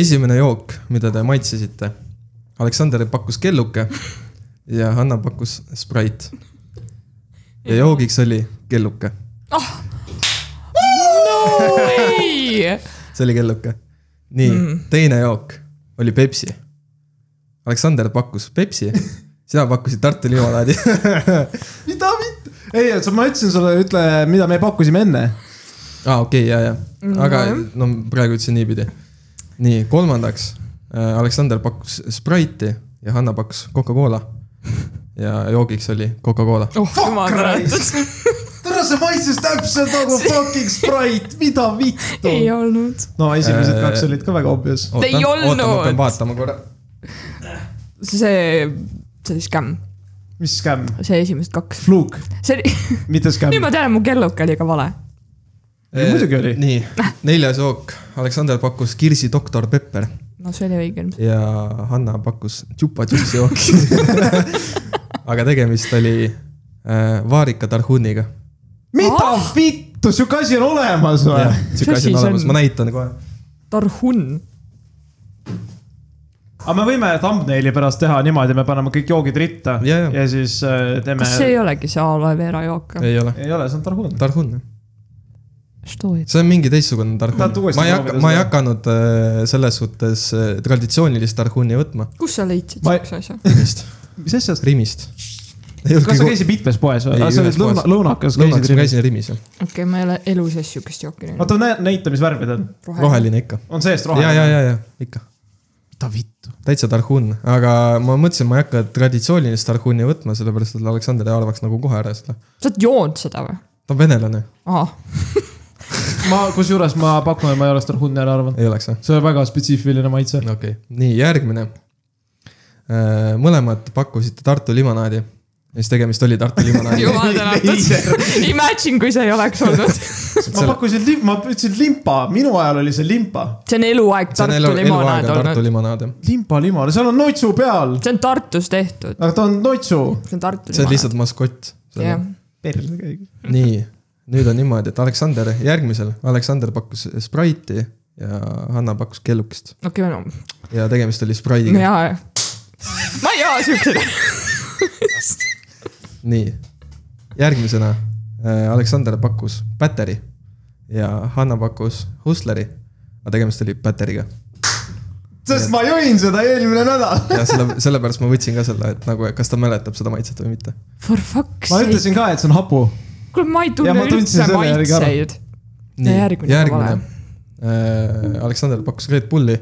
esimene jook , mida te maitsesite . Aleksander pakkus kelluke ja Hanna pakkus sprait . ja joogiks oli kelluke ,
ei ,
see oli kelluke . nii mm. , teine jook oli Pepsi . Aleksander pakkus Pepsi , sina pakkusid Tartu limonaadi . [laughs]
mida , ei , ma ütlesin sulle , ütle , mida me pakkusime enne
aa , okei , ja ,
Mhm.
ja , aga no praegu ütlesin niipidi . nii , kolmandaks äh, Aleksander pakkus Sprite'i ja Hanna pakkus Coca-Cola . ja joogiks oli Coca-Cola .
oh jumal tänatud ,
tere , see maitses täpselt
[laughs]
nagu fucking Sprite , mida vittu .
ei olnud .
no esimesed
Äh,
kaks olid ka väga obvious .
ei
ootan , ma
olnud.
pean vaatama korra .
see , see oli skämm ,
mis skäm ?
see esimesed kaks ,
Fluke ,
see
[laughs]
oli ,
mitte skäm .
nüüd ma tean , mu kelluke oli ka vale .
Ei, muidugi oli.
Äh, nii , neljas jook , Aleksander pakkus Kirsi Doktor Pepper
no see oli õige ilmselt .
ja Hanna pakkus Chupa Chupsi jooki . [laughs] aga tegemist oli äh, vaarika tarhuniga .
mida
Ah!
vittu , sihuke asi on olemas või ?
sihuke asi
Mis asi
on
see
olemas ,
on?
ma näitan kohe .
Tarhun ,
aga me võime thumbnaili pärast teha niimoodi , me paneme kõik joogid ritta
Ja, ja.
ja siis äh, teeme .
kas see ei olegi see aloe vera jook ?
ei ole ,
ei ole , see on Tarhun .
tarhun
Что это ?
see on mingi teistsugune
Tahad
tarhun .
uuesti
ma ei
proovida
hakka , ma ei
seda?
hakanud äh, selles suhtes äh, traditsioonilist tarhuni võtma
kus sa leidsid
Ma-
siukse asja ?
Rimist ,
mis asja ?
Rimist .
kas sa käisid mitmes poes või Ah,
Ei, ?
sa
ühes
olid lõuna ,
poes.
lõunakas
lõunakas , ma
käisid .
käisin Rimis jah ,
okei okay, , ma ei ole elu sees siukest jooki näinud .
oota , näe , näita , mis värvi ta on .
roheline ikka .
on seest
ja , ja ,
roheline ?
ja , ja ikka ,
mida vittu ?
täitsa tarhun , aga ma mõtlesin , ma ei hakka traditsioonilist tarhuni võtma , sellepärast et Aleksander arvaks nagu kohe ära seda .
sa oled joonud seda või ?
ta on venelane ,
ahah ,
ma , kusjuures ma pakun , et ma ei oleks Tarhuni ära arvanud .
ei oleks või ?
see on väga spetsiifiline maitse .
okei okay. , nii järgmine . mõlemad pakkusite Tartu limonaadi ja siis tegemist oli
[laughs]
Tartu limonaadi .
jumal tänatud . Imagine , kui see ei oleks
[laughs]
olnud .
ma pakkusin , ma ütlesin limpa , minu ajal oli see limpa .
see on eluaeg
see on elu
Tartu ,
eluaeg
limonaad
on Tartu
olnud .
limonaad jah .
limpa limo , seal on notsu peal ,
see on Tartus tehtud ,
aga ta on notsu .
see on Tartu
see on
limonaad .
lihtsalt maskott .
jah ,
perse käigu .
nii , nüüd on niimoodi , et Aleksander , järgmisel Aleksander pakkus Sprite'i ja Hanna pakkus kellukest
okei , no
ja tegemist oli Sprite'iga .
mina , ma ei joo siukseid .
nii , järgmisena äh, Aleksander pakkus Battery ja Hanna pakkus Hustleri , aga tegemist oli Battery'ga .
sest ma jõin seda eelmine nädal .
ja
[laughs]
selle , sellepärast ma võtsin ka selle , et nagu , kas ta mäletab seda maitset või mitte .
For fuck's
ma
sake ,
ütlesin ka , et see on hapu .
kuule ma ei
Ja
tunne
ma tundsin
üldse
selle järgi ära.
maitseid .
nii ,
järgmine
järgmine, järgmine. . Äh, Aleksander pakkus Red Bulli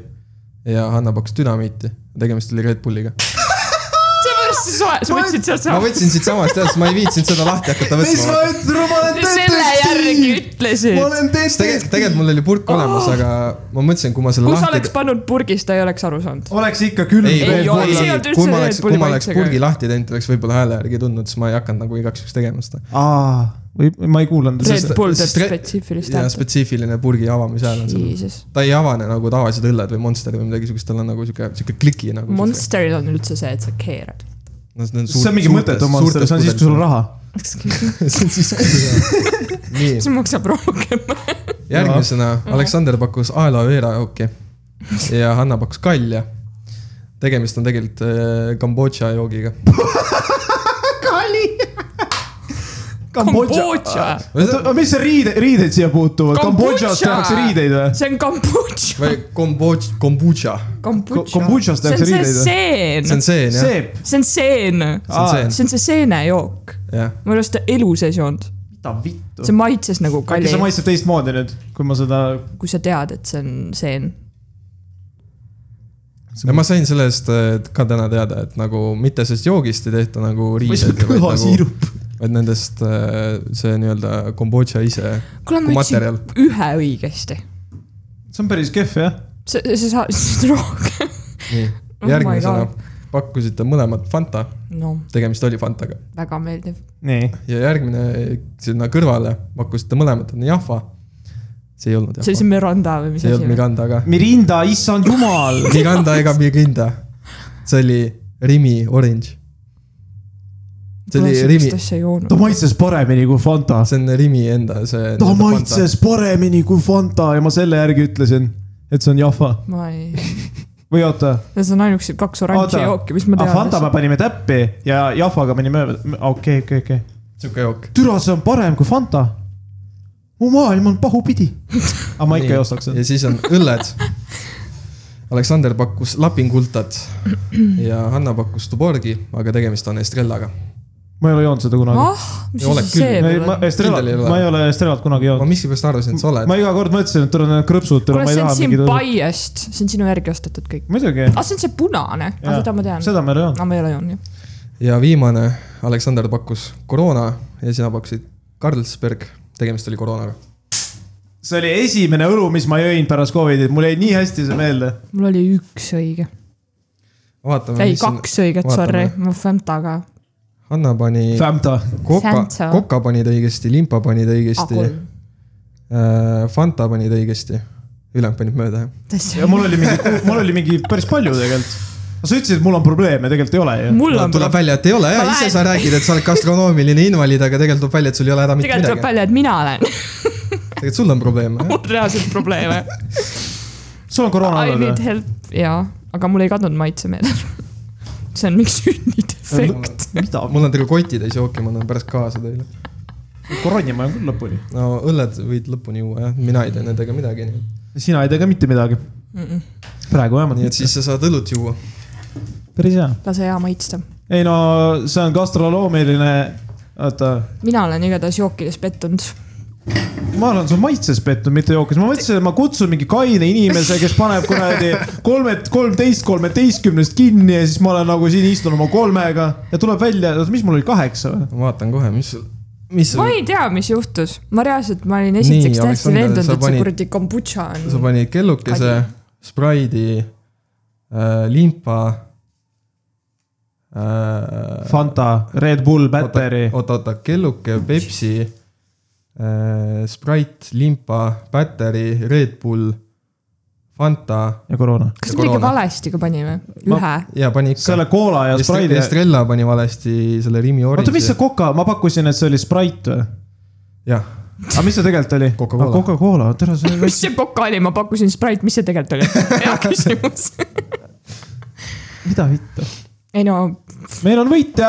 ja Hanna pakkus Dünamiiti , tegemist oli Red Bulliga .
seepärast sa soe- , sa võtsid sealt
ma
sama .
võtsin siitsamast jah , sest ma ei viitsinud seda lahti hakata
mis
võtma
ma . ütlen , ma olen
selle järgi
detektiiv . ma
ütlesid .
olen
tegelikult ,
detektiiv .
tegelikult mul oli purk oh. olemas , aga ma mõtlesin , kui ma selle
kui sa oleks
lahti .
pannud purgist , ta ei oleks aru saanud .
oleks ikka külm
ei,
Ei
ei ,
ole, see ei
kui,
olnud üldse
kui ma oleks ,
Red Bulli
kui ma oleks
maitsega.
purgi lahti teinud , oleks võib-olla hääle järgi tundnud , siis ma ei hakanud nagu igaks juhuks tegema seda .
aa , või ma ei kuulanud
Red
seda .
Bull teeb
sest re-
spetsiifilist
ja
häält .
spetsiifiline purgi avamise hääl on seal .
Jesus ,
ta ei avane nagu tavalised õlled või Monster või midagi siukest , tal on nagu siuke , siuke kliki nagu .
Monsteril on üldse see , et sa keerad .
see on mingi mõttetu monster , see on siis , kui sul on . raha .
[laughs] see on siis , kui sul on
[laughs]
raha . nii ,
see maksab rohkem .
järgmisena Aleksander pakkus aela veera jooki ja Hanna pakkus kalja . tegemist on tegelikult äh, Kambodža joogiga .
[laughs] Kali .
Kambodža ,
oota , mis see riide , riideid siia puutuvad ? Kambodžas
Kambodža!
tehakse riideid või ?
see on Kambodža ,
või Kambodž- , kombutša ,
Kambodža .
Kambodžas
see on
tehakse
see
riideid või ?
see on
seen ,
seen jah ,
seep .
see on seen ,
see on seen ,
see on see seenejook .
jah .
ma ei ole seda elu sees joonud ,
mida vittu ?
see maitses nagu
äkki
kalli
see , maitseb teistmoodi nüüd , kui ma seda .
kui sa tead , et see on seen .
ja ma sain sellest äh, ka täna teada , et nagu mitte sellest joogist ei tehta nagu riideid , vaid nagu ,
kõhasiirup .
vaid nendest äh, see nii-öelda kombotša ise .
kuule ,
Kui
ma ütlesin
materjal.
ühe õigesti .
see on päris kehv jah .
see , see sa , [laughs] see on rohkem .
nii ,
Oh my
järgmisena
God.
pakkusite mõlemad Fanta ,
no ,
tegemist oli Fantaga .
väga meeldiv .
nii .
ja järgmine sinna kõrvale pakkusite mõlemad on Jahva . see ei olnud
see oli see
Jahva ,
Miranda või mis
see ei olnud
asi ?
Miganda ka ,
Mirinda , issand jumal .
Miganda ega Miginda . see oli Rimi Orange . see oli Rimi
sellist , asja joonud
ta . maitses paremini kui Fanta .
see on Rimi enda see .
ta maitses paremini kui Fanta ja ma selle järgi ütlesin , et see on Jahva
ma ei ,
või oota .
need on ainukesed kaks oranži
Oota.
jooki , mis ma
aga
tean
Fanta . me panime täppi ja Jahvaga panime , okei , okei , okei .
sihuke jook .
türa , see on parem kui Fanta . mu maailm on pahupidi . aga ma ikka ei ostaks
ja
seda .
siis on õlled . [laughs] Aleksander pakkus lapingultat ja Hanna pakkus Tuborgi , aga tegemist on Estrellaga .
ma ei ole joonud seda kunagi
ah , mis
Ei ole
asi see
küll.
veel
ma
on ?
Estrellat
Kindel ei ole. ,
ma ei ole Estrellat
ma
kunagi joonud .
miskipärast arvasin , et sa oled .
ma iga kord mõtlesin , et tule need krõpsud , tule
kuule ,
ma ei
see on
taha
siin
mingit .
biased , see on sinu järgi ostetud kõik .
muidugi ,
aa , see on see punane ,
Jaa.
seda ma tean .
seda ma ei ole joonud .
aga ma ei ole joonud jah .
ja viimane , Aleksander pakkus koroona ja sina pakkusid Carlsberg , tegemist oli koroonaga .
see oli esimene õlu , mis ma jõin pärast Covidit , mul jäi nii hästi see meelde .
mul oli üks õige .
vaatame ,
ei ,
mis siin ,
kaks õiget ,
vaatame.
sorry , ma Fanta ka .
Hanna pani ,
Fanta .
Coca ,
Fanta.
Coca panid õigesti , Limpa panid õigesti ,
tõesti .
Fanta panid õigesti , ülejäänud panid mööda , jah .
ja mul oli mingi , mul oli mingi päris palju tegelikult . sa ütlesid , et mul on probleeme , tegelikult ei ole ju .
mul on
tuleb välja , et ei ole ja
Ma
ise
lähen-
sa räägid , et sa oled gastronoomiline invaliid , aga tegelikult tuleb välja , et sul ei ole häda mitte
tegelikult tuleb
midagi .
välja , et mina
[laughs]
olen
tegelikult sul on probleeme , jah .
mul reaalselt
[laughs]
probleeme .
sul on koroona
I
olnud
need
või ?
help , jaa , aga mul ei kadunud maitsemeel . [laughs] see on mingi
[laughs]
sünnidefekt .
mida ,
mul on terve kotitäis jooki , ma annan pärast kaasa teile .
koroni ma olen küll lõpuni .
no õlled võid lõpuni juua , jah , mina ei tee nendega midagi .
sina ei tea ka mitte midagi . praegu vähemalt
nii et
mitte .
siis sa saad õlut juua .
päris hea .
lase hea maitsta .
ei no see on gastroloomiline , oota
mina olen igatahes jookides pettunud .
ma arvan , see on maitses pettunud , mitte jookis , ma mõtlesin , et ma kutsun mingi kaine inimese , kes paneb kuradi kolmet , kolmteist , kolmeteistkümnest kinni ja siis ma olen nagu siin istun oma kolmega ja tuleb välja , mis mul oli kaheksa või ?
ma vaatan kohe , mis , mis
ma ei tea , mis juhtus , ma reaalselt , ma olin esiteks
Nii,
täiesti
Aleksander, sa
veendunud , et see
panid-
kuradi kombutša
sa
on .
panid kellukese , spraidi äh, , limpa äh, .
Fanta , Red Bull , Battery ,
oota , oota , kelluke , Pepsi äh, , Sprite , limpa , Battery , Red Bull , Fanta
ja Corona .
kas
ja
me midagi
koroona.
valesti ka panime ?
Ma-
ühe .
[laughs] ja pani ikka .
selle Cola ja Sprite ja .
Estrella pani valesti selle Rimi oranži .
oota , mis see Coca , ma pakkusin , et see oli Sprite või ?
jah ,
aga mis see tegelikult oli ?
Coca-Cola.
Coca-Cola , tere , see oli
mis see Coca oli , ma pakkusin Sprite , mis see tegelikult
[laughs]
oli ? hea küsimus .
mida vittu .
ei no ,
meil on võitja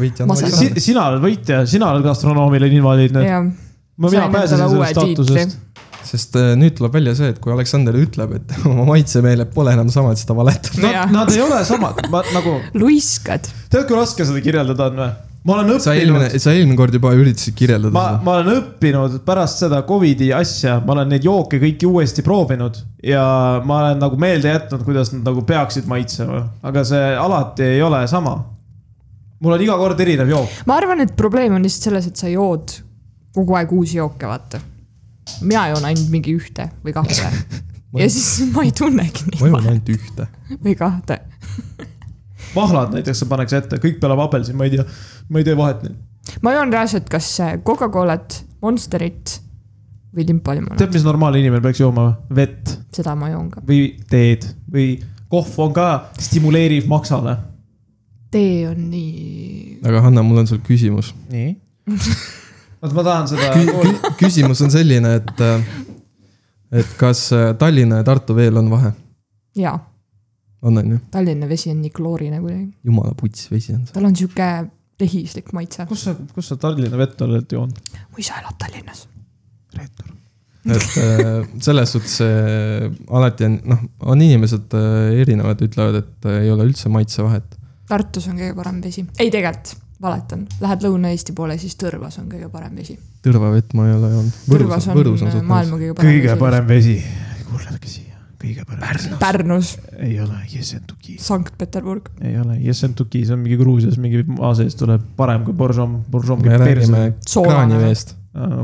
võitja on
Ma saan-
Aleksander.
si , sina oled võitja , sina oled gastronoomiline invaliid nüüd .
jah ,
ma , mina
Sain
pääsesin sellest
endale uue tiitli.
staatusest .
sest äh, nüüd tuleb välja see , et kui Aleksander ütleb , et [laughs] oma maitsemeeled pole enam samad , siis ta valetab .
Jah.
Nad , nad ei ole samad , ma nagu
luiskad .
tead , kui raske seda kirjeldada on või ? ma olen
sa eelmine
õppinud ,,
sa eelmine kord juba üritasid kirjeldada
ma , ma olen õppinud pärast seda Covidi asja , ma olen neid jooke kõiki uuesti proovinud ja ma olen nagu meelde jätnud , kuidas nad nagu peaksid maitsema , aga see alati ei ole sama . mul on iga kord erinev jook ,
ma arvan , et probleem on lihtsalt selles , et sa jood kogu aeg uusi jooke , vaata . mina joon ainult mingi ühte või
[laughs]
kahte ja siis [laughs] ma ei tunnegi
seda . ma joon
neid
ainult ühte .
või kahte .
mahlad näiteks sa paneks ette , kõik peale apelsin , ma ei tea , ma ei tee vahet neil .
ma joon reaalselt kas äh, Coca-Colat , Monsterit või limpalimonaadi ,
tead , mis normaalne inimene peaks jooma või ? vett
seda ma joon ka .
või teed või kohv on ka stimuleeriv maksale .
tee on nii .
aga Hanna , mul on sul küsimus
nii vot ma tahan seda
Kü . kü . küsimus on selline , et , et kas äh, Tallinna ja Tartu veel on vahe ?
jaa ,
on , on ju ?
Tallinna vesi on nii kloorine kuidagi ,
jumala puts vesi on see .
tal on sihuke tehislik maitse .
kus sa , kus sa Tallinna vett oled joonud ?
mu isa elab Tallinnas .
et äh, selles suhtes äh, alati on , noh , on inimesed äh, erinevad , ütlevad , et äh, ei ole üldse maitsevahet .
Tartus on kõige parem vesi , ei tegelikult valetan , lähed Lõuna-Eesti poole , siis Tõrvas on kõige parem vesi .
Tõrva vett ma ei ole joonud .
Tõrvas on, on maailma kõige parem
kõige
vesi.
parem vesi .
kuulake siia , kõige parem . Pärnu .
Pärnus ,
ei ole , Jesentuki .
Sankt-Peterburg ,
ei ole , Jessentuki , see on mingi Gruusias mingi maa sees tuleb parem kui Borjom , Borjom
me räägime .
Soolane.
kraaniveest .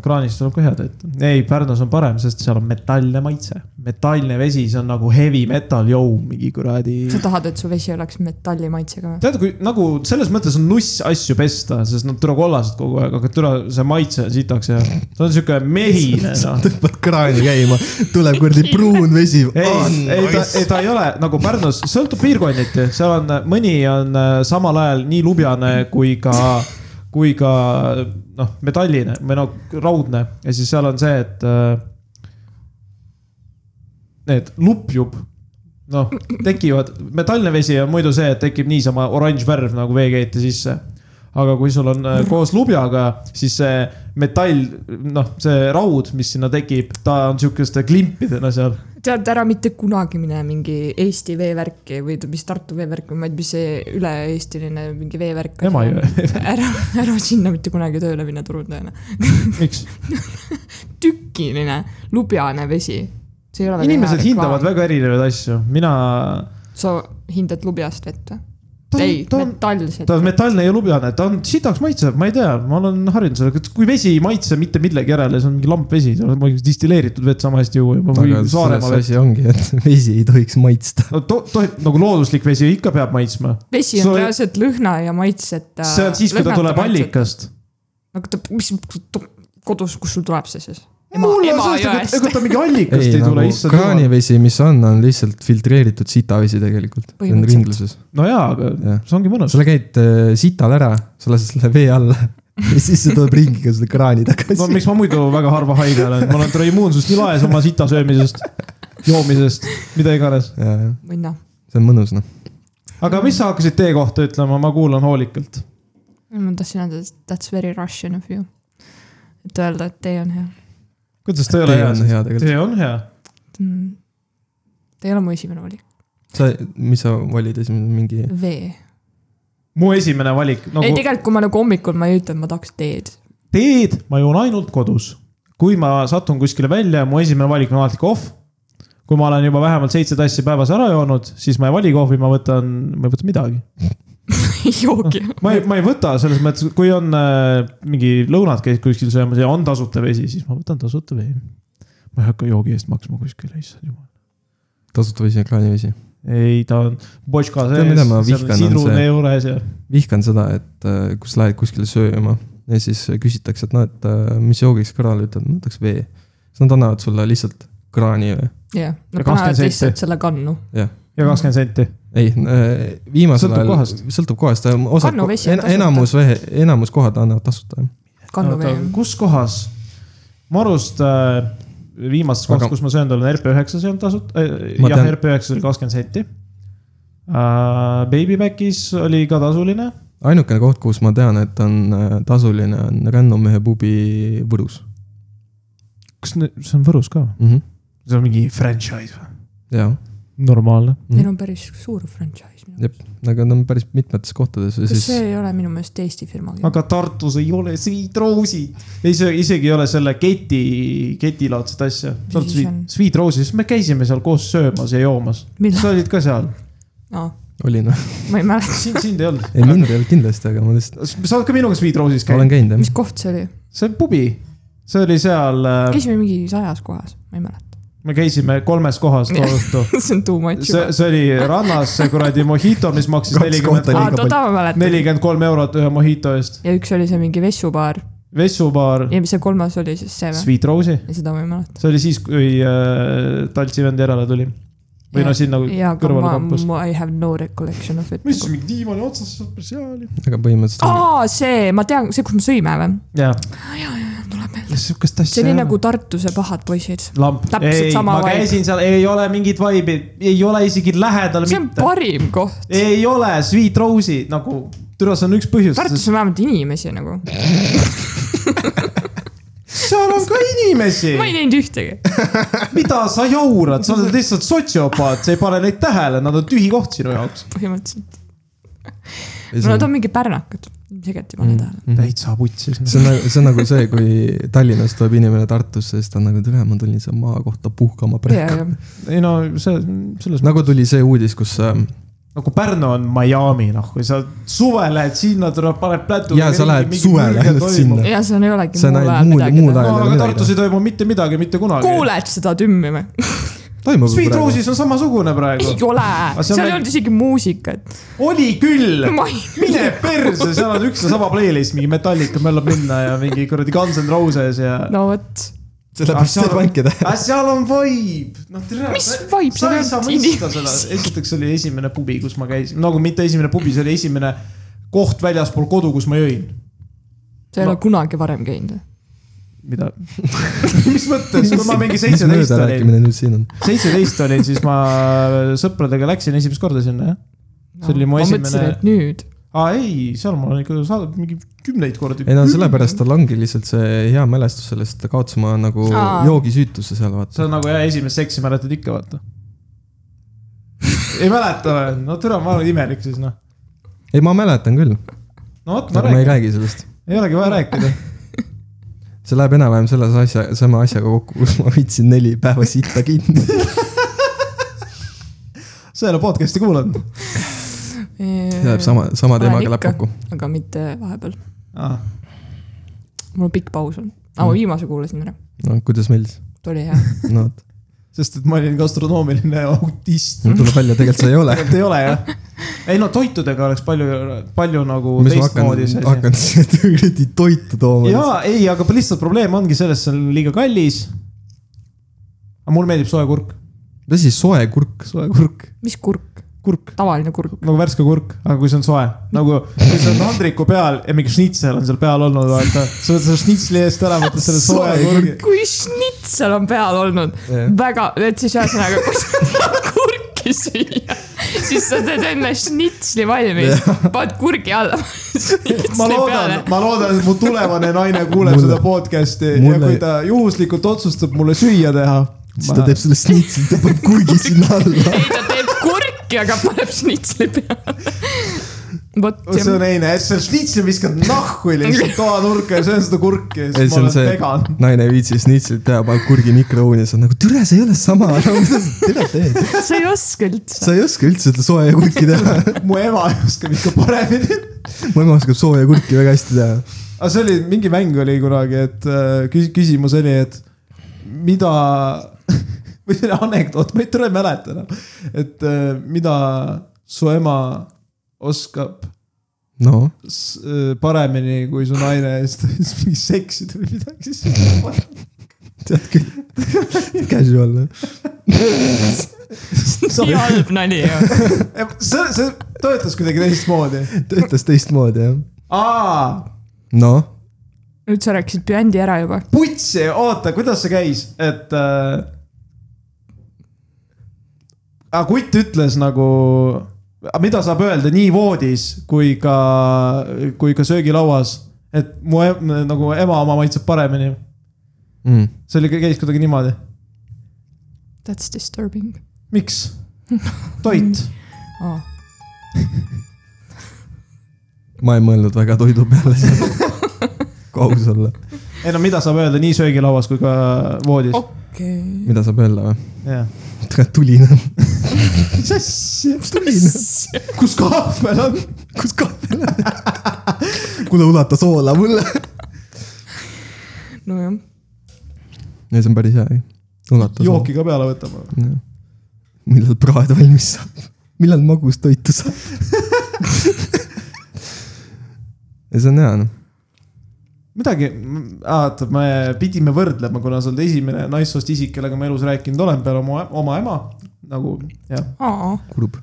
kraanist tuleb ka head vett . ei , Pärnus on parem , sest seal on metallne maitse . metallne vesi , see on nagu heavy metal , jõu , mingi kuradi .
sa tahad , et su vesi oleks metalli maitsega või ?
tead , kui nagu selles mõttes on nuss asju pesta , sest nad türa kollased kogu aeg , aga türa see maitse on sitaks ja ta on sihuke mehine noh .
tõmbad kraani käima , tuleb kuradi pruun vesi .
ei ,
Oh,
ei ta , ei ta ei ole nagu Pärnus , sõltub piirkonniti , seal on , mõni on äh, samal ajal nii lubjane kui ka , kui ka noh , metalline või no raudne ja siis seal on see , et äh, . Need lupjub , noh tekivad , metallne vesi on muidu see , et tekib niisama oranž värv nagu veekeeti sisse . aga kui sul on äh, koos lubjaga , siis see metall , noh , see raud , mis sinna tekib , ta on sihukeste klimpidena seal .
tead ära mitte kunagi mine mingi Eesti veevärki või t- mis Tartu veevärk või ma ei tea , mis see üle-eestiline mingi veevärk .
Emajõe .
[laughs] ära , ära sinna mitte kunagi tööle minna turundajana .
miks ?
tükiline lubjane vesi . see ei ole .
inimesed hindavad . väga erinevaid asju , mina .
sa hindad lubjast vett või ? ei , metallset .
ta on metallne ja lubjane , ta on sitaks maitsev , ma ei tea , ma olen harjunud sellega , et kui vesi ei maitse mitte millegi järele , see on mingi lamp vesi , sa oled muidugi distilleeritud vett sama hästi juua juba või
aga
Saaremaa
selles
vett . [laughs]
asi ongi , et [laughs] vesi ei tohiks maitsta .
no to- , tohib nagu looduslik vesi ikka peab maitsma ,
vesi on
Sul-
reaalselt lõhna ja äh, maitseta .
see on siis , kui ta tuleb . allikast .
aga ta , mis ta- kodus , kust sul tuleb see siis ?
mulle sellest , nagu- ega ta mingi allikast ei,
ei
ei
nagu
tule , issand jumal .
kraanivesi , mis on , on lihtsalt filtreeritud sitavesi tegelikult . see on
Põhimõtteliselt.
ringluses ,
no jaa , aga
Jah.
see ongi mõnus
sa . le- käid äh, sital ära , sa lased selle vee alla [laughs] ja siis see tuleb ringiga selle kraani
no
[laughs] tagasi .
miks ma muidu väga harva haige olen , ma olen terve immuunsus nii laes oma sita söömisest , joomisest , mida iganes .
see
või noh ,
on mõnus noh .
aga mis sa hakkasid tee kohta ütlema , ma kuulan hoolikalt .
ma tahtsin öelda , et that's very russian of you . et öelda , et tee on hea
kuidas ta ei ole
tee on
hea ?
hea tegelikult .
tee on hea .
mm. . ta ei ole mu esimene valik ,
sa , mis sa valid esimene mingi ?
vee
mu esimene valik
nagu... . ei ,
nagu
tegelikult , kui ma nagu hommikul ma ei ütle , et ma tahaks teed . [laughs]
teed ma joon ainult kodus . kui ma satun kuskile välja , mu esimene valik on alati kohv . kui ma olen juba vähemalt seitse tassi päevas ära joonud , siis ma ei vali kohvi , ma võtan , ma ei võta midagi .
ei joogi .
ma ei , ma ei võta selles mõttes , kui on äh, mingi lõunat käis kuskil söömas ja on tasuta vesi , siis ma võtan tasuta vee . ma ei hakka joogi eest maksma kuskile , issand jumal .
tasuta vesi ja kraanivesi .
ei , ta on botška
Tead,
sees
mida ma , vihkan, on
sidrune
see-
juures ja .
vihkan seda , et äh, kus lähed kuskile sööma ja siis küsitakse , et noh , et äh, mis joogiks kõrvale , ütled , ma võtaks vee . siis nad annavad sulle lihtsalt kraani või ?
jah ,
Ja
nad panevad
27.
lihtsalt selle kannu .
ja kakskümmend senti .
ei , viimasel
Sõltub
ajal
kohast. ,
sõltub kohast , osa
Kannu vesi , on tasuta.
enamus , enamus kohad annavad tasuta .
kannuvee on
kus kohas ? mu arust äh, viimases kohas
Aga-
aga... , kus ma söönud olen , RP9-s ei olnud tasuta äh, .
Ma
jah
tean- ,
RP9-s oli kakskümmend senti äh, . Babybackis oli ka tasuline .
ainukene koht , kus ma tean , et on äh, tasuline , on Rännumehe pubi Võrus
kas ne- see on Võrus ka või ?
mm . -hmm.
see on mingi franchise või ?
ja ,
normaalne .
Neil on päris suur franchise minu
Jep. aga ta on päris mitmetes kohtades ja
meelest . kas
siis
see ei ole minu meelest Eesti firma ?
aga Tartus ei ole sweet rose'id . ei , see isegi ei ole selle keti , ketilaadset asja .
Mis siis on?
Sweet rose'is , me käisime seal koos söömas ja joomas .
millal ?
sa olid ka seal ,
aa ,
oli noh , [laughs]
ma ei mäleta ,
sind , sind ei olnud .
ei mind ei olnud kindlasti , aga ma lihtsalt
sa oled ka minuga Sweet rose'is
olen
käinud ,
käinud jah .
mis koht see oli ?
see on pubi . see oli seal ,
käisime mingi sajas kohas , ma ei mäleta .
me käisime kolmes kohas too õhtu .
[laughs] see on too much
see
juba .,
see oli rannas see kuradi mojito , mis maksis
Kaks kohta
aa ,
nelikümmend ,
liiga
toda ma mäletan .
nelikümmend kolm eurot ühe mojito eest .
ja üks oli see mingi vessubaar
vessubaar ,
ja mis see kolmas oli siis see või ?
Sweet rose'i .
seda ma ei mäleta .
see oli siis , kui äh, Taltsi vend järele tuli . või
Ja-
noh , siin nagu
jaa , aga
kõrval
ma ,
kampus .
ma I have no recollection of it .
mis mingi diivani otsas , päris hea oli .
aga põhimõtteliselt oh!
aa , see , ma tean , see , kus me sõime või ?
jaa .
tuleb meelde .
kas sihukest asja
see oli nagu Tartu see pahad poisid .
lamp ,
täpselt
ei ,
sama
ma
vibe.
käisin seal , ei ole mingit vibe'i , ei ole isegi lähedal
see on
mitte .
parim koht .
ei ole Sweet Rose'i nagu , türas on üks põhjus ,
Tartus
sest
on vähemalt inimesi nagu .
seal on ka inimesi
ma , ei näinud ühtegi .
mida sa jaurad , sa oled lihtsalt sotsiopaat , sa ei pane neid tähele , nad on tühi koht sinu jaoks .
põhimõtteliselt .
see
no
on
nad on mingi pärnakad . tegelikult
Mm.
ei pane tähele .
Mhm.
täitsa putsis .
see on nagu , see on nagu see , kui Tallinnas tuleb inimene Tartusse , siis ta on nagu , tere , ma tulin siia maakohta puhkama
ja ,
praegu .
ja ,
ei no see , selles
nagu tuli see uudis , kus ähm,
nagu Pärnu on Miami , noh , kui sa suvel lähed sinna , tuleb , paned plätu .
Jaa, sa lähed suvel ainult sinna.
ja seal ei olegi
See on ainult
muul ajal
muul-
midagi
muul
teha.
ajal.
no aga
midagi.
Tartus ei toimu mitte midagi , mitte kunagi .
kuuled seda tümmi või ?
toimub
Sweet
praegu .
Rose'is on samasugune praegu
ei . ole ,
see on
seal ei
väike-
olnud isegi muusikat .
oli küll ,
ma ei ,
mine perse , seal on üks ja sama playlist , mingi Metallica möllab minna ja mingi kuradi Guns N Roses ja no. .
no vot ,
sellepärast saab vankida .
aga seal on vibe , noh tere .
Mis
sa
vibe? Seal
ei
ei
saa
olnud
mõista
inimesi.
seda , esiteks oli esimene pubi , kus ma käisin , nagu mitte esimene pubi , see oli esimene koht väljaspool kodu , kus ma jõin .
sa ei
Ma-
ole kunagi varem käinud või ?
mida ? [laughs] mis mõttes , kui ma mingi
mis
seitseteist olin
möödarääkimine nüüd siin on ?
seitseteist olin , siis ma sõpradega läksin esimest korda sinna , jah . see oli mu
ma
esimene-
mõtlesin , et nüüd .
aa ei , seal ma olen ikka saadab mingi kümneid kordi .
ei no sellepärast tal ongi lihtsalt see hea mälestus sellest , ta kaotas oma nagu
Aa.
joogisüütuse seal
sa
vaata .
nagu jah , esimest seksi mäletad ikka , vaata . ei mäleta või ? no türa , ma olen imelik siis noh .
ei , ma mäletan küll ,
no vot , ma
aga me ei
räägin ,
räägi sellest .
ei olegi vaja rääkida .
see läheb enam-vähem selles asja , sama asjaga kokku , kus ma võtsin neli päeva sitta kinni .
[laughs] sa ei ole podcast'i kuulanud ?
see läheb sama , sama
Olen
teemaga läheb
ikka.
kokku .
aga mitte vahepeal .
aa ,
mul pikk paus on . aga ma
Mm.
viimase kuulasin ära ,
no kuidas meeldis ?
ta oli hea .
no vot ,
[laughs] sest et ma olin gastronoomiline autist .
tuleb välja , tegelikult sa ei ole .
tegelikult ei ole jah . ei no toitudega oleks palju , palju nagu
mis ma
teistmoodi see
hakkan ,
asi .
hakkan siia kuradi toitu tooma .
jaa , ei , aga lihtsalt probleem ongi selles , see on liiga kallis . aga mulle meeldib soe kurk ,
mis asi , soe kurk ?
soe kurk ,
mis kurk ,
kurk
tavaline kurk .
nagu värske kurk , aga kui see on soe , nagu kui see on tandriku peal ja mingi šnitsel on seal peal olnud , vaata . sa võtad selle šnitsli eest ära , võtad selle soe
Soe
kurgi .
kui šnitsel on peal olnud
Jah.
väga , et siis ühesõnaga , kui sa [laughs] tahad kurki süüa , siis sa teed enne šnitsli valmis , paned kurgi alla . [laughs]
ma loodan , ma loodan , et mu tulevane naine kuuleb
Mulle-
seda podcast'i ja
mulle-
kui ta juhuslikult otsustab mulle süüa teha .
siis ta teeb selle snitsi , ta paneb kurgi sinna alla .
ei , ta teeb kurki , aga paneb šnitsli peale . vot
see on
jah ,
heine , et see šnitsli viskad nahku lihtsalt toanurka ja söön seda kurki ja
ei ,
siis
see
ma
on
olen
see
vegan .
naine ei viitsi snitsit teha , paneb kurgi mikrouuni ja sa oled nagu , türa , see ei ole sama , no mida sa [laughs] türa teed ?
e-
sa ei oska üldse .
sa ei oska üldse seda sooja kurki teha .
mu ema oskab ikka paremini .
mu ema oskab sooja kurki väga hästi teha .
aga see oli , mingi mäng oli kunagi , et äh, küs- , küsimus oli , et mida [laughs] või see oli anekdoot , ma ei tule ei mäleta enam , et äh, mida su ema oskab
no ,
s- äh, paremini kui su naine ja siis ta ütles mingi seksid või midagi , [laughs] siis
tead küll . [laughs] Casual .
nii
Sorry.
halb nali ju .
Ja see , see töötas kuidagi teistmoodi .
töötas teistmoodi jah .
aa ,
noh ,
nüüd sa rääkisid bändi ära juba .
putsi , oota , kuidas see käis , et äh... . aga kutt ütles nagu , mida saab öelda nii voodis kui ka , kui ka söögilauas , et mu em, nagu ema oma maitseb paremini .
mm.
see oli , käis kuidagi niimoodi ,
That's disturbing
miks ? toit ,
oh. .
ma ei mõelnud väga toidu peale seal . [laughs] kui aus olla ,
ei no mida saab öelda nii söögilauas kui ka voodis oh. ,
okei okay. .
mida saab öelda või ?
jah .
tulina ,
mis asja , kus kahvel on ?
kus kahvel on ? kuule , ulata soola mulle .
nojah ,
ei , see on päris hea , ei . ulata soola .
jooki ka peale võtame .
Jah. millal praad valmis saab , millal magustoitu saab . ja see on hea noh ,
midagi , vaata , me pidime võrdlema , kuna sa oled esimene naissoost isik , kellega ma elus rääkinud olen , peale oma , oma ema . nagu jah ,
aa ,
kurb .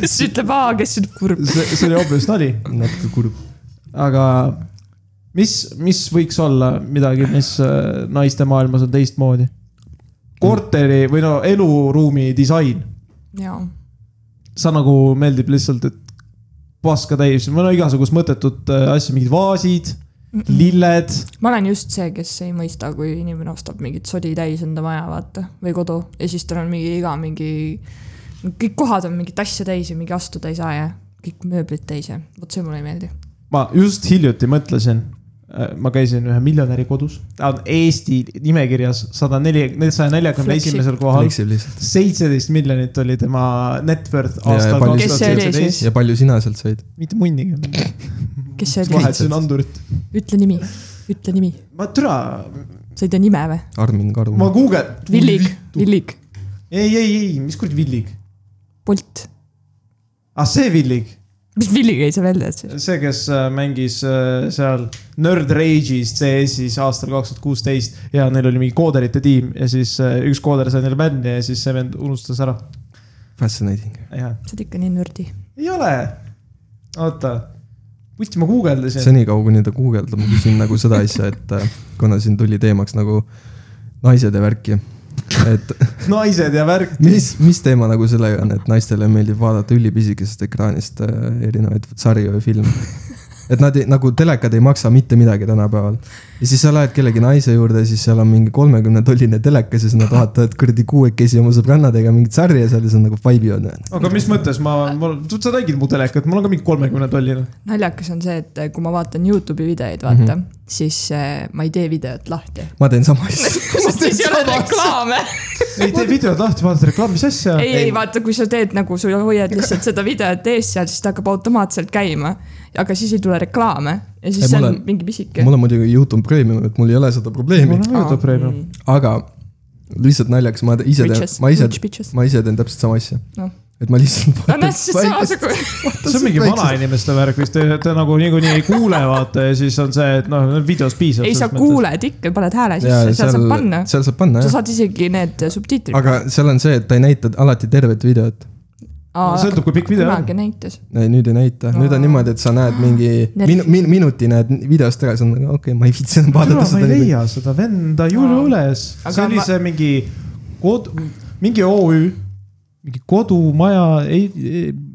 kes ütleb aa , kes ütleb kurb .
see , see oli obvious nali ,
natuke kurb .
aga mis , mis võiks olla midagi , mis äh, naiste maailmas on teistmoodi ? korteri või no eluruumi disain ,
jaa
sa nagu meeldib lihtsalt , et paska täis , mul on igasugust mõttetut äh, asja , mingid vaasid ,
mm . -mm.
lilled ,
ma olen just see , kes ei mõista , kui inimene ostab mingit sodi täis enda maja , vaata , või kodu ja siis tal on mingi iga mingi , kõik kohad on mingit asja täis ja mingi astuda ei saa ja kõik mööblid täis ja vot see mulle ei meeldi .
ma just hiljuti mõtlesin , ma käisin ühe miljonäri kodus , ta on Eesti nimekirjas sada neli , saja neljakümne
Flexi.
esimesel kohal .
fleksib lihtsalt .
seitseteist miljonit oli tema net worth
Ja
aastal
palju-
kaks
Kes see
tuhat
oli
seitseteist ,
ja palju sina sealt said ?
mitte munnigi .
kes see oli ?
vahetasin andurit .
ütle nimi , ütle nimi ,
ma türa ,
sa ei tea nime või ?
Armin Karu
ma . guugeldan .
Villig , Villig ,
ei , ei , ei , mis kuradi Villig ?
Bolt ,
ah , see Villig ,
mis Villi käis sa välja ütlesid ?
see , kes äh, mängis äh, seal Nerd Rage'is CS-is aastal kaks tuhat kuusteist ja neil oli mingi kooderite tiim ja siis äh, üks kooder sai neile bändi ja siis see vend unustas ära .
Fascinating .
jah
sa oled ikka nii nördi .
ei ole . oota , putsi , ma guugeldasin .
senikaua , kuni ta guugeldab , ma küsin nagu seda asja , et äh, kuna siin tuli teemaks nagu naised ja värki , et
naised ja värk .
mis , mis teema nagu sellega on , et naistele meeldib vaadata ülipisikesest ekraanist äh, erinevaid sarju ja
[laughs]
filme ? et nad ei, nagu telekad ei maksa mitte midagi tänapäeval . ja siis sa lähed kellegi naise juurde , siis seal on mingi kolmekümne tolline telekas ja siis nad vaatavad kuradi kuuekesi oma sõbrannadega mingit sarja seal ja siis on nagu vaibivad .
aga mis mõttes ma , ma , sa nägid mu telekat , mul on ka mingi kolmekümne tolline .
naljakas on see , et eh, kui ma vaatan Youtube'i videoid , vaata mm , -hmm. siis eh, ma ei tee videot lahti .
ma teen sama asja .
[laughs] sest siis ei ole reklaame .
ei tee videod lahti , vaata reklaam , mis asja .
ei , ei vaata , kui sa teed nagu , sa hoiad lihtsalt seda videot ees seal , siis ta hakkab automaatselt käima . aga siis ei tule reklaame ja siis
Ei,
ei, see
mul
on
on-
mingi pisike .
mul on muidugi Youtube Premium , et mul ei ole seda probleemi ,
mul on YouTube Premium .
aga lihtsalt naljaks ma te- ise teen
Bitches ,
ma ise ,
rich bitches .
ma ise teen täpselt sama asja
Noh. .
et ma lihtsalt .
no nagu- näed , siis samasugune .
see on mingi vanainimeste värk vist , te nagu niikuinii ei kuule , vaata ja siis on see , et noh , videos piisab .
ei , sa . kuuled ikka , paned hääle sisse , seal saab panna .
seal saab panna
sa
jah ,
saad isegi need eh, subtiitrid .
aga seal on see , et ta ei näita alati tervet videot .
sõltub , kui pikk video on .
kunagi näitas .
ei , nüüd ei näita , nüüd on niimoodi , et sa näed mingi min, min, minuti näed videost ära , siis on nagu okei okay, , ma ei viitsi enam
türa
vaadata ,
ma ei
seda .
leia seda venda jule
Aa.
üles .
Aga
see oli
ma-
see mingi kod- , mingi OÜ , mingi kodumaja , ei,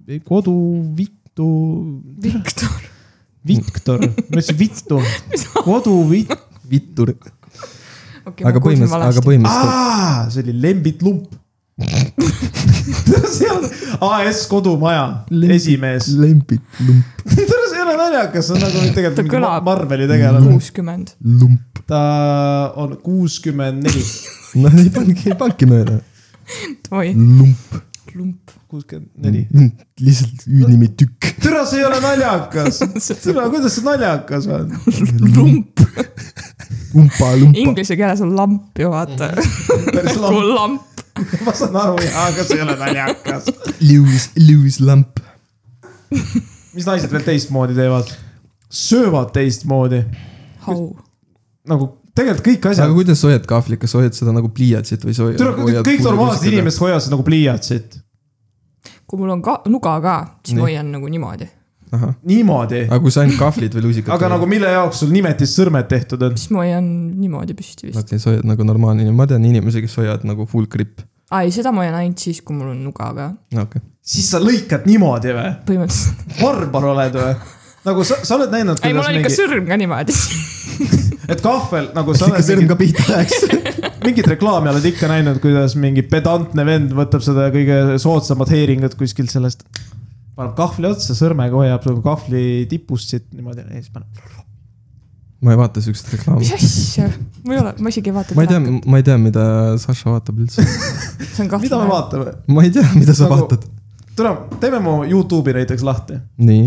ei , kodu , vitu ,
Viktor .
Viktor , ma ütlesin
[laughs]
vitu , kodu vit- ,
vittur , aga põhimõtteliselt , aga . põhimõtteliselt
aa , see oli Lembit Lump . [laughs] seal AS Kodumaja
Lembit-
esimees .
lembit , lump ,
tere , [laughs] see ei ole naljakas , see on nagu tegelikult
Ta
mingi Ma-
kõlab-
Marveli tegelane .
kuuskümmend .
lump .
ta on kuuskümmend neli ,
no ei pangi , ei pangi mööda ,
oi ,
Mm. lump ,
lump .
kuuskümmend neli .
lihtsalt üünimi tükk ,
tere , see ei ole naljakas . tere , kuidas see naljakas on ?
lump .
umpa , lumpa .
Inglise keeles on lamp ju vaata . [laughs]
päris
nagu
lamp ,
lamp .
ma saan aru , jaa , aga see ei ole naljakas .
Loose , loose lump .
mis naised veel teistmoodi teevad ? söövad teistmoodi ,
How ?
nagu tegelikult kõik
aga
asjad .
kuidas sa hoiad kahvlit , kas sa hoiad seda nagu pliiatsit või sa hoiad ?
tere , kõik normaalsed inimesed hoiavad seda nagu pliiatsit .
kui mul on ka nuga ka , siis ma
Nii.
hoian nagu niimoodi .
ahah ,
niimoodi ,
aga kui sa ainult kahvlid või lusikad .
aga nagu mille jaoks sul nimetist sõrmed tehtud on ?
siis ma hoian niimoodi püsti
okei
vist .
okay, , sa hoiad nagu normaalne inimene , ma tean inimesi , kes hoiavad nagu full grip .
aa ei , seda ma hoian ainult siis , kui mul on nuga ka .
okei okay. ,
siis sa lõikad niimoodi või ?
[laughs]
põhimõtteliselt .
barbar oled või ? nagu sa , sa oled näinud ,
ei , mul
kuidas
on ikka
mingi ,
sõrm ka
[laughs]
niimoodi .
et kahvel nagu sa
ikka
oled
sõrm
mingit,
ka pihta läheks .
mingit reklaami oled ikka näinud , kuidas mingi pedantne vend võtab seda kõige soodsamat heeringut kuskilt sellest . paneb kahvli otsa , sõrmega hoiab nagu kahvli tipust siit niimoodi ja siis paneb .
[laughs] ma ei vaata siukseid
mis
reklaame .
asja ? ma ei ole , ma isegi ei vaata .
ma ei tea , ma ei tea , mida Saša vaatab üldse . [laughs]
see on
mida me
kahtlane .
vaatame ?
ma ei tea , mida sa
Nagu-
nagu... vaatad .
tule , teeme mu Youtube'i näiteks lahti .
nii ,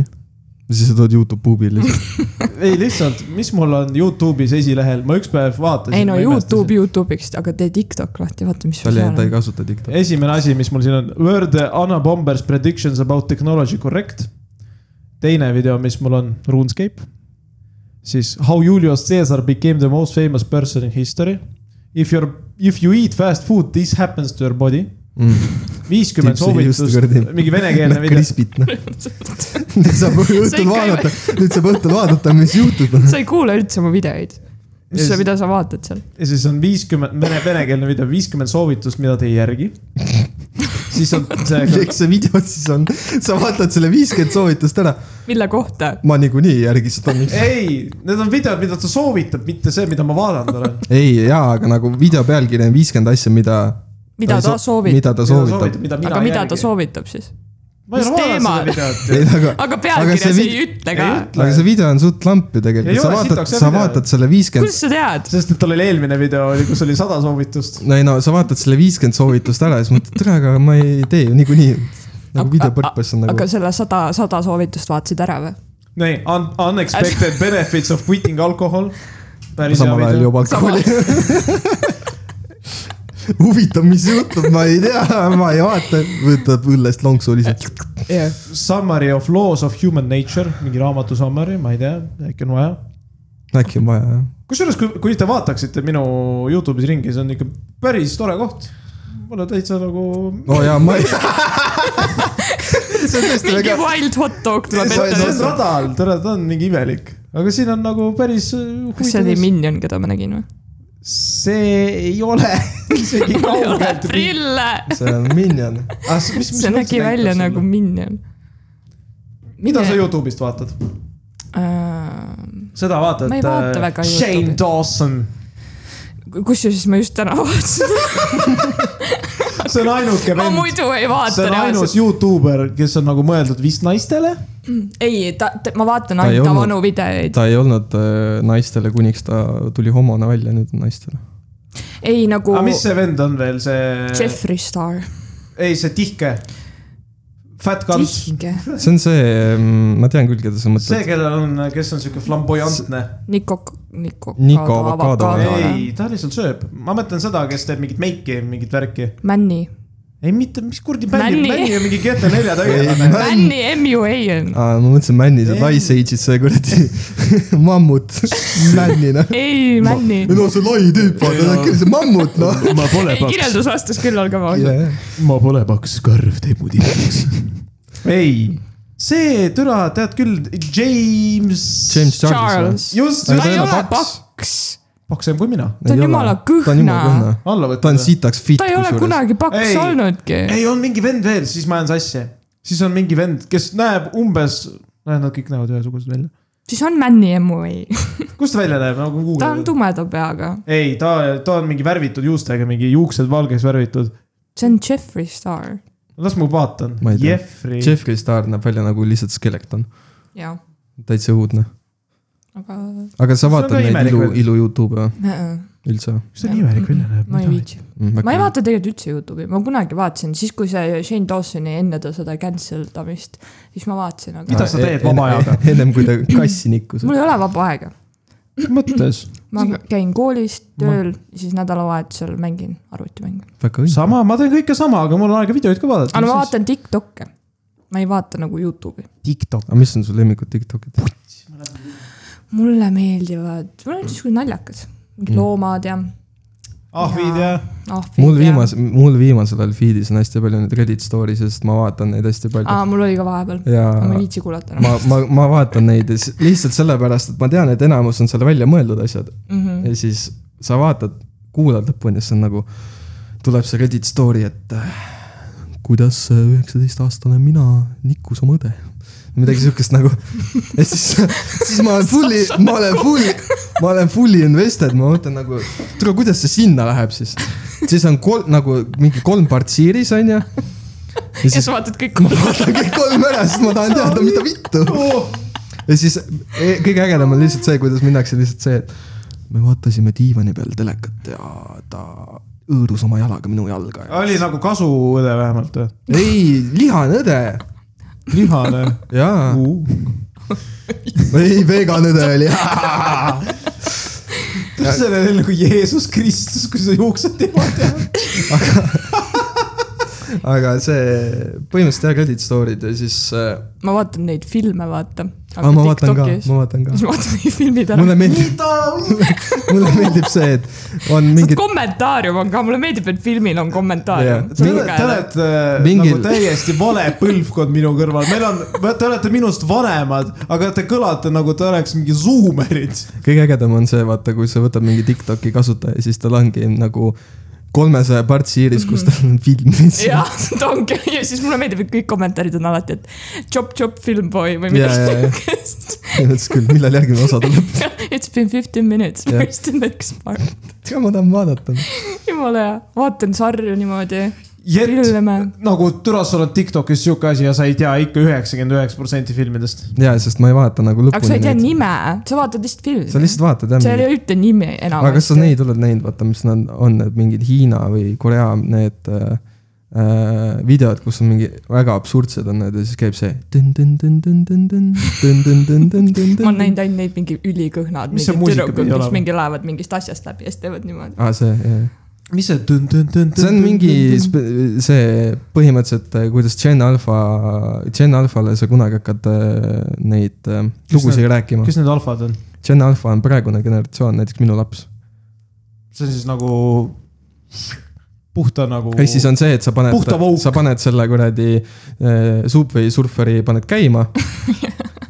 siis sa tood Youtube puubi lihtsalt .
ei , lihtsalt , mis mul on Youtube'is esilehel , ma üks päev vaatasin .
ei no Youtube , Youtube'iks , aga tee TikTok lahti , vaata , mis sul
seal ei ,
seal
ta ei
on .
kasuta TikTok'i .
esimene asi , mis mul siin on , were the Anna Bombers predictions about technology correct ? teine video , mis mul on , RuneScape . siis how Julius Caesar became the most famous person in history . If you are , if you eat fast food , this happens to your body .
Mm.
viiskümmend
Tips ei just kuradi-
soovitust , mingi venekeelne video .
krispid noh . [laughs] nüüd saab õhtul
ikka ei-
vaadata , nüüd saab õhtul vaadata , mis
[laughs]
juhtub .
sa ei kuule üldse mu videoid .
Ei,
mis sa ,
see-
mida sa vaatad seal ?
ja siis on viiskümmend , vene , venekeelne video , viiskümmend soovitust , mida te ei järgi . siis on see ,
eks see video siis on , sa vaatad selle viiskümmend soovitust ära ,
mille kohta ?
ma niikuinii ei järgi seda .
ei , need on videod , mida ta soovitab , mitte see , mida ma vaadanud olen .
ei jaa , aga nagu video pealkiri on viiskümmend asja , mida .
mida ta soovib ?
mida ta soovitab .
mida
aga mida ta soovitab siis ?
ma ei
Mis
ole
teemal?
vaadanud seda
ei ,
videot .
[laughs]
aga
aga pealkirjas
see
ei,
vid-
ei ütle ka .
ei ütle.
aga see video on suht lamp ju
Ei
tegelikult , sa
ole,
vaatad ,
sitaks, see
sa
video.
vaatad selle viiskümmend ,
kuidas sa tead ?
sest et tal oli eelmine video oli , kus oli sada soovitust .
no ei no sa vaatad selle viiskümmend soovitust ära ja siis mõtled , et tere , aga ma ei tee ju niikuinii . nagu
Aga-
videopõrkpess on
aga
nagu ,
selle sada , sada soovitust vaatasid ära või ?
nii , un- , unexpected benefits of quitting alcohol . päris hea
samal ajal
video .
joob
[laughs]
alkoholi . huvitav , mis juhtub , ma ei tea , ma ei vaata , võtab õllest lonksu lihtsalt .
jah .
Summary of laws of human nature , mingi raamatu summary , ma ei tea , äkki on vaja .
äkki on vaja jah .
kusjuures , kui , kui te vaataksite minu Youtube'is ringi , see on ikka päris tore koht . mul on täitsa nagu .
oo Oh, jaa , ma ei . [laughs] see on tõesti
mingi
väga ,
wild hot dog tuleb
see
ette
see . on radal , tere , ta on mingi imelik , aga siin on nagu päris .
kas see oli Minion , keda ma nägin või ?
see ei ole [laughs] isegi
mul ei ole
kaugelt .
prille .
see on minion .
mis , mis
see nägi välja nagu . minion .
mida sa Youtube'ist vaatad ?
Youtube'i ?
seda vaatad .
Ma ei vaata väga
Shane
Youtube'i.
Dawson ,
kusjuures ma just täna [laughs] vaatasin ,
see on ainuke
[laughs] ma
vend ,
muidu ei
see
vaata
on ainus
reaalselt .
Youtuber , kes on nagu mõeldud vist naistele .
ei , ta, ta , ma vaatan
Ta ei
ainult ta
olnud-
vanu videoid .
ta ei olnud äh, naistele , kuniks ta tuli homona välja , nüüd on naistele .
ei nagu
aga Ah, mis see vend on veel , see ,
Jeffree Star .
ei see tihke , Fat Guns ,
tihke .
see on see , ma tean küll , keda sa
see ,
mõtled .
kellel on , kes on sihuke flamboyantne .
Niko , Niko .
Nico Avocado.
ei , ta lihtsalt sööb , ma mõtlen seda , kes teeb mingit meiki , mingit värki .
Männi .
ei mitte , mis kuradi bändi ,
Männi.
bändi on mingi [laughs] GT4 tegelane .
Männi Ah. MUA on .
aa , ma mõtlesin Männi , see
Ei.
Ice Age'is see kuradi [laughs] mammut , Männina .
ei , Männi .
no see lai tüüp , vaata , ta on küll see mammut , [laughs] noh .
ma pole
ei , kirjeldus vastas küll , olge vaosad .
see
ma pole paks , karv teeb mu tihedaks .
ei , see türa , tead küll , James .
James Charles,
Charles .
just ,
ta ei
ole
ole
paks.
paks .
paksem kui mina .
Ta on jumala
ta on jumala
kõhna.
kõhna .
alla
ta
võtta
on . sitaks fit
ta ei ole . kunagi paks
Ei.
olnudki .
ei , on mingi vend veel , siis ma jään sassi . siis on mingi vend , kes näeb umbes , näed , nad kõik näevad ühesugused välja .
siis on Männi MUA .
kust ta välja näeb , nagu
ta on
guugeldad ?
tumeda peaga .
ei , ta , ta on mingi värvitud juustega , mingi juuksed valgeks värvitud .
see on Jeffree Star .
las ma vaatan
Ma ei . tea.
Jeffrey .
Jeffrey Star näeb välja nagu lihtsalt skeleton ,
jah ,
täitsa õudne .
aga .
aga sa
on ka
vaatad neid
imelik
ilu ,
veel.
ilu Youtube'e või? üldse või
mis ta nii imelik välja näeb .
ma ei . viitsi .
mm, ?
ma ei vaata tegelikult üldse Youtube'i , ma kunagi vaatasin , siis kui see Shane Dawsoni enne ta seda cancel damist , siis ma vaatasin , aga
Mida sa teed vaba ajaga? ?
E- [laughs] ennem kui ta kassi nikkus .
mul ei ole vaba aega .
mis mõttes ?
ma käin koolis , tööl , siis nädalavahetusel mängin arvutimänge .
väga õige .
sama , ma teen kõike sama , aga mul on aega videoid ka vaadata .
aga ma vaatan Tiktok'e , ma ei vaata nagu Youtube'i .
TikTok .
aga mis on su lemmikud Tiktokid ?
mulle meeldivad , mul on niisugused naljakad , mingid loomad ja
ahvid ja .
ahvid
Mm. mul
ja-
viimase , mul viimasel ajal feed'is on hästi palju neid Reddit story , sest ma vaatan neid hästi palju
aa , mul oli ka vahepeal ,
ja
ma ei viitsi kuulata enam
ma , ma , ma vaatan neid ja s- lihtsalt sellepärast , et ma tean , et enamus on seal välja mõeldud asjad
mm . -hmm.
ja siis sa vaatad , kuulad lõpuni ja siis on nagu , tuleb see Reddit story , et äh, kuidas üheksateistaastane mina nikkus oma õde . midagi siukest nagu , ja siis , siis ma olen [laughs] fully , ma olen fully , ma olen fully invested , ma mõtlen nagu , tule , kuidas see sinna läheb siis . siis on kolm , nagu mingi kolm part series on ju . ja
ja
siis
sa vaatad kõik
ma vaatan kõik kolm ära , sest ma tahan teada , mida vittu . ja siis e- kõige ägedam on lihtsalt see , kuidas minnakse lihtsalt see , et me vaatasime diivani peal telekat ja ta hõõrus oma jalaga minu jalga ja... .
oli nagu kasu õde vähemalt või ?
ei , lihane õde .
lihane .
jaa , ei vegan õde oli . [laughs]
see oli nagu Jeesus Kristus , kui sa juuksed tema tead .
aga see põhimõtteliselt jah , credit story'd ja siis äh, .
ma vaatan neid filme , vaata .
aga ma vaatan ka , ma vaatan
siis
ka .
ma vaatan neid filmid ära .
mulle meeldib , [laughs] mulle meeldib see , et on mingid .
kommentaarium on ka , mulle meeldib , et filmil on kommentaarium
Jah.
Te olete , te
yeah. .
olete äh,
Mingil-
nagu täiesti vale põlvkond minu kõrval , meil
[laughs]
on , te olete minust vanemad , aga te kõlate nagu te oleks mingi zuumerid .
kõige ägedam on see , vaata , kui sa võtad mingi Tiktoki kasutaja , siis tal ongi nagu kolmesaja part siiris , kus tal on film lihtsalt .
Mhm. jah , ta ongi ja siis mulle meeldib , et kõik kommentaarid on alati , et chop-chop filmboy või
ja ,
midagi
ja ,
siukest .
ja mõtles küll , millal järgmine osa tuleb . [laughs]
[laughs] It's been fifteen minutes ,
Jah.
where's the next part ?
ja ma tahan vaadata .
jumala hea , vaatan sarju niimoodi ,
Jett ,
filme .
nagu türa , sul on Tiktokis sihuke asi ja sa ei tea ikka üheksakümmend üheksa protsenti filmidest .
ja , sest ma ei vaata nagu
aga sa
lõpuni
ei tea
neid .
nime , sa vaatad lihtsalt filmi .
sa lihtsalt vaatad jah
seal ei
mingit.
ole ühte nimi enam .
aga kas sa neid oled näinud , vaata , mis nad on , need mingid Hiina või Korea need äh, äh, videod , kus on mingi väga absurdsed on need ja siis käib see .
ma olen näinud ainult neid mingi ülikõhnad ,
Mis see
mingid
muusika
tüdrukud ,
pidi
kes
olema?
mingi lähevad mingist asjast läbi ja siis teevad niimoodi .
aa , Ah, see , jah
mis see ?
see on mingi . spe- see põhimõtteliselt , kuidas Gen Alpha , Gen Alphale sa kunagi hakkad äh, neid äh, lugusid rääkima .
kes need alfad on ?
Gen Alpha on praegune generatsioon , näiteks minu laps .
see on siis nagu puhta nagu .
ehk siis on see , et sa paned
Puhta , vauk.
sa paned selle kuradi äh, Subway surferi paned käima .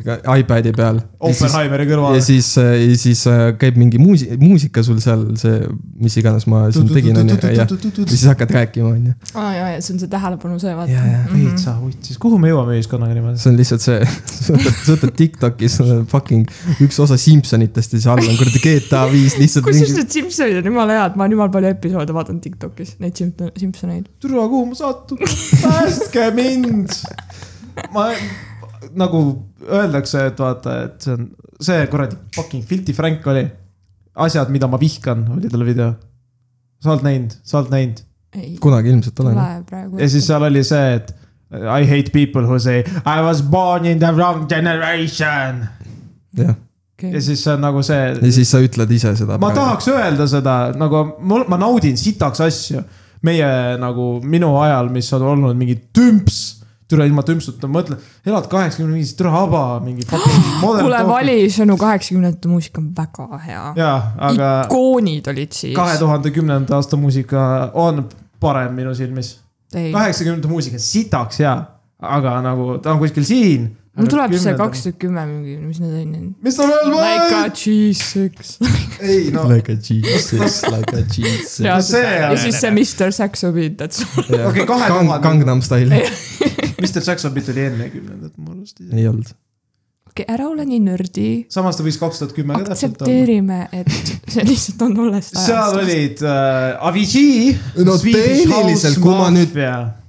ka iPad'i peal .
Oppenheimeri kõrval
ja . siis , ja siis äh, käib mingi muusi- , muusika sul seal , see , mis iganes ma siin tegin , onju , ja ja siis hakkad rääkima , onju .
aa jaa , jaa , see on see tähelepanu see , vaata
ja , ja
veitsa vutsis , kuhu me jõuame ühiskonnaga niimoodi ?
see on lihtsalt see , [laughs] sa võtad , sa võtad Tiktokis äh, fucking üks osa Simsonitest ja siis all on kuradi GTA viis lihtsalt
kusjuures
mingi .
need Simsonid on jumala head , ma olen jumal palju episoode vaadanud Tiktokis , neid Simp- Simsoneid .
türa , kuhu ma satun , päästke mind . ma nagu öeldakse , et vaata , et see on see kuradi fucking Filti Frank oli . asjad , mida ma vihkan , oli tal video . sa oled näinud , sa oled näinud
ei ,
kunagi ilmselt olen .
tule praegu .
ja siis seal oli see , et I hate people who say I was born in the wrong generation .
jah ,
ja siis see on nagu see
ja , siis sa ütled ise seda .
ma . tahaks öelda seda nagu mul , ma naudin sitaks asju . meie nagu minu ajal , mis on olnud mingi tümps , türa ilma tümpsuta , mõtle , elad kaheksakümne viis , türa haba ,
[gasps]
mingi .
kuule , vali sõnu kaheksakümnendate muusika on väga hea .
ja , aga
ikoonid olid siis .
kahe tuhande kümnenda aasta muusika on parem minu silmis .
tuhande .
kaheksakümnendate muusika , sitaks hea , aga nagu ta on kuskil siin .
mul tuleb see kaks . Oh tuhat kümme mingi , mis need on .
mis ta veel
Like a
mõeldis ?
cheese üks .
ei no ,
Like a Jesus , like a Jesus .
ja
see on-
siis see Mr Saxo beat , et sul
Okei, kahe
Kang,
tuhande-
Gangnam Style
Mr Jackson pidi oli enne kümnendat mu arust .
ei olnud .
okay, , ära ole nii nördi .
samas ta võis kaks tuhat kümme ka täpselt olla .
aktsepteerime , et see lihtsalt on tollest
seal
ajast .
olid äh, Avicii .
No tehniliselt, kui ma nüüd-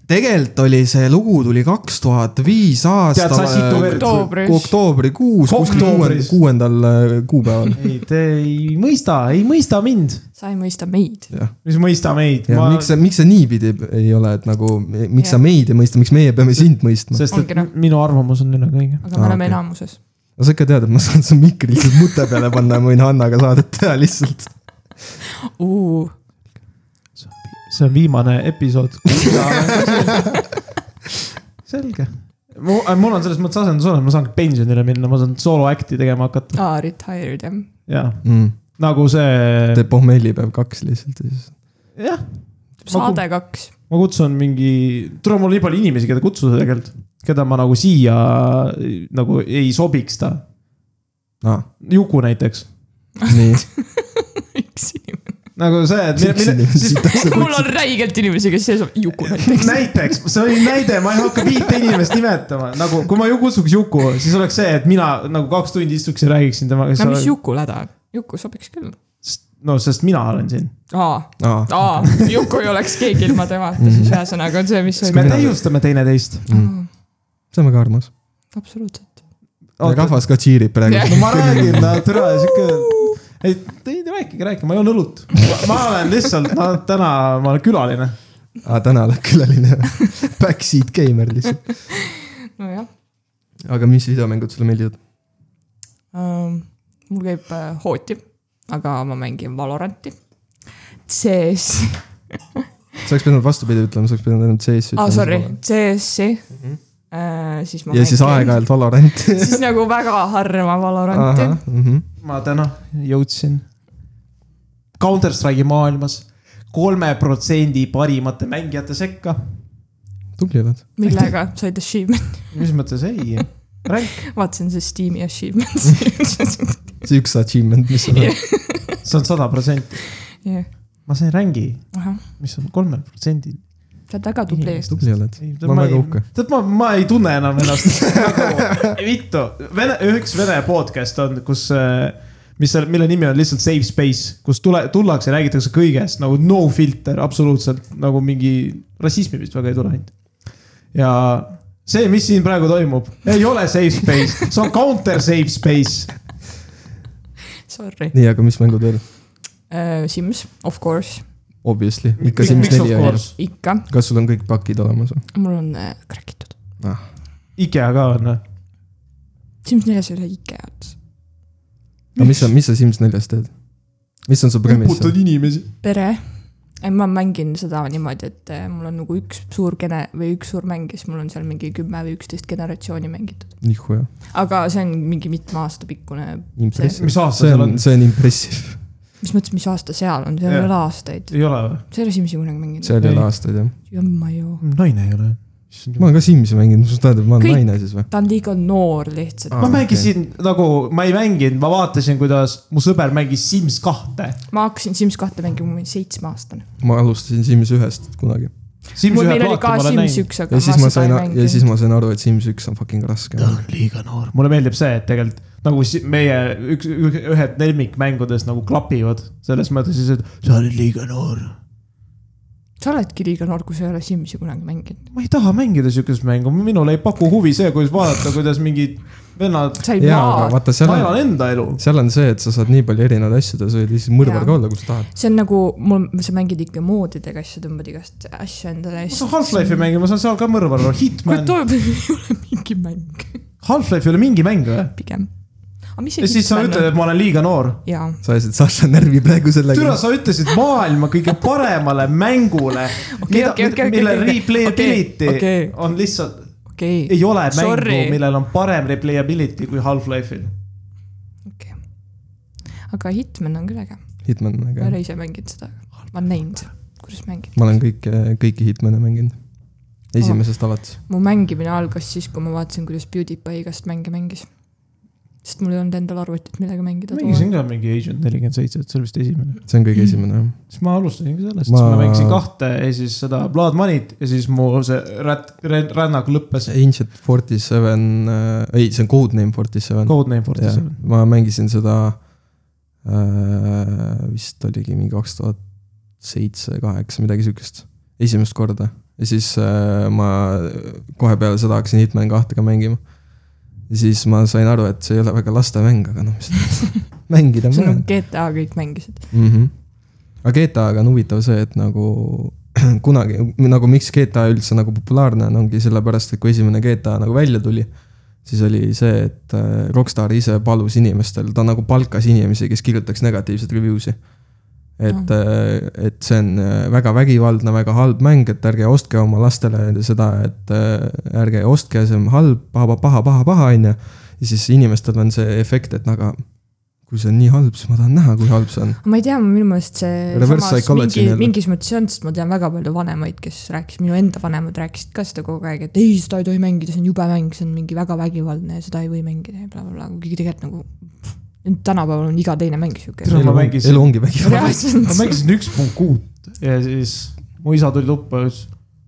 tegelikult oli see lugu tuli kaks tuhat viis
tead sa situ
aasta
veel .
oktoobris .
oktoobrikuus , kuskil kuuendal
Oktoobris. ,
kuuendal äh, kuupäeval .
ei , te ei mõista , ei mõista mind ,
sa ei mõista meid .
jah ,
mis mõista meid .
ja ma... miks see , miks see niipidi ei ole , et nagu , miks ja. sa
Jah.
meid ei mõista , miks meie peame sind mõistma ?
sest et
Ongi noh.
minu arvamus on üle kõige .
aga
Aa,
me oleme
okei.
enamuses .
no sa ikka tead , et ma saan su mikri lihtsalt mute peale panna ja ma võin Hannaga saadet teha lihtsalt .
see on viimane episood .
[laughs]
selge . mul , mul on selles mõttes asendus olemas , ma saan pensionile minna , ma saan sooloäkti tegema hakata .
aa , retired jah .
jaa ,
mm. .
nagu see ,
teeb pohmellipäev kaks lihtsalt ja siis .
jah ,
saade kaks . [laughs]
ma kutsun mingi , tule mul nii palju inimesi , keda kutsuda tegelikult , keda ma nagu siia nagu ei sobiks ta .
[laughs] aa ,
Juku näiteks ,
Ah, nii .
üks inimene .
nagu see , et mille, mille, siis,
mul on räigelt inimesi , kes sees on , Juku näiteks .
näiteks , see oli näide , ma ei hakka viite inimest nimetama , nagu kui ma ju kutsuks Juku , siis oleks see , et mina nagu kaks tundi istuks ja räägiksin temaga .
no mis Juku läda on ? Juku sobiks küll .
no sest mina olen siin .
aa ,
aa ,
aa , Juku ei oleks keegi ilma temata , siis ühesõnaga on see , mis
kas
oli
Mm. me . täiustame teineteist ?
see on väga armas .
absoluutselt .
rahvas ka tšiirib praegu
Jah. [laughs]
no ma räägin , no türa sihuke , ei te ei rääkige , rääkige , ma joon õlut . ma olen lihtsalt , no täna ma olen külaline .
aa , Ah, täna oled [laughs] külaline . Backseat gamer lihtsalt .
nojah
aga mis videomängud sulle meeldivad ?
Ähm, mul käib äh, hooti , aga ma mängin Valoranti . CS ,
sa oleks pidanud vastupidi ütlema , sa oleks pidanud ainult CS-i ütlema .
aa Ah, sorry , CS-i . siis ma
Mhm. ja siis
mängin ,
aeg-ajalt Valorant .
[laughs]
[laughs] mhm.
siis nagu väga harva Valoranti .
ma täna jõudsin Counter Strike'i maailmas kolme protsendi parimate mängijate sekka .
tubli oled .
millega said achievement , [laughs]
mis mõttes ei , ränk .
vaatasin see Steam'i achievement .
see üks achievement , mis sa oled .
see on sada protsenti ,
[laughs] jah ,
ma sain rängi ,
ahah ,
mis on kolmel protsendil .
sa oled väga tubli .
tubli oled . ma olen väga uhke .
tead , ma , ma ei tunne enam ennast [laughs] nagu vittu , vene , üks vene podcast on , kus , mis seal , mille nimi on lihtsalt Safe Space , kus tule , tullakse , räägitakse kõigest nagu no filter , absoluutselt nagu mingi rassismi vist väga ei tule ainult . ja see , mis siin praegu toimub , ei ole safe space , see on counter safe space .
Sorry ,
nii , aga mis mängud veel ?
Sims , of course ,
Obviously , ikka
Miks-
Sims
miks of
neli on ju .
course?
ikka ,
kas sul on kõik pakid olemas või ?
mul on äh, kräkitud .
IKEA ka on , noh.
Sims neljas ei ole IKEA-d ,
aga mis sa , mis sa Sims neljas teed ? mis on su premise ?
uputad inimesi .
pere . ei , ma mängin seda niimoodi , et eh, mul on nagu üks suur gene- või üks suur mäng ja siis mul on seal mingi kümme või üksteist generatsiooni mängitud .
nihuja ,
aga see on mingi mitme aasta pikkune ,
impressive .
mis aasta
see
Ah, seal
on
on ?,
see on impressive .
mis mõttes , mis aasta seal on , seal ei
Jah.
ole aastaid .
ei ole või ?
sa ei ole Simsi kunagi mänginud ?
seal ei
Ei.
ole aastaid jah .
jumma ju .
naine ei ole .
ma olen ka Simsi mänginud , mis tähendab , ma olen
Kõik.
naine siis või ?
ta on liiga noor lihtsalt .
Aa,
ma
okei.
mängisin nagu , ma ei mänginud , ma vaatasin , kuidas mu sõber mängis Sims kahte .
ma hakkasin Sims kahte mängima , ma olin seitsmeaastane .
ma alustasin Sims ühest kunagi .
Sims
mul ,
ühe
meil oli ka
plaati ma olen
Sims
näinud .
üks , aga
ja siis ma sain , ja siis
mänginud .
ma sain aru , et Sims üks on fucking raske .
ta on liiga noor .
mulle meeldib see , et tegelikult nagu si- meie üks , ühed lemmikmängudest nagu klapivad selles mõttes siis , et
sa oled liiga noor .
sa oledki liiga noor , kui sa ei ole Simsi kunagi mänginud .
ma ei taha mängida siukest mängu , minule ei paku huvi see , kuidas vaadata , kuidas mingid vennad ,
sa ei
jaa , aga
maa ,
vaata , seal
ma
on ,
elan enda elu .
seal on see , et sa saad nii palju erinevaid asju teha , sa võid lihtsalt mõrvar
Jaa.
ka olla , kus sa tahad .
see on nagu , mul , sa mängid ikka moodidega asju , tõmbad igast asju endale .
ma saan Half-Life'i mängima , ma saan seal ka mõrvar olla ,
kuule ,
Hitman .
too [laughs] ei ole mingi mäng ,
Half-Life ei ole mingi mäng või ?
pigem . aga mis
ja siis sa ütled , et ma olen liiga noor . Nagu-
jaa ,
sa ajasid Saša närvi praegu
türa ,
sellega .
sa ütlesid maailma kõige paremale [laughs] mängule
Okei, okei, okei, okei,
mille
okei,
replayability
okei, okei.
on lihtsalt ,
okei okay. ,
ei ole mängu
Sorry. ,
millel on parem replayability kui Half-Life'il .
okei okay. . aga Hitman on küll äge ,
Hitman on
ma ei
äge .
ole ise mänginud seda , ma olen näinud , kuidas mängida .
ma olen kõike , kõiki Hitmane mänginud . esimesest alates .
mu mängimine algas siis , kui ma vaatasin , kuidas PewDiePie igast mänge mängis . sest mul ei olnud endal arvutit , millega mängida .
mängisin ka mingi Agent nelikümmend seitse , et see oli vist esimene .
see on
Mm.
kõige esimene jah .
siis ma alustasingi sellest
Ma-
ma... , ma mängisin kahte ja siis seda Blood Money't ja siis mu see rät- , rännak lõppes .
Ancient Forty Seven , ei , see on Codename Forty Seven .
Codename Fortis .
ma mängisin seda äh, , vist oligi mingi kaks tuhat seitse , kaheksa , midagi sihukest , esimest korda . ja siis äh, ma kohe peale seda hakkasin Hitman kahte ka mängima . ja siis ma sain aru , et see ei ole väga lastemäng , aga noh , mis mängida
see
ma
on
olen
nagu GTA kõik mängisid .
mm . -hmm. aga GTA-ga on huvitav see , et nagu [clears throat] kunagi nagu miks GTA üldse nagu populaarne on , ongi sellepärast , et kui esimene GTA nagu välja tuli . siis oli see , et äh, Rockstar ise palus inimestel , ta nagu palkas inimesi , kes kirjutaks negatiivseid review si . et , et see on äh, väga vägivaldne , väga halb mäng , et ärge ostke oma lastele seda , et äh, ärge ostke , see on halb , paha , paha , paha , paha , on ju . ja siis inimestel on see efekt , et no aga kui see on nii halb , siis ma tahan näha , kui halb see on .
ma ei tea , minu meelest see
Reverse
samas
psychology
mingi,
nii-öelda.
mingis mõttes on , sest ma tean väga palju vanemaid , kes rääkisid , minu enda vanemad rääkisid ka seda kogu aeg , et ei , seda ei tohi mängida , see on jube mäng , see on mingi väga vägivaldne ja seda ei või mängida ja blablabla , kuigi tegelikult nagu pff, tänapäeval on iga teine mäng [laughs] siuke .
Tere, ma
elu,
mängisin-
elu ongi vägivaldne .
ma mängisin üks punkt kuut ja siis mu isa tuli tuppa ja ütles ,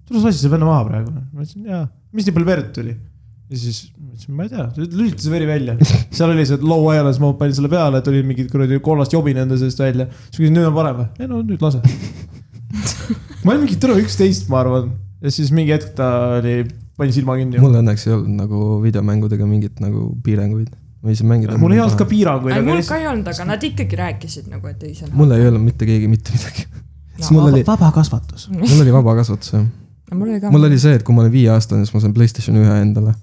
tule sa lasid selle venna maha praegu . ma ütlesin jaa , mis nii palju verd tuli ? ja siis ma ütlesin , ma ei tea , lülitas veri välja . seal oli see low wireless , ma panin selle peale , tuli mingid kuradi kollast jobi nende seest välja . siis ma küsin , nüüd on parem või ? ei no nüüd lase . ma olin mingi tule üksteist , ma arvan . ja siis mingi hetk ta oli , pani silma kinni .
mul õnneks ei olnud nagu videomängudega mingit nagu piiranguid , ma ise mängida .
mul ei olnud ka piiranguid ,
ei ,
aga
mul
lihtsalt
ka ei olnud , aga nad ikkagi rääkisid nagu , et ei , see on
mulle ei öelnud mitte keegi mitte midagi . siis mul oli ,
vaba kasvatus .
mul oli vaba kasvatus jah .
Ja mul oli ka .
mul oli see , et kui ma olin viieaastane , siis ma sain Playstation ühe endale .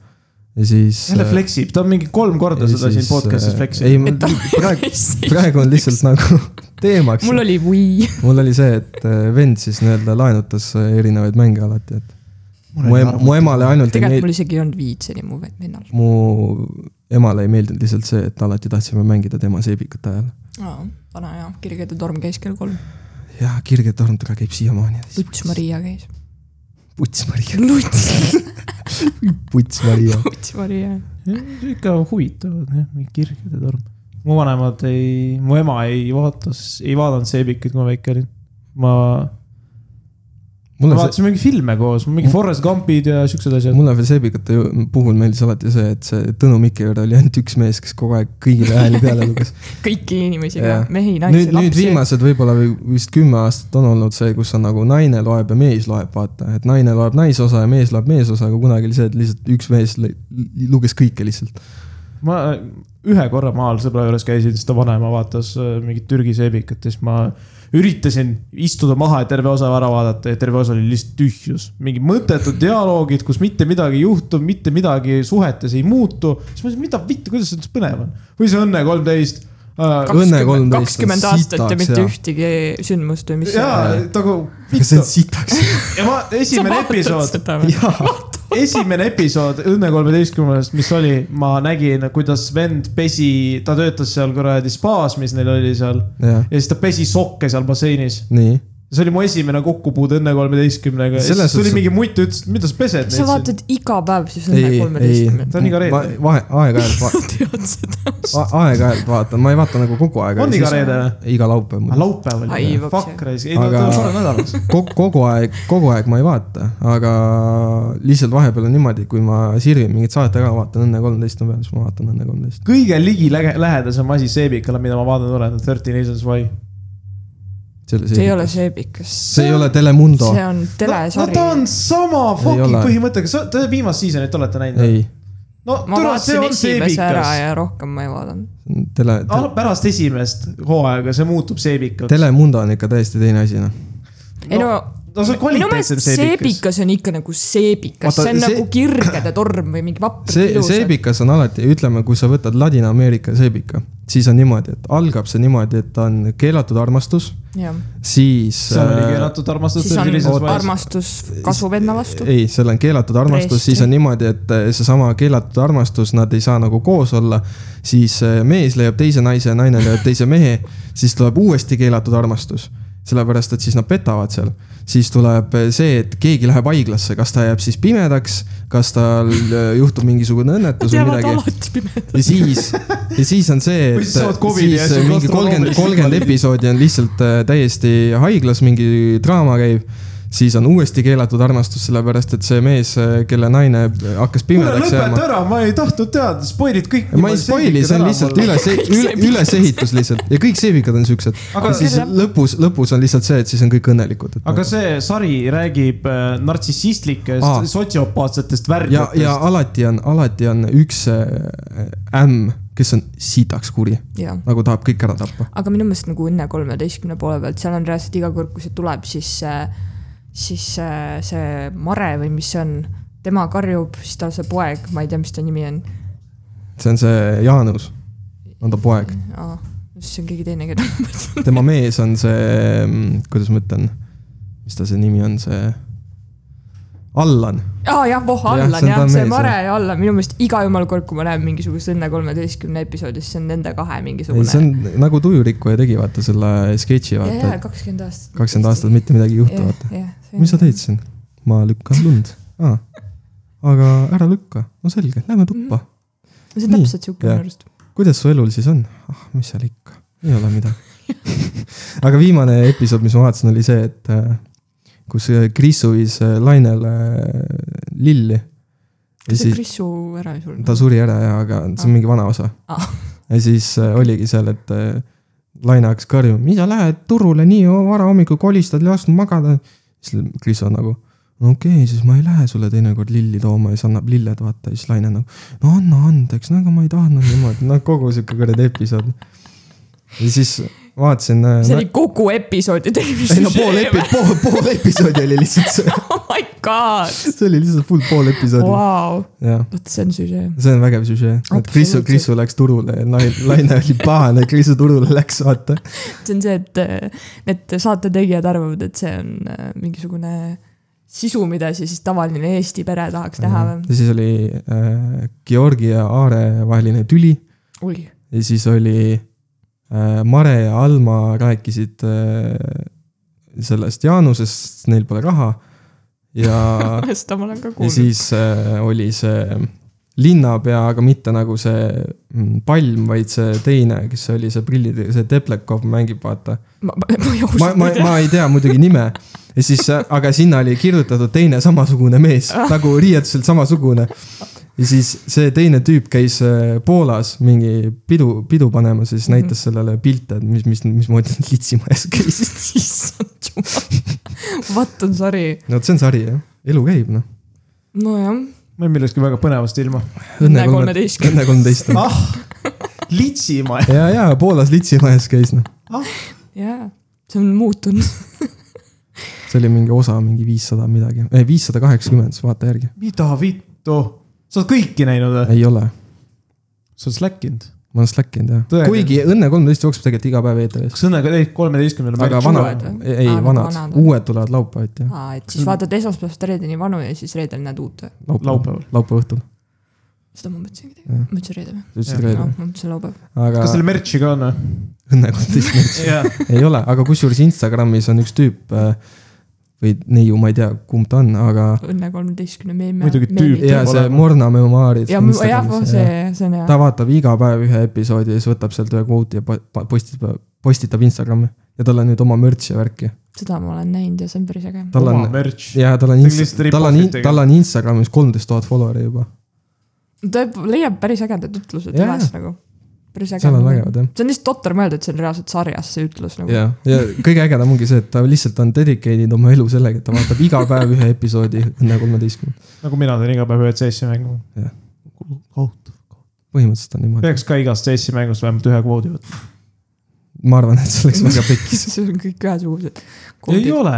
ja siis . äh,
jälle flexib , ta on mingi kolm korda seda siin podcast'is flexinud .
ei , praegu , praegu on lihtsalt nagu [laughs] teemaks .
mul oli Wii .
mul oli see , et äh, vend siis nii-öelda laenutas äh, erinevaid mänge alati , et mu ema , mu emale ainult ei
[laughs] tegelikult
meeldinud ,
mul isegi ei olnud Wii'd , see oli mu vennal .
mu emale ei meeldinud lihtsalt see , et alati tahtsime mängida tema seebikute ajal .
vana hea , Kirgede torm käis kell kolm .
jah , Kirge torm taga käib siiamaani .
Luts Maria käis .
Puts Maria . Luts . Puts Maria .
Luts Maria .
ikka huvitavad jah , mingi kirgede torm . mu vanemad ei , mu ema ei vaatas , ei vaadanud seebikuid , kui ma väike olin . ma ,
[laughs]
me
mulle see ,
vaatasime mingeid filme koos , mingi Forest Gumpid ja siuksed asjad .
mulle veel seebikate ju- puhul meeldis alati see , et see Tõnu Mikker oli ainult üks mees , kes kogu aeg kõigile hääli peale luges .
kõiki inimesi ka
Jaa. ,
mehi , naisi ,
nüüd , nüüd
lapsi .
viimased võib-olla või vist kümme aastat on olnud see , kus on nagu naine loeb ja mees loeb , vaata , et naine loeb naisosa ja mees loeb meesosa , aga kunagi oli see , et lihtsalt üks mees lõi- luges kõike lihtsalt .
ma ühe korra maal sõbra juures käisin , siis ta vanaema vaatas äh, mingit Türgi seebikat ja siis ma üritasin istuda maha ja terve osa ära vaadata ja terve osa oli lihtsalt tühjus . mingid mõttetud dialoogid , kus mitte midagi ei juhtu , mitte midagi suhetes ei muutu . siis ma mõtlesin , mida vittu , kuidas see üldse põnev on või see Õnne kolmteist . äh,
Õnne kolmteist on
kakskümmend aastat ja
sitaks,
mitte
jaa.
ühtegi sündmust või mis
ja
see .
nagu
see
vittu
on [laughs] sitaks .
ja ma esimene episood ,
seda või ?
esimene episood Õnne kolmeteistkümnest , mis oli , ma nägin , kuidas vend pesi , ta töötas seal kuradi spaas , mis neil oli seal .
jah ,
ja siis ta pesi sokke seal basseinis
nii .
see oli mu esimene kokkupuude Õnne kolmeteistkümnega .
Selles
siis tuli
suhtes-
mingi mutt ja ütles , et mida sa pesed
sa
neid siin .
vaatad iga päev siis
ei
Õnne ,
ei
kolmeteistkümnendat ,.
See on iga reede.
vahe , aeg-ajalt va, ,
tead seda ?
aeg-ajalt vaatan , ma ei vaata nagu kogu aeg .
on iga reede või ?
iga laupäev
Ah,
mul .
laupäev oli
Ai, . voks,
Fuck
jah.
raisk , ei no
Aga-
ta on sada nädalas .
kogu , kogu aeg , kogu aeg ma ei vaata , aga lihtsalt vahepeal on niimoodi , kui ma sirvin mingit saadet ära , vaatan Õnne kolmteist on peal , siis ma vaatan Õnne kolmteist .
kõige ligilähedasem asi Seebikale , mida ma vaadanud olen , on Thirteen Reasons Why .
see ei ole . seebikas .
see ei ole Telemundo .
see on
no
telesari
ta on sama fucking
ole.
põhimõttega , sa , te viimast seasonit olete näinud ?
ei ,
no
ma
türa , see
vaatasin
on
esimese ära
seebikas .
ja rohkem ma ei vaadanud .
tele, tele ,
pärast esimest hooaega see muutub seebikaks .
Telemundo on ikka täiesti teine asi , noh .
ei no
no see on
minu meelest
kvaliteetsem seebikas .
seebikas on ikka nagu seebikas ,
Vaata,
see on
see-
nagu kirgede torm või mingi vapper
see , seebikas on alati , ütleme , kui sa võtad Ladina-Ameerika seebika , siis on niimoodi , et algab see niimoodi , et on keelatud armastus ,
jah ,
siis . äh,
seal oli keelatud armastus .
siis on
see
armastus kasuvenna vastu .
ei , seal on keelatud armastus ,
Preestri.
siis on niimoodi , et eh, seesama keelatud armastus , nad ei saa nagu koos olla . siis eh, mees leiab teise naise , naine leiab teise mehe , siis tuleb uuesti keelatud armastus . sellepärast , et siis nad petavad seal , siis tuleb eh, see , et keegi läheb haiglasse , kas ta jääb siis pimedaks , kas tal eh, juhtub mingisugune õnnetus või
jäävad
midagi .
alati pimedad .
ja siis , ja siis on see ,
Või
et
siis saavad COVID-i ja
siis
siis
mingi kolmkümmend ,
gastronoomilised
kolmkümmend
valid.
episoodi on lihtsalt äh, täiesti haiglas , mingi draama käib . siis on uuesti keelatud armastus , sellepärast et see mees , kelle naine äh, hakkas
kuule ,
pimedaks
lõpeta
jääma .
ära , ma ei tahtnud teada , spoilid kõik .
ma ei spoil'i , see on lihtsalt üles , ülesehitus lihtsalt ja kõik seevikad on siuksed .
Aga-
ja siis lõpus , lõpus on lihtsalt see , et noh. siis on kõik õnnelikud .
aga see sari räägib äh, nartsissistlikest
Aa. ,
sotsiopaatsetest
ja , ja
värdjatest .
alati on , alati on üks äh, ämm , kes on sitaks kuri ,
jah ,
nagu tahab kõik ära tappa .
aga minu meelest nagu Õnne kolmeteistkümne poole pealt , seal on reaalselt iga kord , kui see tuleb , siis , siis äh, see Mare või mis see on , tema karjub , siis tal see poeg , ma ei tea , mis ta nimi on .
see on see Jaanus , on ta poeg .
see on keegi teine , keda
[laughs]
ma mõtlen .
tema mees on see , kuidas ma ütlen , mis ta see nimi on , see Allan .
aa jah , voh ,
Jah,
Allan
see on
jah ,
ta
see
mees,
Mare
jah.
ja Allan , minu meelest iga jumala kord , kui ma näen mingisugust Õnne kolmeteistkümne episoodist , see on nende kahe
ei , see
mingisugune .
on nagu Tujurikkuja tegi , vaata selle sketši ,
ja ,
vaata
ja , kakskümmend aastat .
kakskümmend aastat mitte midagi ei juhtu , vaata .
jah ,
mis sa teed siin ? ma lükkan lund ah. . aga ära lükka , no selge , lähme tuppa .
see
Nii,
on täpselt siuke
jah.
minu arust .
kuidas su elul siis on ? ah , mis seal ikka , ei ole midagi . [laughs] aga viimane episood , mis ma vaatasin , oli see , et äh, kus äh, Kris suvis äh, Lainele äh, lilli .
kas see Krisu ära ei
ta
surnud ?
suri ära ja , aga see on mingi vana osa
Ah. .
[laughs] ja siis äh, oligi seal , et äh, Laine hakkas karjuma , mis sa lähed turule nii o- varahommikul kolistad , lasknud magada . siis Kris on nagu , no okei okay, , siis ma ei lähe sulle teinekord lilli tooma ja siis annab lilled , vaata , siis Laine nagu , no anna andeks , no aga ma ei tahtnud niimoodi , no kogu sihuke kuradi episood . ja siis vaatasin .
see oli kogu episoodi
ei no pool epi- , pool , pool episoodi oli lihtsalt see ,
[laughs] oh my god ,
see oli lihtsalt full pool episoodi wow. ,
vau ,
jah
vot see on süžee .
see on vägev süžee , et Krisu ,
Absoluutselt.
Krisu läks turule ja Lai- [laughs] Laine oli pahane , et Krisu turule läks , vaata .
see on see , et äh, need saate tegijad arvavad , et see on äh, mingisugune sisu , mida siis tavaline Eesti pere tahaks näha
ja
või ?
siis oli äh, Georgi ja Aare vaheline tüli
oi ,
ja siis oli äh, Mare ja Alma rääkisid äh, sellest Jaanusest , neil pole raha . ja ,
[laughs] seda ma olen ka
ja
kuulnud .
siis äh, oli see linnapea , aga mitte nagu see mm, Palm , vaid see teine , kes oli see prillid , see Teplekov mängib , vaata .
ma , ma , ma ei
ma , ma ,
ausalt ei tea .
ma ei tea muidugi nime . ja siis , aga sinna oli kirjutatud teine samasugune mees , nagu riietuselt samasugune . ja siis see teine tüüp käis äh, Poolas mingi pidu , pidu panemas ja siis näitas sellele pilte , et mis , mis , mismoodi [laughs] nad litsimajas käisid .
[laughs] issand jumal , what on sari ,
no vot , see on sari jah , elu käib noh .
nojah ,
ma jäin millestki väga põnevast ilma .
Õnne kolmeteistkümne.
Õnne kolmteist .
ah , litsimaa .
ja , ja Poolas litsimajas käis noh ,
jaa , see on muutunud .
see oli mingi osa , mingi viissada midagi , viissada kaheksakümmend , siis vaata järgi .
mida vittu , sa oled kõiki näinud või ?
ei ole ,
sa oled slack inud .
ma olen slack inud jah ,
Tõega?
kuigi Õnne kolmteist jookseb tegelikult iga päev eetris .
kas Õnne kolmeteistkümnendal
aga
vanad
vanad
või? ,
ei
Aa,
ah, vanad,
nagu vanad
vanad ,
on.
uued tulevad laupäeviti jah ,
aa , et siis vaatad esmaspäevast reedeni vanu ja siis reedel näed uut või ?
laupäeval,
Laupäeval.
laupäeval. , laupäeva õhtul .
seda ma mõtlesingi teha ,
Jah.
ma mõtlesin reede või ?
sa ütlesid
Jah.
reede
noh ,, ma mõtlesin laupäev .
aga
kas teil merch'i ka on või ?
õnne kontekstis märts
jah ,
[laughs] ei ole , aga kusjuures Instagramis on üks tüüp äh, või neiu , ma ei tea , kumb ta on , aga
õnne kolmeteistkümne meeme .
Muidugi tüüp-
ja see
olema.
Morna memaarid .
ja , jah , see , see on hea .
ta vaatab iga päev ühe episoodi ja siis võtab sealt ühe kvooti ja po- po- postitab , postitab Instagrami ja tal on nüüd oma mürtsi ja värki .
seda ma olen näinud ja see on päris äge .
tal
oma
on ,
merch .
ja tal on
Ta , lihtsalt rip-off'id
tal on ,
tegelikult.
tal on Instagramis kolmteist tuhat follower'i juba ,
ta leiab päris ägedad ütlused
Jaa.
üles nagu . päris äge .
seal on vägevad jah .
see on lihtsalt totter mõelda , et see on reaalselt sarjas see ütlus nagu . [laughs]
ja , ja kõige ägedam ongi see , et ta lihtsalt on dedicated oma elu sellega , et ta vaatab iga päev ühe episoodi Õnne kolmeteistkümnendat ,
nagu mina teen iga päev ühe CS-i mängu .
koht .
põhimõtteliselt on niimoodi .
peaks ka igast CS-i mängust vähemalt ühe kvoodi võtma .
ma arvan , et see oleks väga pekkis .
see on kõik ühesugused .
ei ole .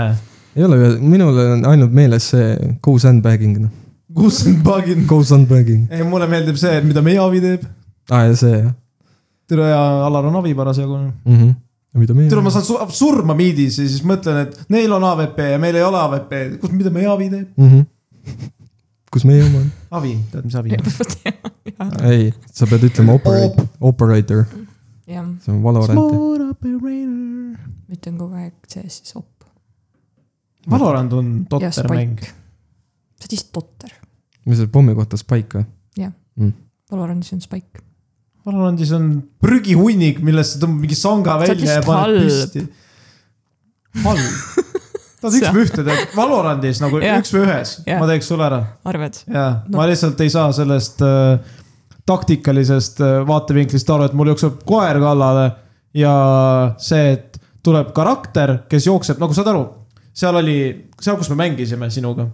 ei ole , minul on ainult meeles see go sandbagging , noh ,
kus on bug'id ?
go sandbagging ,
ei , mulle meeldib see , mida meie avi teeb .
aa ja see jah
tere , Alar on avi parasjagu .
mm . -hmm. mida meie
tere , ma saan su- surma miidis ja siis mõtlen , et neil on AVP ja meil ei ole AVP . kus , mida meie avi teeb ?
mm . -hmm. kus meie oma on ?
avi , tead , mis
[laughs]
avi on ? Äh.
ei , sa pead ütlema operator , operator ,
jah ,
see on Valorant .
Small operator .
ma ütlen kogu aeg CS-is op
Valorant on
ja
totter mäng .
Spike . sa oled lihtsalt totter .
mis see pommi kohta Spike või ?
Valorantis on Spike .
Valorandis on prügihunnik , millest sa tõmbad mingi sanga
oled
välja ja
lihtsalt
paned
halb.
püsti . halb .
[laughs]
ta teeks me ühte , tead , Valorandis nagu
Jah.
üks või ühes ,
Jah.
ma teeks sulle ära .
arvad ?
jaa ,
No.
ma lihtsalt ei saa sellest äh, taktikalisest äh, vaatevinklist aru , et mul jookseb koer kallale ja see , et tuleb karakter , kes jookseb , nagu saad aru , seal oli , seal , kus me mängisime sinuga ,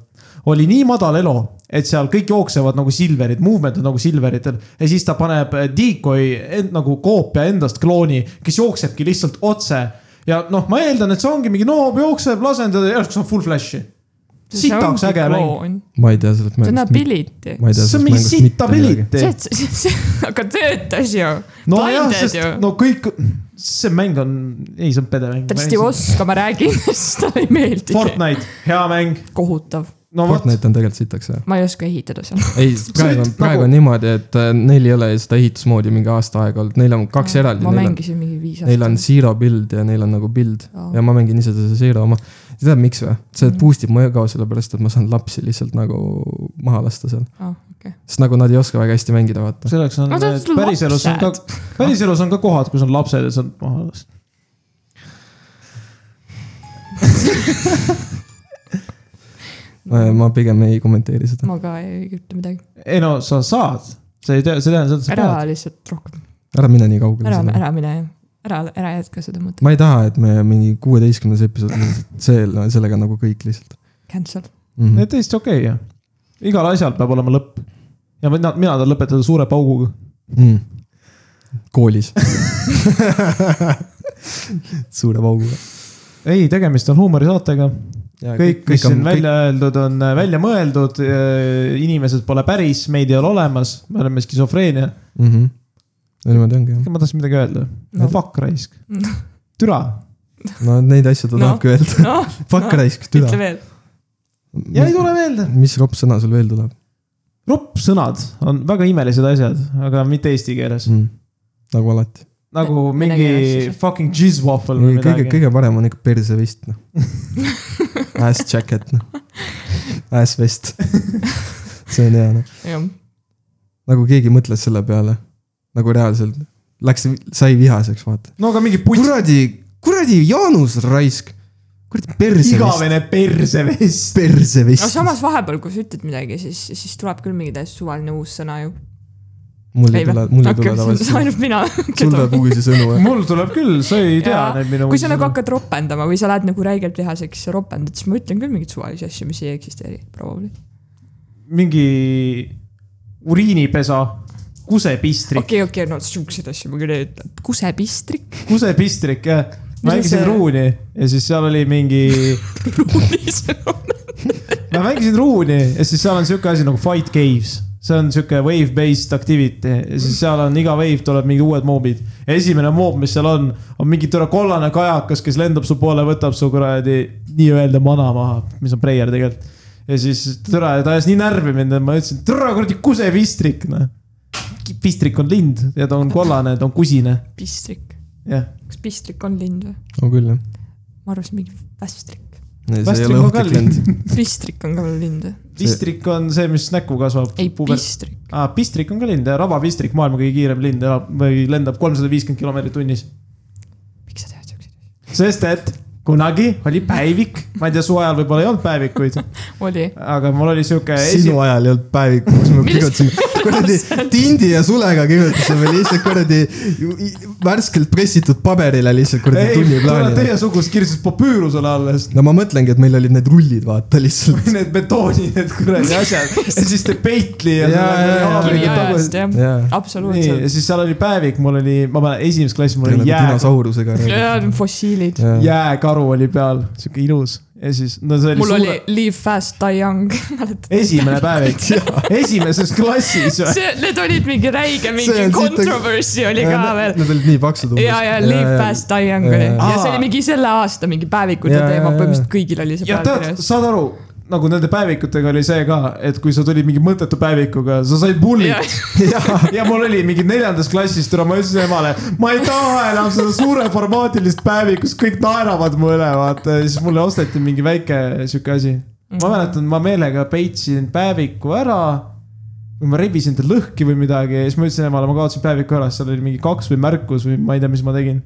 oli nii madal elo , et seal kõik jooksevad nagu Silverid , movement on nagu Silveritel ja siis ta paneb äh, decoy end, nagu koopia endast klooni , kes jooksebki lihtsalt otse ja noh , ma eeldan , et see ongi mingi noob jookseb , lasen teda ja järsku saab full flash'i . sitaks äge mäng .
ma ei tea sellest
see on
mängust .
ability .
ma ei tea
see on mingi sitta .
see ,
piliti .
et see , see , aga töötas ju .
no jah ,
blinded
sest
ju .
no kõik , see mäng on , ei see on pede mäng .
ta lihtsalt ei . oska , ma räägin , [laughs] sest talle ei meeldi .
Fortnite , hea mäng .
kohutav ,
no vot ,
Fortnite on tegelikult sitaks jah .
ma ei oska ehitada seal .
ei , praegu
nagu
on , praegu on niimoodi , et äh, neil ei ole seda ehitusmoodi mingi aasta aega olnud , neil on kaks eraldi .
ma mängisin mingi viis aastat .
Neil on zero build ja neil on nagu build
Aa.
ja ma mängin ise seda zero oma . tead miks või ? see
Mm.
boost ib mu ego sellepärast , et ma saan lapsi lihtsalt nagu maha lasta seal .
Aa, okei.
sest nagu nad ei oska väga hästi mängida , vaata .
selleks on
No ta on sul
päriselus on ka , päriselus on ka kohad , kus on lapsed ja sa oled maha alles .
Mm.
ma pigem ei kommenteeri seda .
ma ka ei ütle midagi .
ei no sa saad , sa ei tea , see tähendab seda ,
ära
sa
lihtsalt rohkem ,
ära mine nii kaugele .
ära , ära mine , ära , ära jätka seda mõtet ,
ma ei taha , et me mingi kuueteistkümnes episood , see , sellega on nagu kõik lihtsalt
cancel .
mm .
pead .
-hmm.
et täiesti okei okay, jah . igal asjal peab olema lõpp . ja mina , mina tahan lõpetada suure pauguga .
Mm.
[laughs]
koolis suure pauguga .
ei , tegemist on huumorisaatega . kõik , mis siin välja öeldud , on äh, välja mõeldud . inimesed pole päris , meid ei ole olemas , me oleme skisofreenia .
mm . -hmm. no niimoodi ongi jah ,
ma tahtsin midagi öelda no. .
[laughs] No.
Fuck raisk
Mm. .
türa .
no neid asju ta no.
No.
tahabki öelda .
noh ,
Fuck
No.
raisk ,
ütle
türa .
veel .
ja ei tule meelde .
mis ropp sõna sul veel tuleb
roppsõnad on väga imelised asjad , aga mitte eesti keeles .
Mhm.
mm. ? nagu alati .
nagu
Vene keeles
mingi
siis.
fucking jizz waffle või
kõige ,
midagi .
kõige parem on ikka perse vist
[laughs]
noh . Ass jacket noh . Ass vest . see on hea noh .
jah ,
nagu keegi mõtles selle peale , nagu reaalselt , läks , sai vihaseks , vaata .
no aga mingi puts ,
kuradi , kuradi Jaanus raisk , kuradi perse vist ,
igavene persevest .
perse
no
vist .
samas vahepeal , kui sa ütled midagi , siis , siis tuleb küll mingi täiesti suvaline uus sõna ju .
mul ei
ei
tule ,
või ?
mul ei
okei
tule ,
[laughs] see on
tavaliselt .
ainult mina .
sul tuleb uusi sõnu jah ?
mul tuleb küll , sa ei tea
Jaa.
neid minu .
kui sa nagu hakkad ropendama või sa lähed nagu räigelt lihaseks ja ropendad , siis ma ütlen küll mingeid suvalisi asju , mis ei eksisteeri , probably .
mingi uriinipesa , kusepistrik ,
okei , okei , no siukseid asju ma küll ei ütle . [laughs] kusepistrik ,
kusepistrik jah . ma
Mis on
mängisin
see-
ruuni ja siis seal oli mingi
ruunis .
ma mängisin ruuni ja siis seal on sihuke asi nagu fight caves . see on sihuke wave-based activity ja siis seal on iga wave tuleb mingid uued moobid . esimene moob , mis seal on , on mingi tore kollane kajakas , kes lendab su poole , võtab su kuradi nii-öelda mana maha , mis on prayer tegelikult . ja siis türa , ta ajas nii närvi mind , et ma ütlesin , türa kuradi kusevistrik , noh . pistrik on lind ja ta on kollane , ta on kusine ,
pistrik .
jah .
kas pistrik on lind või ?
on küll jah .
ma arvasin mingi västrik .
see ei
Västrik
ole
on
ohtlik
kallis.
lend .
pistrik on ka veel lind või ?
pistrik on see , mis näkku kasvab .
ei , pistrik .
ah, . pistrik on ka lind , rabapistrik , maailma kõige kiirem lind , elab või lendab kolmsada viiskümmend kilomeetrit tunnis .
miks sa tead siukseid asju ?
sest et kunagi oli päevik , ma ei tea , suve ajal võib-olla ei olnud päevikuid ,
oli .
aga mul oli
Äh,
sihuke esi...
sinu . ajal ei olnud päeviku , kus ma kirjutasin [laughs] kuradi tindi ja sulega kirjutasime lihtsalt kuradi ju- värskelt pressitud paberile lihtsalt kuradi
ei ,
tunniplaanile .
teiesugust kirjutas papüürusele alles .
no ma mõtlengi , et meil olid need rullid , vaata lihtsalt .
Need betoonid , need kuradi asjad ja siis te peitli ja,
Jaa, jaa, jaa.
ja .
kiviajast jah ,
jaa ,
nii , ja
absoluutselt .
siis seal oli päevik , mul oli , ma mäletan , esimeses klassis mul oli jää ,
dinosaurusega .
ja fossiilid .
jääkaru oli peal , sihuke ilus ja siis , no see oli .
mul oli Live fast , die young , [laughs] mäletad ?
esimene
[laughs]
päevik , esimeses klassis või ?
see , need olid mingi räige ,
See
mingi
on siit-
controversy oli ka veel .
Nad olid nii paksud
ja , ja Live fast , die young oli
jaa.
ja see oli mingi selle aasta mingi päevikute
Jaa, jaa,
teema ,
jaa.
põhimõtteliselt kõigil oli see
ja tead ,
pealkirjas .
saad aru , nagu nende päevikutega oli see ka , et kui sa tulid mingi mõttetu päevikuga , sa said
Jaa.
bullit . ja, [laughs] ja mul oli mingi neljandas klassis , tule ma ütlesin emale , ma ei taha enam seda suureformaatilist päevikust , kõik naeravad mu üle , vaata , ja siis mulle osteti mingi väike sihuke asi . ma mäletan , ma meelega peitsin päeviku ära või ma rebisin ta lõhki või midagi ja siis ma ütlesin emale , ma kaotasin päeviku ära , seal oli mingi kaks või märkus või ma ei tea , mis ma tegin .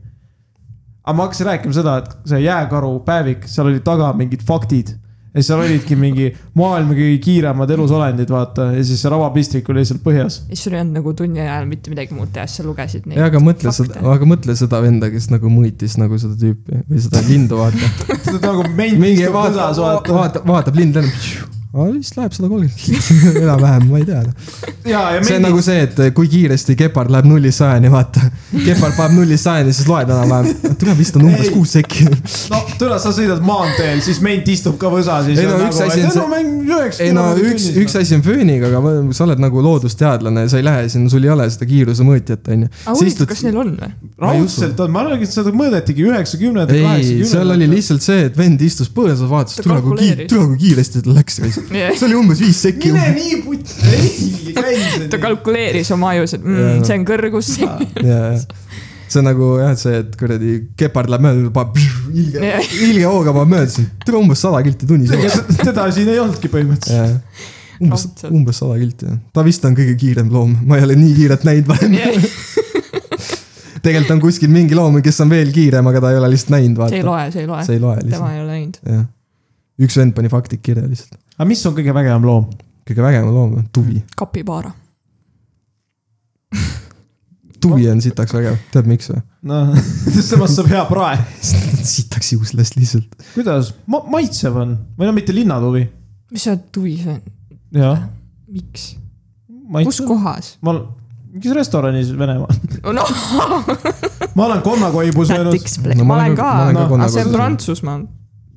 aga ma hakkasin rääkima seda , et see jääkaru päevik , seal oli taga mingid faktid . ja seal olidki mingi maailma kõige kiiremad elusolendid , vaata , ja siis see rabapistrik oli seal põhjas .
ja sul ei olnud nagu tunni ajal mitte midagi muud teha , siis sa lugesid neid
ja , aga mõtle seda ,
fakte.
aga mõtle seda venda , kes nagu mõõtis nagu seda tüüpi või seda lindu , vaata .
ta nagu ment
mingi
istub
vaatab ,
põsas , vaata .
vaatab , vaatab lind lennab . aga vist läheb sada kolmkümmend , [laughs] enam-vähem , ma ei tea .
ja , ja
see on nagu
ment ,
see , et kui kiiresti kepard läheb nullist sajani , vaata . kepard paneb nullist sajani , siis loed [laughs] enam-vähem . tule vist on umbes
Ei.
kuus sekki .
no tule , sa sõidad maanteel , siis ment istub ka põsas ja siis
Ei no
on
üks
nagu ,
asi
et
on
ei no
see-
mäng üheks .
ei no üks , üks asi on fööniga , aga ma- sa oled nagu loodusteadlane , sa ei lähe sinna , sul ei ole seda kiirusemõõtjat , onju .
aga huvitav , kas neil on või ?
raudselt on , ma arvan , et seda mõõdetigi üheksakümnendatel ,
ei ,
kaheksakümnendatel .
seal oli lihtsalt see , et vend istus põõsas , vaatas ,
Ta
tule kui kiir- ,
kalkuleeris.
tule kui kiiresti ta
[laughs]
läks . see
jah ,
oli umbes viis sekki .
mine nii putt , ei käi
ta . kalkuleeris oma ajus , et
Jaa.
mm, see on kõrgus . [laughs]
jaa , jaa . see on nagu jah , see , et kuradi kepard läheb mööda , paneb ilge ,
Jah.
ilge hooga paneb mööda , siis tule umbes sada kilti tunnis jooksma .
teda siin ei olnudki põhimõtteliselt .
umbes ,
Raudselt.
umbes sada kilti jah . ta vist on kõige kiirem loom , ma ei ole nii kiiret näinud varem . tegelikult on kuskil mingi loom , kes on veel kiirem , aga ta ei ole lihtsalt näinud ,
see
vaata .
ei loe , see ei loe .
see ei loe
tema
lihtsalt ,
ei ole näinud .
jah . üks vend pani faktid kirja lihtsalt .
aga mis on kõige vägevam loom ?
kõige vägevam loom on tuvi .
kapibaara .
tuvi on sitaks vägev , tead miks või ? [laughs]
[laughs] noh , temast saab hea prae .
sitaks juuslast lihtsalt .
kuidas Ma ? maitsev on või no mitte linnatuvi .
mis see tuvi see on ?
jah ,
miks ? kus
maitsev .
kohas ?
ma olen , mingis restoranis Venemaal .
noh ,
ma olen
[laughs]
konnakoibu söönud ,
tactics play , ma olen ka .
ka
aga see on
konnakodus.
Prantsusmaal .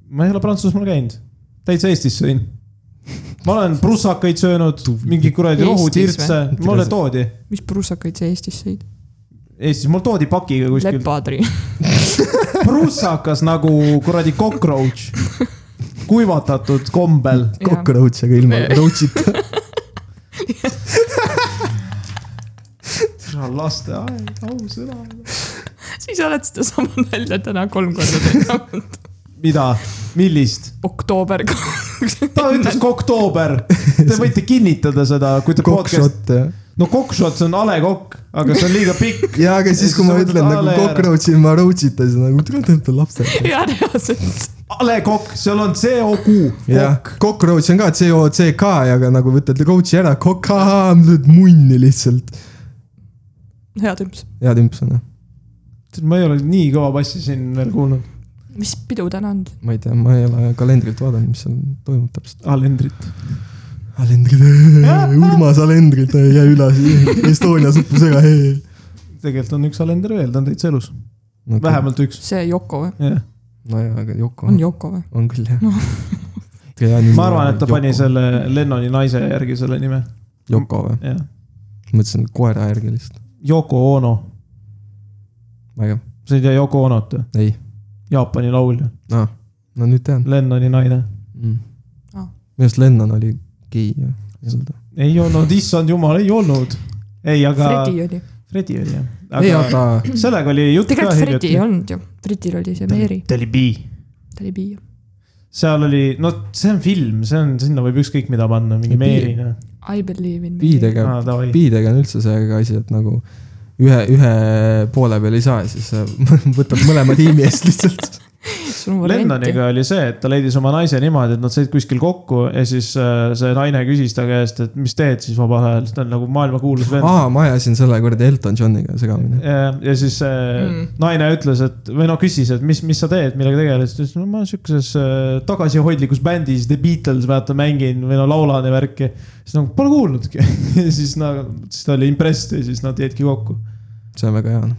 ma ei ole Prantsusmaal käinud . täitsa Eestis sõin . ma olen prussakaid söönud , mingi kuradi
Eestis
rohutirtse , mulle toodi .
mis prussakaid sa Eestis sõid ?
Eestis , mul toodi pakiga kuskil .
lepadri .
[laughs] prussakas nagu kuradi cockroach , kuivatatud kombel .
kokku rõhutsega ilma
[laughs]
rõhutsita .
lasteaed , ausõna .
siis oled sedasama nalja täna kolm korda teinud .
mida , millist ?
oktoober . [laughs]
ta ütles kokkoober , te võite kinnitada seda , kui te podcast ,
kokkšott jah .
no kokkšot , see on a le kokk , aga see on liiga pikk .
ja aga siis , kui ma ütlen nagu cockroach'i , ma roadsita , siis nagu tule tõmba lapse .
[laughs] jaa , reaalselt .
a le kokk , seal on C O Q ,
jah ,
kokk .
cockroach on ka C O C K , aga nagu võtad coach'i ära , koka , lööd munni lihtsalt .
hea tümps .
hea tümps on jah .
Oh. ma ei ole nii kõva bassi siin veel kuulnud .
mis pidu täna on ?
ma ei tea , ma ei ole kalendrit vaadanud , mis seal toimub täpselt .
Alendrit .
Alendrid , Urmas Alendrid , jää üle , Estonia suppus ära .
tegelikult on üks Alender veel , ta on täitsa elus , vähemalt üks .
see Yoko või ?
jah ,
nojah , aga Yoko
on Yoko või ?
on küll jah .
ma arvan , et ta pani . selle Lennoni naise järgi selle nime ,
Yoko või ?
jah .
mõtlesin koera järgi lihtsalt .
Yoko Ono ,
väga ,
sa ei tea Yoko Onot või ?
ei ,
Jaapani laulja ,
no nüüd tean
Lennoni naine .
mm.
Aa. .
minu arust Lennon oli gei ja ei olnud .
ei olnud , issand jumal , ei olnud . ei , aga
Fredi oli .
Fredi oli jah .
ei ,
aga
aga
sellega oli jutt ka
tegelikult Fredi ei
hiljuti .
olnud ju , Fredil oli see Mary ,
ta oli bi .
ta oli bi .
seal oli , no see on film , see on , sinna võib ükskõik mida panna , mingi
Bi-
Mary , noh .
I believe in Mary .
piidega ,
aa , davai .
piidega on üldse see asi , et nagu ühe , ühe poole peal ei saa , siis sa [laughs] võtad mõlema tiimi eest lihtsalt .
Lennoniga oli see , et ta leidis oma naise niimoodi , et nad said kuskil kokku ja siis äh, see naine küsis ta käest , et mis teed siis vabal ajal , ta on nagu maailmakuulus vend .
aa , ma ajasin selle kuradi Elton Johniga segamini .
ja ja siis see mm.
Mm.
naine ütles , et või no küsis , et mis , mis sa teed , millega tegeled , siis ta ütles , no ma olen sihukeses äh, tagasihoidlikus bändis The Beatles vaata mängin või no laulan ja värki . siis nagu pole kuulnudki . [laughs] ja siis nagu , siis ta oli impressed ja siis nad jäidki kokku .
see on väga hea .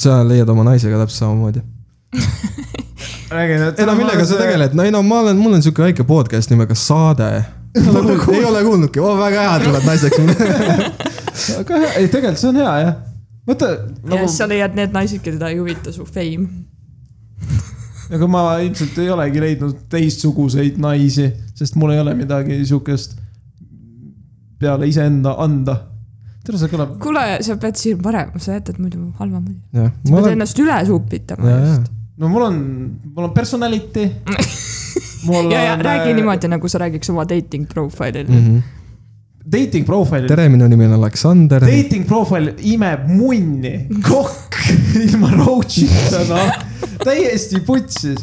sa leiad oma naisega täpselt samamoodi .
räägin , et .
ei no millega sa ? tegeled , no ei no ma olen , mul on sihuke väike podcast nimega Saade . [laughs] ei ole kuulnudki , oo väga hea , tulevad naiseks . [laughs]
aga hea- ei tegelikult see on hea jah . mõtle
ja
nagu
siis sa leiad need naised , keda ei huvita su fame .
aga nagu ma ilmselt ei olegi leidnud teistsuguseid naisi , sest mul ei ole midagi sihukest peale iseenda anda . tere , see kõlab .
kuule , sa pead siin parem , sa jätad muidu halva mulje .
jah ,
sa
ma
pead
olen ,
ennast üle supitama
ja , ja
just .,
no mul on , mul on
[laughs]
personality . mul
ja , ja
on äh,
räägi . niimoodi , nagu sa räägiks oma dating profile'il
Mhm.
mm .
Dating profile ,
tere , minu nimi on Aleksander .
dating profile imeb
[laughs]
munni , kokk ilma roachita , noh , täiesti putsis .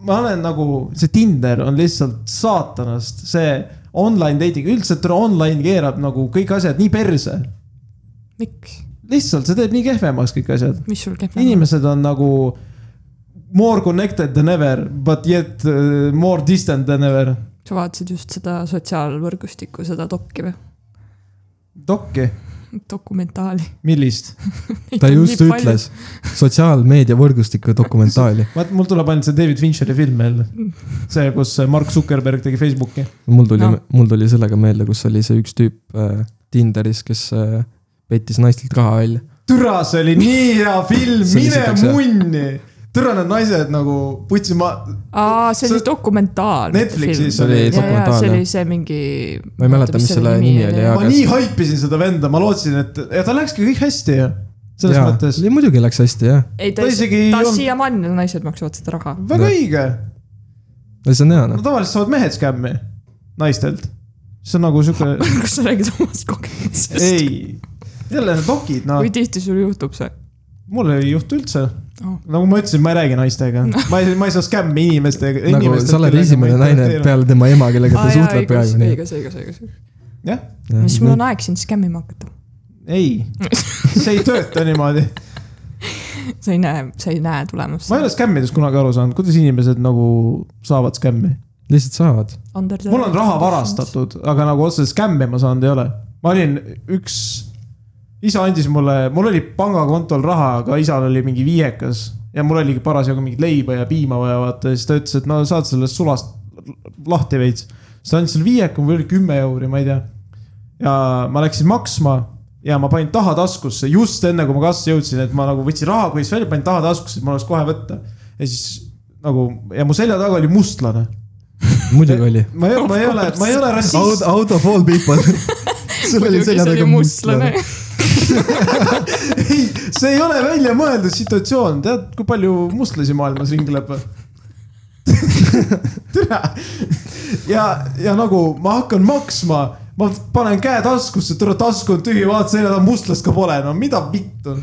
ma olen nagu , see Tinder on lihtsalt saatanast , see online dating , üldse tule online keerab nagu kõik asjad nii perse
-hmm. miks ,
lihtsalt , see teeb nii kehvemaks kõik asjad .
mis sul kehv on ?
inimesed on nagu more connected than ever , but yet uh, more distant than ever .
sa vaatasid just seda sotsiaalvõrgustikku , seda dokki või ?
Dokki ,
dokumentaali .
millist ?
ta just ütles sotsiaalmeedia võrgustiku dokumentaali .
vaat mul tuleb ainult see David Fincheri film meelde . see , kus Mark Zuckerberg tegi Facebooki .
mul tuli
No.
no. , mul tuli sellega meelde , kus oli see üks tüüp äh, Tinderis , kes äh, pettis naistelt raha välja .
türa , see oli nii hea film ,
See oli
mine
esiteks, jah.
munni . türa , need naised nagu putsi ma ,
aa , see oli
See-
dokumentaal .
Netflixis
See oli
oli .
ja , ja
dokumentaal,
see
jah.
oli see mingi .
ma ei mäleta , mis selle nimi oli ,
ma
aga .
nii haipisin seda venda , ma lootsin , et ja tal läkski kõik hästi ju . selles ja. mõttes .
ja muidugi läks hästi jah ,
ei , ta
Ta isegi
isegi
ei ,
ta
olnud-
siiamaani , naised maksavad seda raha . [laughs]
väga õige
see on hea
no
noh ,
tavaliselt saavad mehed skämmi naistelt . see on nagu sihuke ,
[laughs]
kas sa räägid omast kogemusest ?
ei , jälle need dokid , noh
kui , tihti sul juhtub see ?
mul ei juhtu üldse
Oh.
nagu ma ütlesin , ma ei räägi naistega , ma ei , ma ei saa skämmi inimestega .
nagu sa oled esimene naine . peale tema ema , kellega ta suhtleb praegu nii .
õigus , õigus , õigus .
jah ,
siis mul on aeg sind skämmima hakata . [laughs]
ei , see ei tööta niimoodi ,
sa ei näe , sa ei näe tulemust
ma ei . ole skämmidest kunagi aru saanud , kuidas inimesed nagu saavad skämmi .
lihtsalt saavad ,
mul on raha .
[laughs]
varastatud , aga nagu otseselt skämmi ma saanud ei ole . ma olin üks , isa andis mulle , mul oli pangakontol raha , aga isal oli mingi viiekas ja mul oligi parasjagu mingit leiba ja piima vaja vaata ja siis ta ütles , et no saad sellest sulast lahti veits . siis ta andis selle viieka , mul oli kümme euri , ma ei tea . ja ma läksin maksma ja ma panin taha taskusse just enne , kui ma kassasse jõudsin , et ma nagu võtsin raha kõigist välja , panin taha taskusse , et mul oleks kohe võtta . ja siis nagu ja mu selja taga oli mustlane .
muidugi oli .
ma ei , ma ei ole , ma ei ole rassist .
Out of all people . sul oli selja taga mustlane ..
[laughs]
ei , see ei ole väljamõeldud situatsioon , tead , kui palju mustlasi maailmas ringleb ? [laughs] tere . ja , ja nagu ma hakkan maksma , ma panen käe taskusse , tule tasku on tühi , vaata selja taga mustlast ka pole , no mida vittu .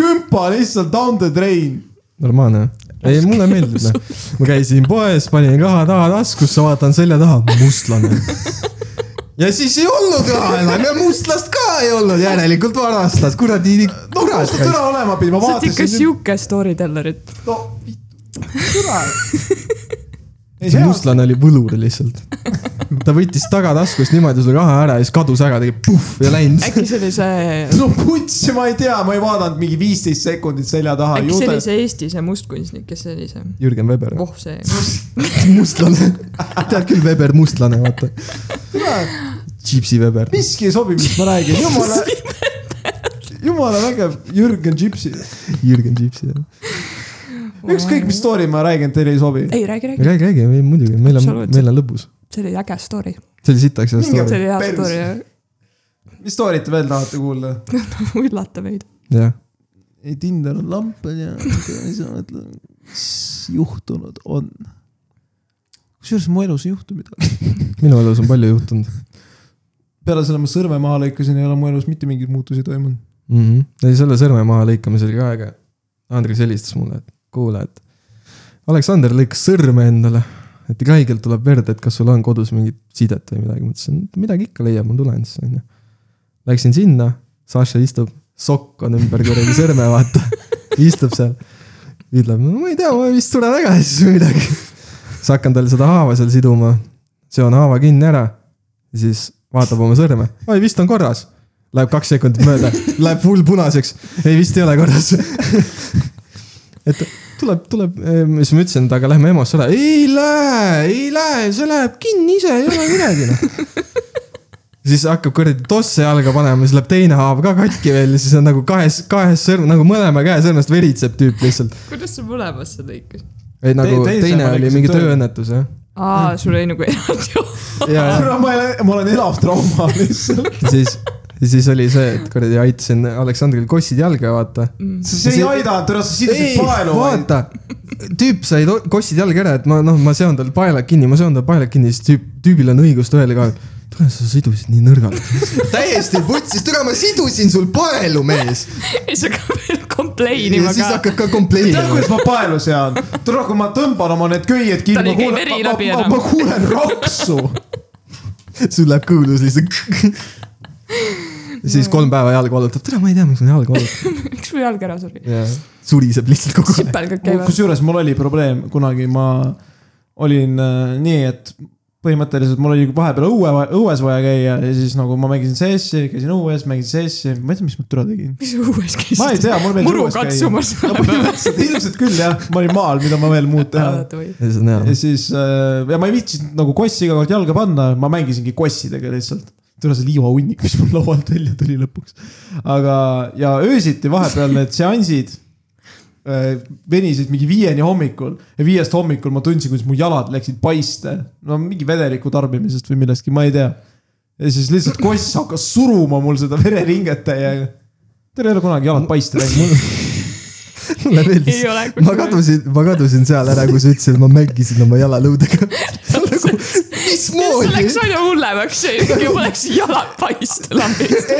kümpa lihtsalt down the drain .
normaalne . ei , mulle
[laughs]
meeldib noh , ma käisin poes , panin raha taha taskusse , vaatan selja taha , mustlane . ja siis ei olnud raha enam ja mustlast ka ei olnud , järelikult varastas , kuradi ,
no kus ta
kurat .
täna olema pidi , ma
sa oled ikka
vaatasin .
sihuke storytellerit .
no vittu , tere . ei
see
see on ,
mustlane oli võlur lihtsalt . ta võttis tagataskust niimoodi selle raha ära ja siis kadus ära , tegi puhh ja läinud .
äkki see oli
[laughs]
see ,
Ah,
no putsi , ma ei tea , ma ei vaadanud mingi viisteist sekundit selja taha .
äkki see oli see Eesti , see mustkunstnik , kes see oli see ,
Jürgen Weber ,
voh see .
[laughs] mustlane . tead küll , Weber mustlane , vaata . Gypsy Weber .
miski ei sobi , mis ma räägin , [laughs] jumala , jumala vägev Jürgen Gypsy .
Jürgen Gypsy .
ükskõik , mis story ma räägin , teile ei sobi .
ei , räägi , räägi ,
räägi , räägi , muidugi , meil on ,
Absoluutselt.
meil on lõbus .
see oli äge story ,
see oli sitaks hea
Minge
story ,
see oli hea
Pers.
story , [laughs]
mis story't te veel tahate kuulda ?
üllata meid .
jah .
ei , Tinder on lamp on ju , ei saa mõtlema , mis juhtunud on . kusjuures mu elus ei juhtu midagi .
minu elus on palju juhtunud
peale selle ma sõrme maha lõikasin , ei ole mu elus mitte mingeid muutusi toimunud .
mm . -hmm. ei , selle sõrme maha lõikamise oli ka äge . Andres helistas mulle , et kuule , et Aleksander lõikas sõrme endale , et ikka haigelt tuleb verd , et kas sul on kodus mingit sidet või midagi , ma ütlesin , midagi ikka leiab , ma tulen siis onju . Läksin sinna , Saša istub , sokk on ümber kuradi sõrme , vaata , [laughs] istub seal . ütleb , no ma ei tea , ma vist suren ära siis või midagi . siis hakkan talle seda haava seal siduma , seon haava kinni ära , siis vaatab oma sõrme , oi vist on korras . Läheb kaks sekundit mööda , läheb full punaseks , ei vist ei ole korras . [laughs] et tuleb , tuleb , siis ma ütlesin , et aga lähme EMO-sse ära , ei lähe , ei lähe , see läheb kinni ise , ei ole midagi noh . siis hakkab kuradi tosse jalga panema , siis läheb teine haav ka katki veel ja siis on nagu kahes , kahes sõrm , nagu mõlema käe sõrmest veritseb tüüp lihtsalt .
kuidas sa mõlemasse lõikasid ?
ei nagu
teise
teine, teine
ma
oli
lõikasin
mingi
tööle.
tööõnnetus jah .
aa , sul oli nagu [laughs] eraldi
ja , ja
ma olen , ma olen elav trauma [laughs] lihtsalt .
siis , siis oli see , et kuradi aitasin Aleksandril kossid jalga vaata
see ei
See-
aidanud , ära sa
ei
sidusid , paelu .
vaata , tüüp sai to- kossid jalga ära , et ma noh , ma seon tal paelad kinni , ma seon tal paelad kinni , siis tüüp , tüübil on õigus tõele ka . tule , sa sidusid nii nõrgalt . [laughs] täiesti putsis , tule ma sidusin sul paelu , mees .
ja siis hakkab veel complain
ja
ima
siis
ka .
hakkad ka
tead ,
kompleinima .
kuidas ma paelu sean ? tule , kui ma tõmban oma need köied kinni ,
Tal
ma
ei käi
kuulen ,
veri
ma,
läbi
ma,
enam.
ma kuulen raksu .
sul läheb kõhulus lihtsalt . siis kolm päeva jalga valutab , tule , ma ei tea , miks mu jalg valutab .
miks mu jalg ära suri ?
suriseb lihtsalt kogu aeg .
sipelgad käivad .
kusjuures mul oli probleem , kunagi ma olin äh, nii , et põhimõtteliselt mul oli vahepeal õue , õues vaja käia ja siis nagu ma mängisin CS-i , käisin õues , mängisin CS-i , ma ei tea , mis ma türa tegin .
mis sa õues käisid ?
ma ei tea , mul meeldis
muru
õues käia .
katsumas vahepeal .
ilmselt küll jah , ma olin maal , mida ma veel muud teha .
[laughs] ja siis on hea
ja . siis äh, ja ma ei viitsinud nagu kossi iga kord jalga panna , ma mängisingi kossidega lihtsalt . tule see liivahunnik , mis mul laualt välja tuli lõpuks . aga , ja öösiti vahepeal need seansid äh, venisid mingi viieni hommikul ja viiest hommikul ma tundsin , kuidas mu jalad läksid paiste . no mingi vedeliku tarbimisest või millestki , ma ei tea . ja siis lihtsalt koss hakkas suruma mul seda vereringet täiega . Teil ei ole kunagi jalad paiste läinud .
[laughs] mulle meeldis
ei ole .
ma . kadusin , ma kadusin seal ära , kui sa ütlesid , et ma mängisin oma jalalõudega . nagu ,
see läks
mismoodi ?
aina hullemaks , kui mul läksid jalad paista lambist .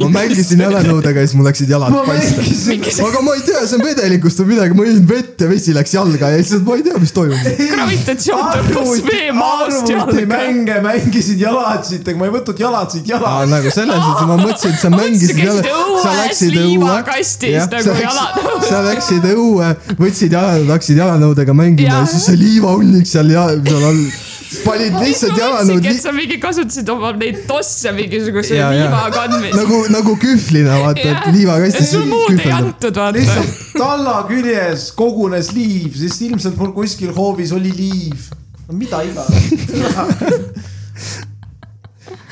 ma mängisin jalalõudega ja siis mul läksid jalad
ma
paista .
mängisin ,
aga ma ei tea , see on vedelikust või midagi , ma jõin vett ja vesi läks jalga ja lihtsalt ma ei tea , mis toimub .
gravitatsioon tõmbas vee maast jalga .
arvutimänge mängisin jalad siit , aga ma ei võtnud jalad siit jalad .
nagu selles suhtes , ma mõtlesin , et sa mängisid
käisid õues liivakastis nagu jalad-
sa läksid õue , võtsid jalad , hakkasid jalanõudega mängima ja,
Jaa.
ja siis see liivahunnik seal ja seal all . panid lihtsalt jalanõud
et sa mingi kasutasid oma neid tosse mingisuguse
Jaa, jaa.
liiva kandmist .
nagu , nagu kühvlina vaata , et liivakastis
sul muud ei . antud , vaata .
lihtsalt talla küljes kogunes liiv , sest ilmselt mul kuskil hoovis oli liiv . no mida iganes . [laughs]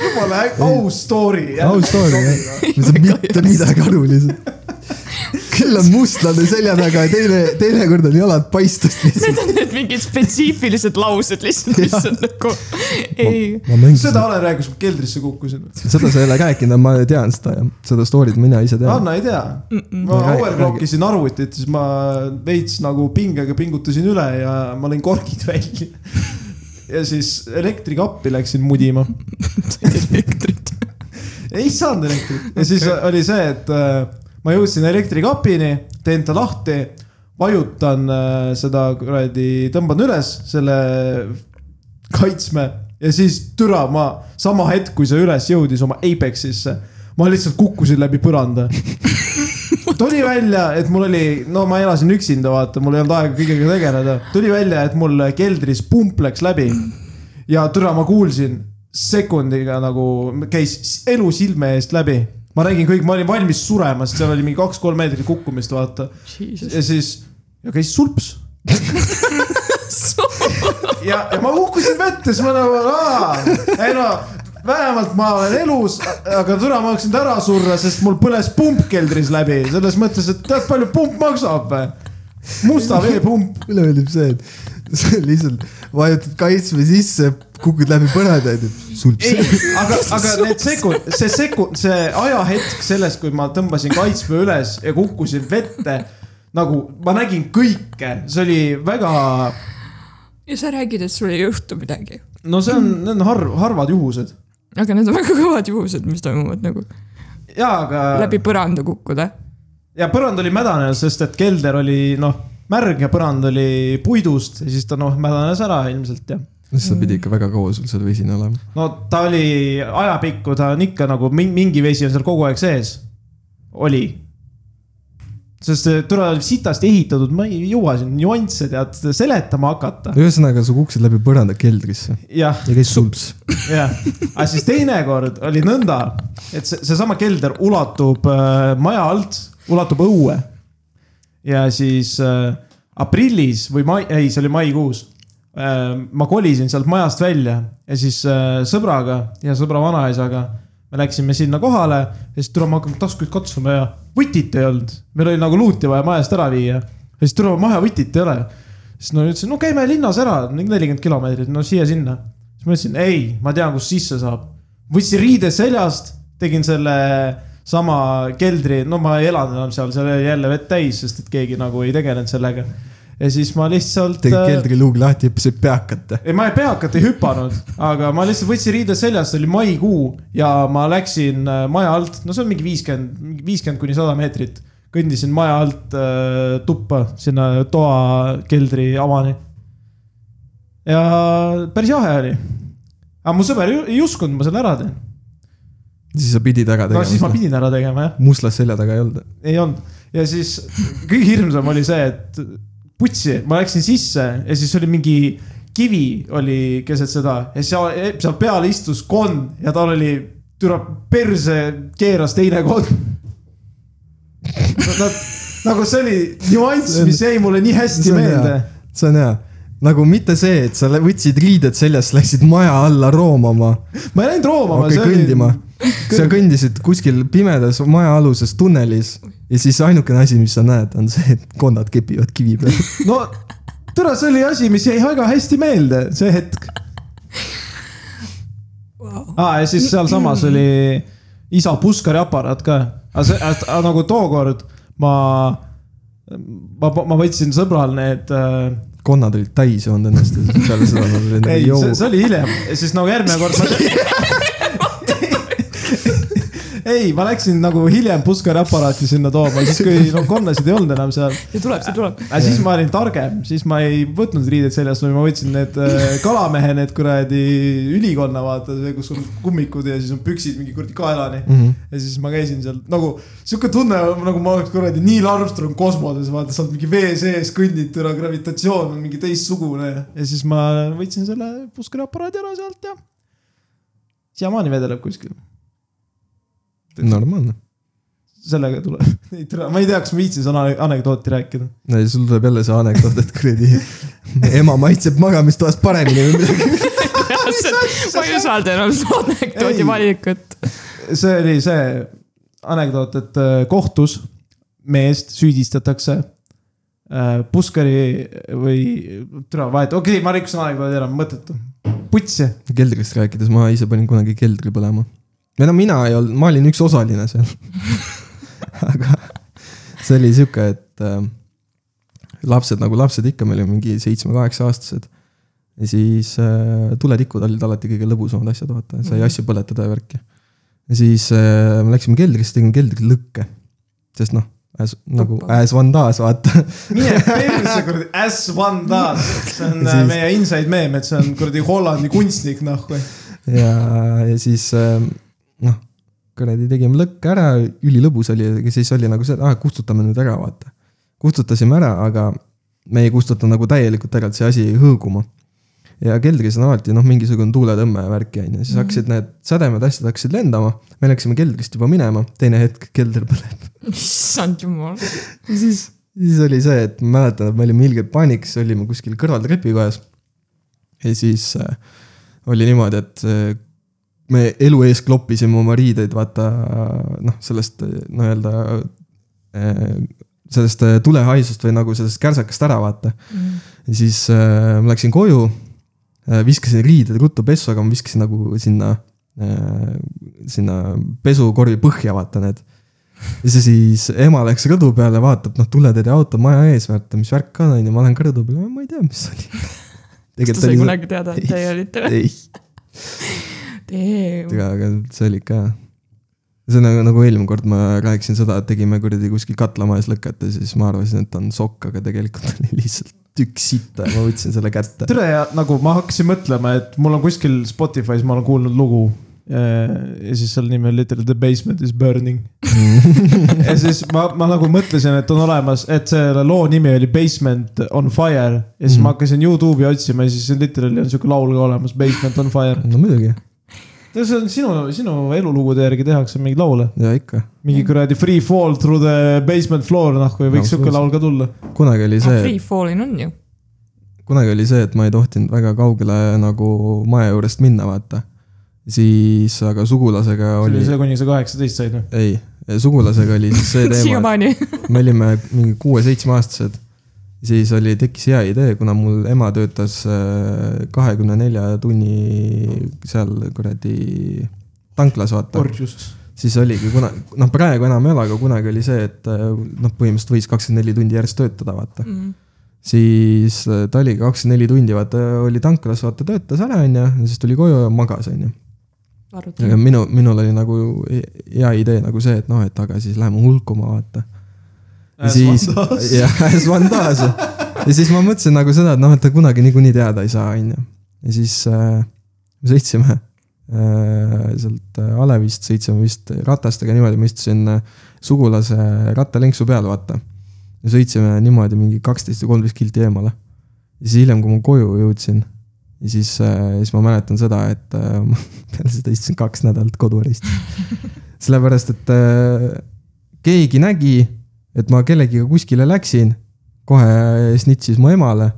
jumala äk- aus story .
aus story jah , ma ei saa mitte midagi aru lihtsalt . küll on mustlane selja taga ja teine , teinekord on jalad paistes lihtsalt .
Need on need mingid spetsiifilised laused lihtsalt , mis on nagu , ei .
ma mängisin
seda
seda ,
Alen rääkis , kui keldrisse kukkusin .
seda sa ei ole rääkinud , ma tean seda jah , seda story't mina ise tean .
Anna ei tea , ma
Räägi-
overclock isin arvutit , siis ma veits nagu pingega pingutasin üle ja ma lõin korgid välja . ja siis elektrikappi läksin mudima .
elektrit .
ei saanud elektrit ja siis oli see , et äh, ma jõudsin elektrikapini , teen ta lahti , vajutan äh, seda kuradi , tõmban üles selle kaitsme ja siis türa ma sama hetk , kui see üles jõudis oma Apexisse , ma lihtsalt kukkusin läbi põranda tuli välja , et mul oli , no ma elasin üksinda , vaata , mul ei olnud aega kõigega tegeleda . tuli välja , et mul keldris pump läks läbi . ja türa , ma kuulsin sekundiga nagu käis s- elu silme eest läbi . ma räägin kõik , ma olin valmis surema , sest seal oli mingi kaks-kolm meetrit kukkumist , vaata . ja siis , ja käis sulps ja , ja ma kukkusin vette , siis ma nagu , aa , ei no vähemalt ma olen elus , aga türa ma hakkasin ära surra , sest mul põles pump keldris läbi , selles mõttes , et tead , palju pump maksab või ? musta veepump .
mulle meeldib see , et sa lihtsalt vajutad kaitsme sisse , kukud läbi põranda ja teeb sulp
ei , aga , aga need sekund , see sekund , see ajahetk sellest , kui ma tõmbasin kaitsme üles ja kukkusin vette , nagu ma nägin kõike , see oli väga ,
ja sa räägid , et sul ei juhtu midagi .
no see on , need on harv , harvad juhused .
aga need on väga kõvad juhused , mis toimuvad nagu
ja , aga
läbi põranda kukkuda .
ja põrand oli mädanenud , sest et kelder oli noh , märg ja põrand oli puidust ja siis ta noh , mädanes ära ilmselt ja
seda pidi ikka väga kaua sul seal vesine olema .
no ta oli ajapikku , ta on ikka nagu min- mingi vesi on seal kogu aeg sees . oli . sest see türa oli sitasti ehitatud , ma ei jõua siin nüansse tead seletama hakata .
ühesõnaga , sa kukkusid läbi põranda keldrisse
jah ,
ja käis sulps .
jah , aga siis teinekord oli nõnda , et see , seesama kelder ulatub äh, maja alt , ulatub õue . ja siis äh, aprillis või mai , ei , see oli maikuus äh, . ma kolisin sealt majast välja ja siis äh, sõbraga ja sõbra vanaisaga me läksime sinna kohale ja siis tule , me hakkame taskuid katsuma ja võtit ei olnud . meil oli nagu luuti vaja majast ära viia ja siis tule , maja võtit ei ole . siis no ütlesin , no käime linnas ära , nelikümmend kilomeetrit , no siia-sinna . siis ma ütlesin , ei , ma tean , kus sisse saab . võtsin riide seljast , tegin selle sama keldri , no ma ei elanud enam seal , seal oli jälle vett täis , sest et keegi nagu ei tegelenud sellega . ja siis ma lihtsalt .
tegid keldriluug lahti , hüppasid peakat .
ei , ma ei peakat ei hüpanud , aga ma lihtsalt võtsin riided seljast , oli maikuu ja ma läksin äh, maja alt , no see on mingi viiskümmend , viiskümmend kuni sada meetrit . kõndisin maja alt äh, tuppa sinna toa keldri avani . ja päris jahe oli . aga mu sõber ei ei uskunud , ma selle ära teen .
siis sa pidid ära
no siis ma
tegema .
pidin ära tegema jah ,
muslas selja taga ei olnud .
ei olnud . ja siis kõige hirmsam oli see , et putsi , ma läksin sisse ja siis oli mingi kivi oli keset seda ja seal , seal peal istus konn ja tal oli türa perse keeras teine konn . nagu see oli nüanss , mis jäi mulle nii hästi
See on
meelde .
see on hea . nagu mitte see , et sa lä- võtsid riided seljast , läksid maja alla roomama ,
ma ei läinud roomama
okei ,
[laughs]
kõndima . sa kõndisid kuskil pimedas majaaluses tunnelis ja siis ainukene asi , mis sa näed , on see , et konnad kepivad kivi peal . [laughs]
no türa , see oli asi , mis jäi väga hästi meelde , see hetk . aa , ja siis sealsamas oli isa puskari aparaat ka , aga see , aga nagu tookord ma , ma , ma võtsin sõbral need äh, .
konnad olid täis joonud ennast ja siis peale seda nad olid
ei ,
nagu
see, see
joo .
oli hiljem , siis nagu järgmine kord ma... . [laughs] ei , ma läksin nagu hiljem puskari aparaati sinna tooma , siis kui no konnasid ei olnud enam seal .
ja tuleb , see
[laughs]
tuleb .
aga siis ma olin targem , siis ma ei võtnud riided seljas , vaid ma võtsin need äh, kalamehe need kuradi ülikonna vaata , kus on kummikud ja siis on püksid mingi kuradi kaelani mm . -hmm. ja siis ma käisin seal nagu sihuke tunne , nagu ma oleks kuradi Neil Armstrong kosmoses , vaata sa oled mingi vee sees , kõnnid üle , gravitatsioon on mingi teistsugune ja siis ma võtsin selle puskariaparaadi ära sealt ja siiamaani vedeleb kuskil
normaalne .
sellega tuleb , [laughs] ei tere , ma ei tea , kas ma viitsin seda ane- anekdooti rääkida .
ja sul tuleb jälle see anekdoot , et kuradi [laughs] ema maitseb magamistoas paremini või midagi .
[laughs] ma ei usalda enam seda
Ei.
anekdoodi valikut .
see oli see anekdoot , et äh, kohtus meest süüdistatakse äh, puskari või , türa vahet , okei okay, , ma rikkusin anekdoodi ära , mõttetu . putsi ,
keldrist rääkides , ma ise panin kunagi keldri põlema . või no mina ei olnud , ma olin üks osaline seal . [laughs] aga see oli sihuke , et äh, lapsed nagu lapsed ikka , me olime mingi seitsme-kaheksa-aastased . ja siis äh, tuletikud olid alati kõige lõbusamad asjad , vaata , sai asju põletada ja värki . ja siis äh, me läksime keldrisse , tegime keldri lõkke . sest noh , as, nagu as one does , vaata .
[laughs] mine perse kuradi , as one does , see on
Ja
siis...
siis-
meie inside meem , et see on kuradi Hollandi noh, kunstnik nahku .
ja , ja siis ähm, noh , kuradi tegime lõkke ära , ülilõbus oli , aga siis oli nagu see , et ah, kustutame nüüd ära , vaata . kustutasime ära , aga me ei kustuta nagu täielikult ära , et see asi jäi hõõguma . ja keldris on alati noh , mingisugune tuuletõmme ja värki on ju , siis hakkasid need sädemed , asjad hakkasid lendama . me läksime keldrist juba minema , teine hetk kelder põleb .
issand jumal .
ja siis , siis oli see , et ma mäletan , et me olime ilgelt paanikas , olime kuskil kõrval trepikojas . ja siis äh, oli niimoodi , et äh, me elu ees kloppisime oma riideid , vaata äh, noh , sellest äh, nii-öelda äh, sellest äh, tulehaisust või nagu sellest kärsakast ära , vaata .
mm. .
ja siis äh, ma läksin koju äh, , viskasin riided ruttu pessu , aga ma viskasin nagu sinna äh, , sinna pesukorvi põhja , vaata need . ja see siis , ema läks rõdu peale , vaatab , noh , tuletõrje auto maja ees , vaata , mis värk on , onju , ma lähen ka rõdu peale , ma ei tea , mis see oli .
kas nagu ta sai kunagi teada , et teie olite või ?
ei ,
Damn .
aga , aga see oli ikka jah . see on nagu , nagu eelmine kord ma rääkisin seda , et tegime kuradi kuskil katlamajas lõket ja siis ma arvasin , et on sokk , aga tegelikult [laughs] oli lihtsalt tükk sitta ja ma võtsin selle kätte .
tere ja nagu ma hakkasin mõtlema , et mul on kuskil Spotify's , ma olen kuulnud lugu . ja siis seal nimi oli Little the basement is burning . [laughs] ja siis ma , ma nagu mõtlesin , et on olemas , et selle loo nimi oli Basement on fire . ja siis ma hakkasin Youtube'i otsima ja siis literally on sihuke laul ka olemas , Basement on fire .
no muidugi ,
see on sinu , sinu elulugude järgi tehakse mingeid laule .
ja ikka .
mingi kuradi Free fall through the basement floor , noh , kui võiks sihuke laul ka tulla .
kunagi oli see ,
Ah, Free falling on ju .
kunagi oli see , et ma ei tohtinud väga kaugele nagu maja juurest minna , vaata . siis aga sugulasega
see oli
oli ,
see , kuni sa kaheksateist said või ?
ei , sugulasega oli siis
[laughs]
see teema ,
siiamaani .
et me olime mingi kuue-seitsmeaastased . siis oli , tekkis hea idee , kuna mul ema töötas äh, kahekümne nelja tunni seal kuradi tanklas , vaata .
Orjus .
siis oligi kuna , noh , praegu enam ei ole , aga kunagi oli see , et äh, noh , põhimõtteliselt võis kakskümmend neli tundi järjest töötada , vaata .
Mm.
siis äh, ta oligi kakskümmend neli tundi , vaata , oli tanklas , vaata , töötas ära , onju , ja siis tuli koju ja magas , onju . aga
arvutan .
minu , minul oli nagu hea idee nagu see , et noh , et aga siis läheme hulkuma , vaata . ja siis , [laughs] jah , as one does . ja siis ma mõtlesin nagu seda , et noh , et ta kunagi niikuinii teada ei saa , onju . ja siis äh, me sõitsime äh, sealt äh, Alevist sõitsime vist ratastega niimoodi , ma istusin äh, sugulase rattalenksu peal , vaata . ja sõitsime niimoodi mingi kaksteist või kolmteist kilti eemale . ja siis hiljem , kui ma koju jõudsin ja siis , siis ma mäletan seda , et äh, [laughs] ma peale seda istusin kaks nädalat
[laughs]
koduarestis . sellepärast , et äh, keegi nägi , et ma kellegiga kuskile läksin , kohe snitšis mu emale .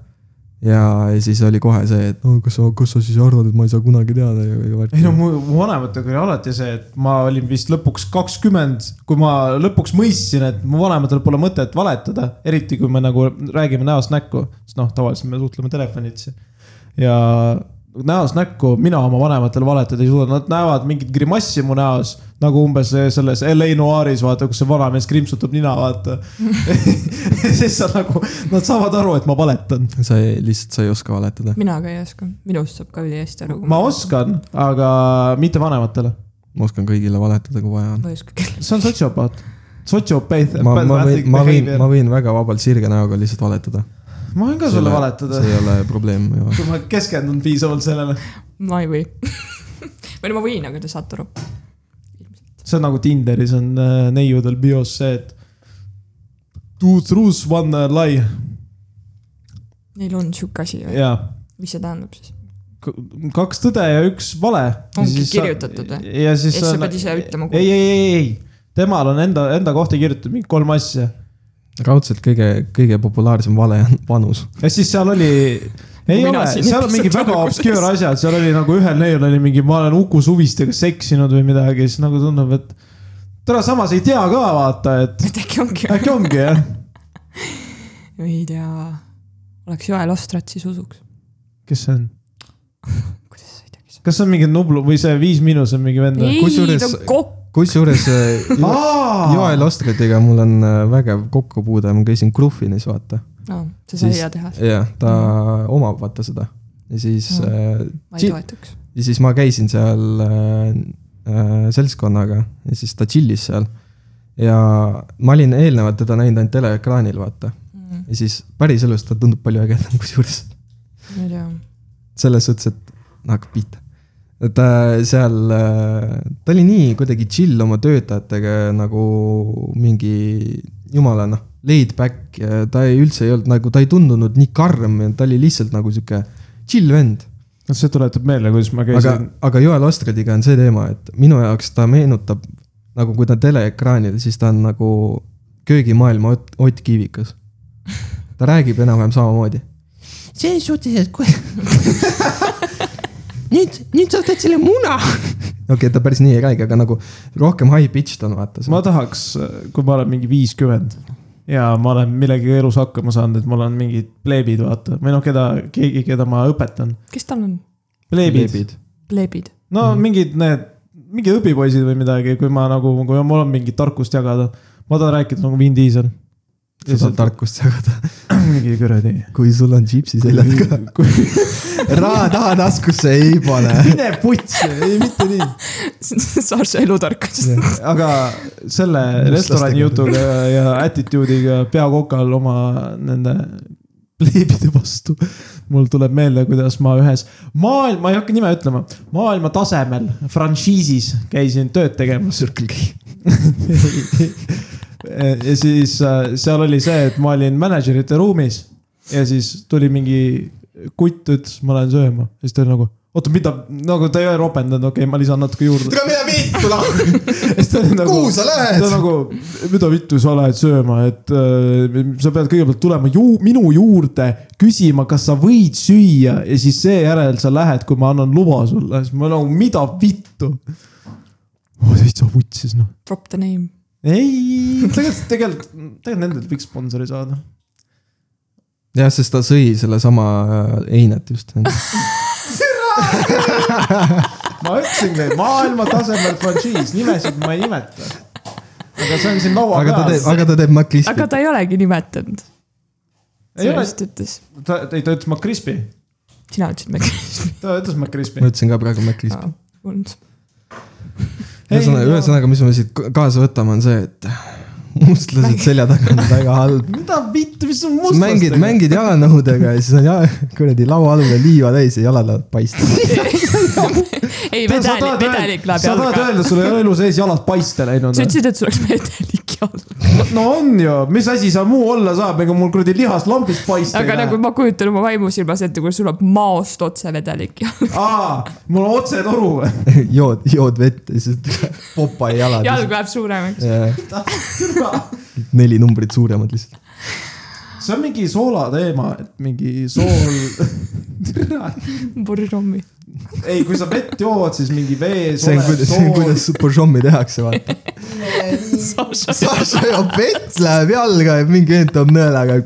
ja ja siis oli kohe see , et no kas sa , kas sa siis arvad , et ma ei saa kunagi teada ja , ja
ei no
värki .
mu mu vanematega oli alati see , et ma olin vist lõpuks kakskümmend , kui ma lõpuks mõistsin , et mu vanematel pole mõtet valetada , eriti kui me nagu räägime näost näkku , sest noh , tavaliselt me suhtleme telefonitsi . ja näost näkku mina oma vanematele valetada ei suuda , nad näevad mingit grimassi mu näos nagu umbes selles LA Noire'is vaata , kus see vanamees krimpsutab nina , vaata . [laughs] siis sa nagu , nad saavad aru , et ma valetan .
sa ei, lihtsalt , sa ei oska valetada .
mina ka ei oska , minust saab ka ülihästi aru .
ma oskan , aga mitte vanematele .
ma oskan kõigile valetada , kui vaja on .
ma ei oska küll .
see on sotsiopaat . sotsiopaat .
ma , ma võin , ma võin , ma võin väga vabalt sirge näoga lihtsalt valetada .
ma võin ka sulle valetada ,
see ei ole probleem ju .
kui ma keskendun piisavalt sellele .
ma ei või . [laughs] või no ma võin , aga te saate aru .
see on nagu Tinderis on äh, neiudel bios see , et two truths , one äh, lie .
Neil on sihuke asi või ?
jaa ,
mis see tähendab siis ? [laughs]
kaks tõde ja üks vale .
Ongi kirjutatud või?
või ? ja siis
Ehk sa pead ise ütlema, kui-
ei , ei , ei , ei , temal on enda , enda kohta kirjutatud mingi kolm asja .
raudselt kõige , kõige populaarsem vale on vanus .
ja siis seal oli , ei
Mina
ole ,
siin nagu
seal on mingi
episoodi
väga
alguses.
obscure asjad , seal oli nagu ühel neil oli mingi , ma olen Uku Suvistega seksinud või midagi , siis nagu tundub , et täna samas ei tea ka vaata , et
et äkki
[laughs]
ongi või ?
äkki ongi jah .
ei tea . oleks Joel Ostrat , siis usuks .
kes see on ?
kuidas sa ei tea , kes see
kas see on mingi Nublu või see Viis Miinus on mingi vend
on ?
või ?
ei ,
kusjuures-
ta on kokk .
[laughs]
kusjuures äh, Jo- Joel
Joel .
Ostritiga mul on äh, vägev kokkupuude , ma käisin Gruffinis , vaata .
aa , see sai
Siis-
hea teha .
jah , ta
Mm.
omab vaata seda . ja siis
Mhm.
äh, ,
ma ei toetaks .
ja siis ma käisin seal äh, äh, seltskonnaga ja siis ta chill'is seal . ja ma olin eelnevalt teda näinud ainult teleekraanil , vaata .
Mm,
ja siis päriselus ta tundub palju ägedam kusjuures .
ma ei tea .
selles suhtes , et no hakkab pihta . ta seal , ta oli nii kuidagi chill oma töötajatega nagu mingi jumala noh , laid back , ta ei üldse ei olnud nagu , ta ei tundunud nii karm , ta oli lihtsalt nagu sihuke chill vend .
see tuletab meelde , kuidas ma
aga
käisin ,.
aga Joel Ostradiga on see teema , et minu jaoks ta meenutab nagu kui ta on teleekraanil , siis ta on nagu köögimaailma Ott , Ott Kiivikas . ta räägib enam-vähem samamoodi .
selles suhtes , et kui nüüd , nüüd sa võtad selle muna .
okei okay, , ta päris nii ei räägi , aga nagu rohkem high pitch ta on , vaata .
ma tahaks , kui ma olen mingi viiskümmend , ja ma olen millegagi elus hakkama saanud , et mul on mingid pleebid , vaata , või noh , keda , keegi , keda ma õpetan .
kes tal on ?
pleebid ,
[laughs] pleebid .
no mingid need , mingid õpipoisid või midagi , kui ma nagu , kui mul on mingit tarkust jagada , ma tahan rääkida nagu Vin Diesel . [clears throat]
sa saad tarkust jagada ,
mingi kuradi .
[laughs] kui sul on džipsi seljas ka .
[laughs]
[laughs] raha taha taskusse ei pane .
mine putsi , ei mitte nii .
Sarsa elutarkus .
aga selle
Mustlaste
restorani jutuga ja, ja attitude'iga peakokal oma nende pleebide vastu . mul tuleb meelde , kuidas ma ühes maailm , ma ei hakka nime ütlema , maailma tasemel frantsiisis käisin tööd tegemas .
Circle K .
[laughs] ja siis äh, seal oli see , et ma olin mänedžerite ruumis ja siis tuli mingi kutt , ütles , ma lähen sööma , siis ta oli nagu oota , mida , nagu ta ei ropendanud , okei okay, , ma lisan natuke juurde .
tule mida vittu lahku ,
siis ta oli nagu .
kuhu sa
ta
lähed ?
nagu , mida vittu sa lähed sööma , et äh, sa pead kõigepealt tulema ju minu juurde , küsima , kas sa võid süüa ja siis seejärel sa lähed , kui ma annan luba sulle , siis ma nagu , mida vittu . ma Oh, täitsa vutsis noh .
[laughs] Drop the name .
ei , tegelikult , tegelikult , tegelikult nendelt võiks sponsori saada .
jah , sest ta sõi sellesama äh, einet just .
ma ütlesingi , maailmatasemel frantsiis , nimesid ma ei nimeta . aga see on siin laua
aga ta teeb ,
peal .
aga ta teeb
aga
MacLispi .
ta ei olegi nimetanud .
Ei ole.
sellest ütles ,
ta , ta , ta ütles McCrispy ,
sina ütlesid [laughs] Mac .
ta ütles McCrispy
ma . ütlesin ka praegu MacLispi .
Ei,
ühesõnaga ,
no-
ühesõnaga , mis me siit ka- kaasa võtame , on see , et mustlased selja
[laughs]
taga on väga halb .
mida vittu , mis on
sa mängid ,
mustlastega ?
mängid jalanõudega ja siis on jala , kuradi lauaalune liiva täis ja jalad lähevad
[laughs]
paistma .
ei ,
Tead, sa tahad
vedelik ,
öelda-
vedelik läheb
sa tahad
jalga .
öelda , sul ei ole elu sees jalad paiste läinud noh.
sa ? ütlesid , et sul oleks vedelik jalg .
no on ju , mis asi seal muu olla saab , ega mul kuradi lihas lambist paiste
aga nagu . ma kujutan oma vaimusilmas ette , kui sul on maost otse vedelik jalg .
aa , mul on otsetoru või ?
jood , jood vett ja siis [laughs] popa jalad .
jalg läheb suuremaks .
neli numbrit suuremad lihtsalt .
[laughs] see on mingi soola teema , et mingi
[laughs]
sool .
purjrommi .
ei , kui sa vett jood , siis mingi vee .
see on , kuidas , see on , kuidas Borjomi tehakse , vaata . Saša joob vett , läheb jalga ja mingi vend toob nõelaga .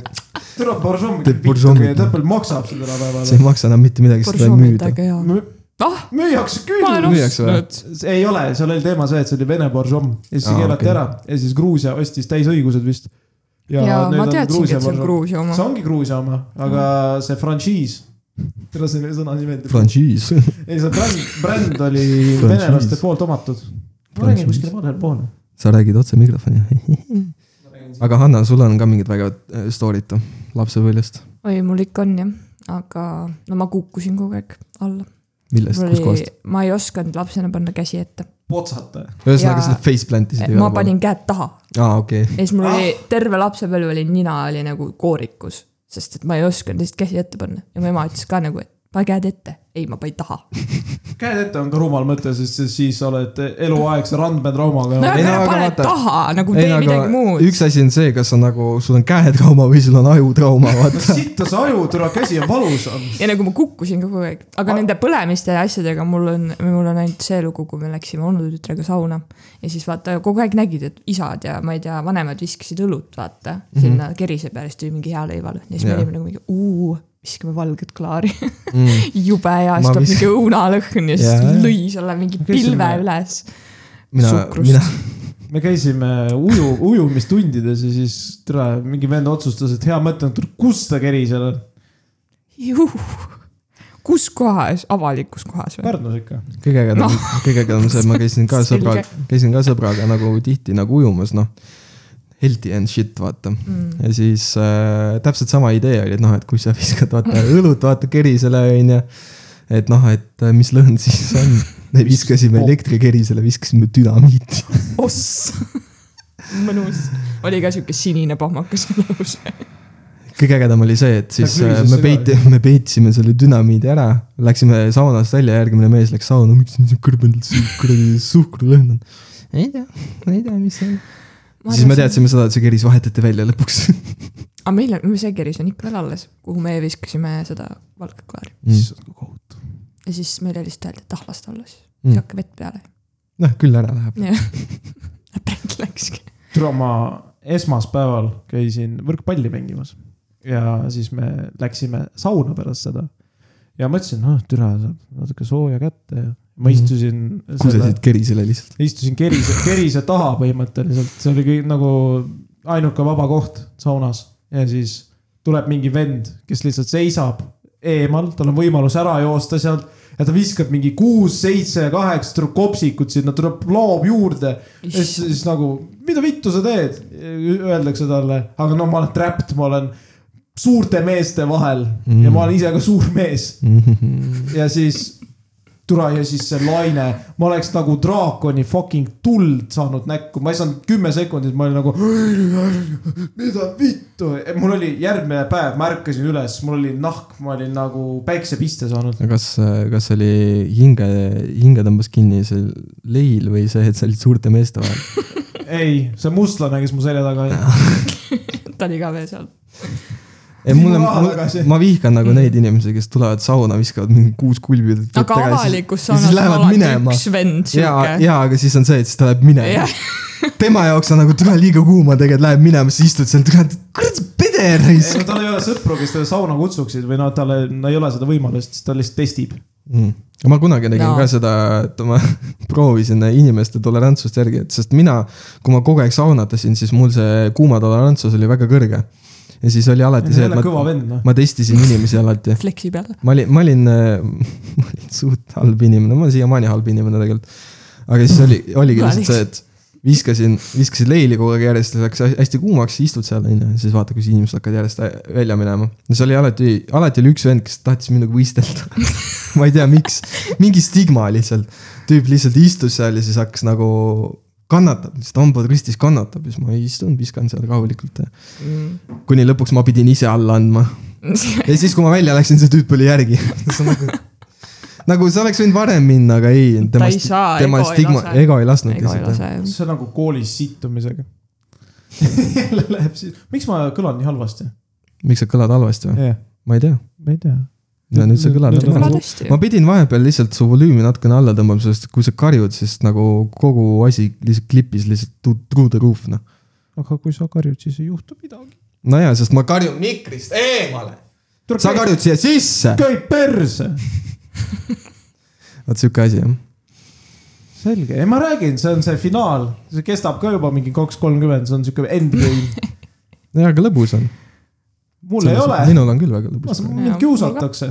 türa boržom ,
Teeb borjomi.
täpselt maksab seda
see
tänapäeval .
ei maksa enam mitte midagi , seda ei müüda .
purjrommitega ja . ah ,
müüakse
ma
küll
olen .
Müüakse või?
ostnud .
See ei ole , seal oli teema see , et see oli Vene boržom ja siis see
Aa,
keelati
Ah, okei.
ära ja siis Gruusia ostis täisõigused vist .
ja ma teadsingi , et see on Gruusia oma Mm.
see . ongi Gruusia oma , aga see frantsiis , [laughs] tere selle sõna nimi meeldib .
Franchiis .
ei , see bränd , bränd oli
Frantsiis.
venelaste poolt omatud . ma
Frantsiis.
räägin kuskil valel pool .
sa räägid otse mikrofoni . aga Hanna , sul on ka mingid vägevad äh, story'd lapsepõlvest ,
oi , mul ikka on jah , aga no ma kukkusin kogu aeg alla .
millest ,
mul oli
kuskohast ?,
ma ei osanud lapsena panna käsi ette .
potsata .
ühesõnaga ,
ja-
sa faceplantisid
ma . panin käed taha
aa , okei okay. .
ja siis mul oli
Ah!
terve lapsepõlv oli nina oli nagu koorikus , sest et ma ei osanud lihtsalt käsi ette panna ja mu ema ütles ka nagu , et pane käed ette . ei , ma ei taha .
käed ette on ka rumal mõte , sest siis- siis sa oled eluaegse
no
randmetraumaga .
Ei, no
aga
aga
pane
vaata-
taha nagu
ei ,
tee
aga
midagi muud .
üks asi on see , kas on nagu , sul on käetrauma või sul on ajutrauma , vaata .
sitta see aju , türa käsi on valus .
ja nagu ma kukkusin kogu aeg , aga
Ma-
nende põlemiste ja asjadega mul on , mul on ainult see lugu , kui me läksime onutütrega sauna ja siis vaata kogu aeg nägid , et isad ja ma ei tea , vanemad viskasid õlut , vaata sinna mm -hmm. kerise peale , siis tuli mingi hea leival ja siis me
Mhm. Jaa.
olime nagu mingi uu , viskame valget klaari ,
Mm.
[laughs] jube hea ,
Ma
siis tuleb
vis-
mingi õunalõhn ja
Jaa.
siis lõi selle mingi
käisin-
pilve üles .
mina ,
Suhkrust.
mina ,
me käisime uju , ujumistundides ja siis türa mingi vend otsustas , et hea mõte on , kus ta keri seal on .
kus kohas , avalikus kohas või ?
Pärnus ikka .
kõige ägedam no. , kõige ägedam on see , ma käisin ka
Selge.
sõbraga , käisin ka sõbraga nagu tihti nagu ujumas , noh . Healthy and shit , vaata mm. . ja siis äh, täpselt sama idee oli , et noh , et kui sa viskad , vaata õlut , vaata kerisele , onju . et noh , et äh, mis lõhn siis on . me viskasime elektrikerisele , viskasime dünamiiti .
oss , [laughs] mõnus , oli ka sihuke sinine pahmakas lõhus .
kõige ägedam oli see , et siis
Läks
äh,
lüüsesse
me
ka,
peiti , me peitsime selle dünamiidi ära , läksime saunast välja , järgmine mees läks sauna , miks siin see kõrbendalt see kuradi suhkrulõhn on . ei tea , ei tea , mis see on . [laughs] siis me teadsime seda , et see keris vahetati välja lõpuks .
aga meil on , see keris on ikka veel alles , kuhu me viskasime seda valgklaari
issand , kui kohutav .
ja siis meile lihtsalt öeldi , et ahlast alles
Mm.
mm. ,
[laughs]
hakka vett peale .
noh , küll ära läheb .
pränk läkski .
türa ma esmaspäeval käisin võrkpalli mängimas ja siis me läksime sauna pärast seda . ja mõtlesin , noh , türa saab natuke sooja kätte ja ma
Mhm.
istusin selle ,
kusesid kerisele lihtsalt .
istusin kerise , kerise taha põhimõtteliselt , see oli kõik nagu ainuke vaba koht saunas ja siis tuleb mingi vend , kes lihtsalt seisab eemal , tal on võimalus ära joosta sealt ja ta viskab mingi kuus , seitse , kaheksa , tuleb kopsikut sinna , tuleb , loob juurde . ja siis , siis nagu , mida vittu sa teed , öeldakse talle , aga no ma olen trapped , ma olen suurte meeste vahel mm. ja ma olen ise ka suur mees ja siis tule ja siis see laine , ma oleks nagu draakoni fucking tuld saanud näkku , ma ei saanud kümme sekundit , ma olin nagu . mida vittu , mul oli järgmine päev , ma ärkasin üles , mul oli nahk , ma olin nagu päiksepiste saanud .
kas , kas oli hinge , hinge tõmbas kinni see leil või see , et sa olid suurte meeste vahel ?
ei , see mustlane , kes mu selja taga oli ,
ta oli ka veel seal .
ei , mulle ,
Raha tagasi.
ma vihkan nagu neid inimesi , kes tulevad sauna , viskavad mingi kuus kulbi .
Mm. aga avalikus
ja siis
saunas on
lähevad
alati
minema.
üks vend
ja ,
sihuke .
ja aga siis on see , et siis ta läheb minema . tema jaoks on nagu tule liiga kuuma tegelikult läheb minema , siis istud seal , kurat
[laughs]
peder raisk .
tal ei ole sõpru , kes teda sauna kutsuksid või noh , tal no, ei ole seda võimalust , siis ta lihtsalt testib .
mm. . ma kunagi tegin no.
No.
ka seda , et ma [laughs] proovisin inimeste tolerantsust järgi , et sest mina , kui ma kogu aeg saunatasin , siis mul see kuuma tolerantsus oli väga kõrge . ja siis oli alati see ,
see
et
on kõva
ma ,
vend noh .
ma testisin inimesi alati .
[laughs] Flexi peal .
ma olin , ma olin , [laughs] ma olin suht halb inimene , ma olen siiamaani halb inimene tegelikult . aga siis oli , oligi lihtsalt see , et viskasin , viskasin leili kogu aeg järjest , läks hästi kuumaks , siis istud seal onju , siis vaata , kus inimesed hakkavad järjest välja minema . no see oli alati , alati oli üks vend , kes tahtis minuga võistelda . [laughs] ma ei tea , miks , mingi stigma lihtsalt . tüüp lihtsalt istus seal ja siis hakkas nagu kannatab , lihtsalt hambad ristis kannatab ja siis ma istun , viskan seal rahulikult . kuni lõpuks ma pidin ise alla
[laughs]
andma ja siis , kui ma välja läksin , see tüüp oli järgi . nagu sa oleks võinud varem minna , aga ei .
ta ei saa ,
tema
ego ei
stigma ,
lase .
ego ei lasknud
ego ei
lihtsalt jah .
lase .
see on nagu koolis sittumisega . jälle läheb siis , miks ma kõlan nii halvasti
miks sa kõlad halvasti või ?
yeah. ?
ma ei tea .
ma ei tea .
ja nüüd sa kõlad
Nüüd on
normaalselt .
hästi .
nagu- ma pidin vahepeal lihtsalt su volüümi natukene alla tõmbama , sest kui sa karjud , siis nagu kogu asi lihtsalt klipis lihtsalt to- through the roof , noh .
aga kui sa karjud , siis ei juhtu midagi .
nojaa , sest ma karjun mikrist eemale . sa karjud siia sisse .
käi perse .
vot sihuke asi jah .
selge , ei ma räägin , see on see finaal , see kestab ka juba mingi kaks kolmkümmend , see on siuke endgame .
nojaa , aga lõbus on .
mul ei ole ,
minul on küll väga lõbus .
mind kiusatakse .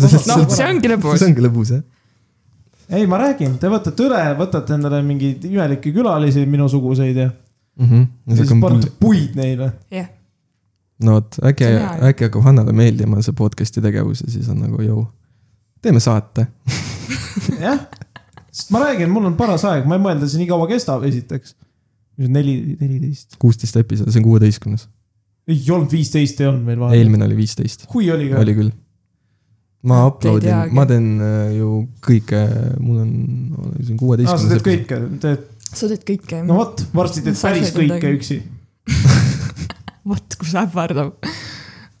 noh , see ongi lõbus
see . ongi lõbus jah .
ei , ma räägin , te võtate üle , võtate endale mingeid imelikke külalisi , minusuguseid ja
Mhm.
ja siis panete puid neile .
jah ,
no vot , äkki
See on hea, ,
äkki hakkab Hannale meeldima see podcast'i tegevus ja siis on nagu jõu . teeme saate .
jah , sest ma räägin , mul on paras aeg , ma ei mõelnud , et see nii kaua kestab , esiteks . neli , neliteist ,
kuusteist episoodi , see on kuueteistkümnes .
ei olnud viisteist ei olnud meil vahepeal .
eelmine oli viisteist ,
kui oli ka ?
oli küll . ma
Te ei
upload in
teagi. ,
ma teen äh, ju kõike , mul on , see on
aa , Ah, sa teed
kuueteistkümnes .
kõike , teed ,
sa teed kõike .
no vot , varsti teed
Sa
päris
said
kõike
midagi.
üksi .
vot kus ähvardab .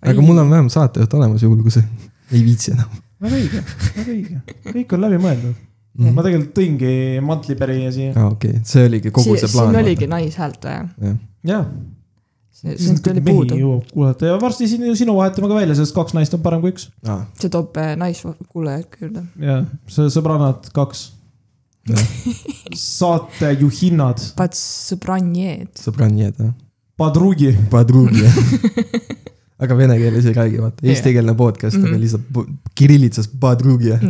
aga mul on vähemalt saatejuht olemas , juhul kui sa [laughs] ei viitsi enam .
väga õige , väga õige , kõik on läbimõeldud mm. . ma
aa ,
tegelikult tõingi mantlipärija siia .
okei , see oligi kogu see plaan
siin . oligi naishäält või ?
jah ,
siin tuli puudu .
jõuab kuulata ja varsti siin ju sinu vahetame ka välja , sest kaks naist on parem kui üks .
see toob eh, naiskuulajad juurde .
ja sõ- sõbrannad kaks . saatejuhinnad ,
Pats sõbranjed .
sõbrannijad jah ,
padrugi ,
padrugi jah aga vene keeles ei räägi , vaata , eestikeelne podcast , aga lihtsalt bu- kirillitsas padrugi jah ,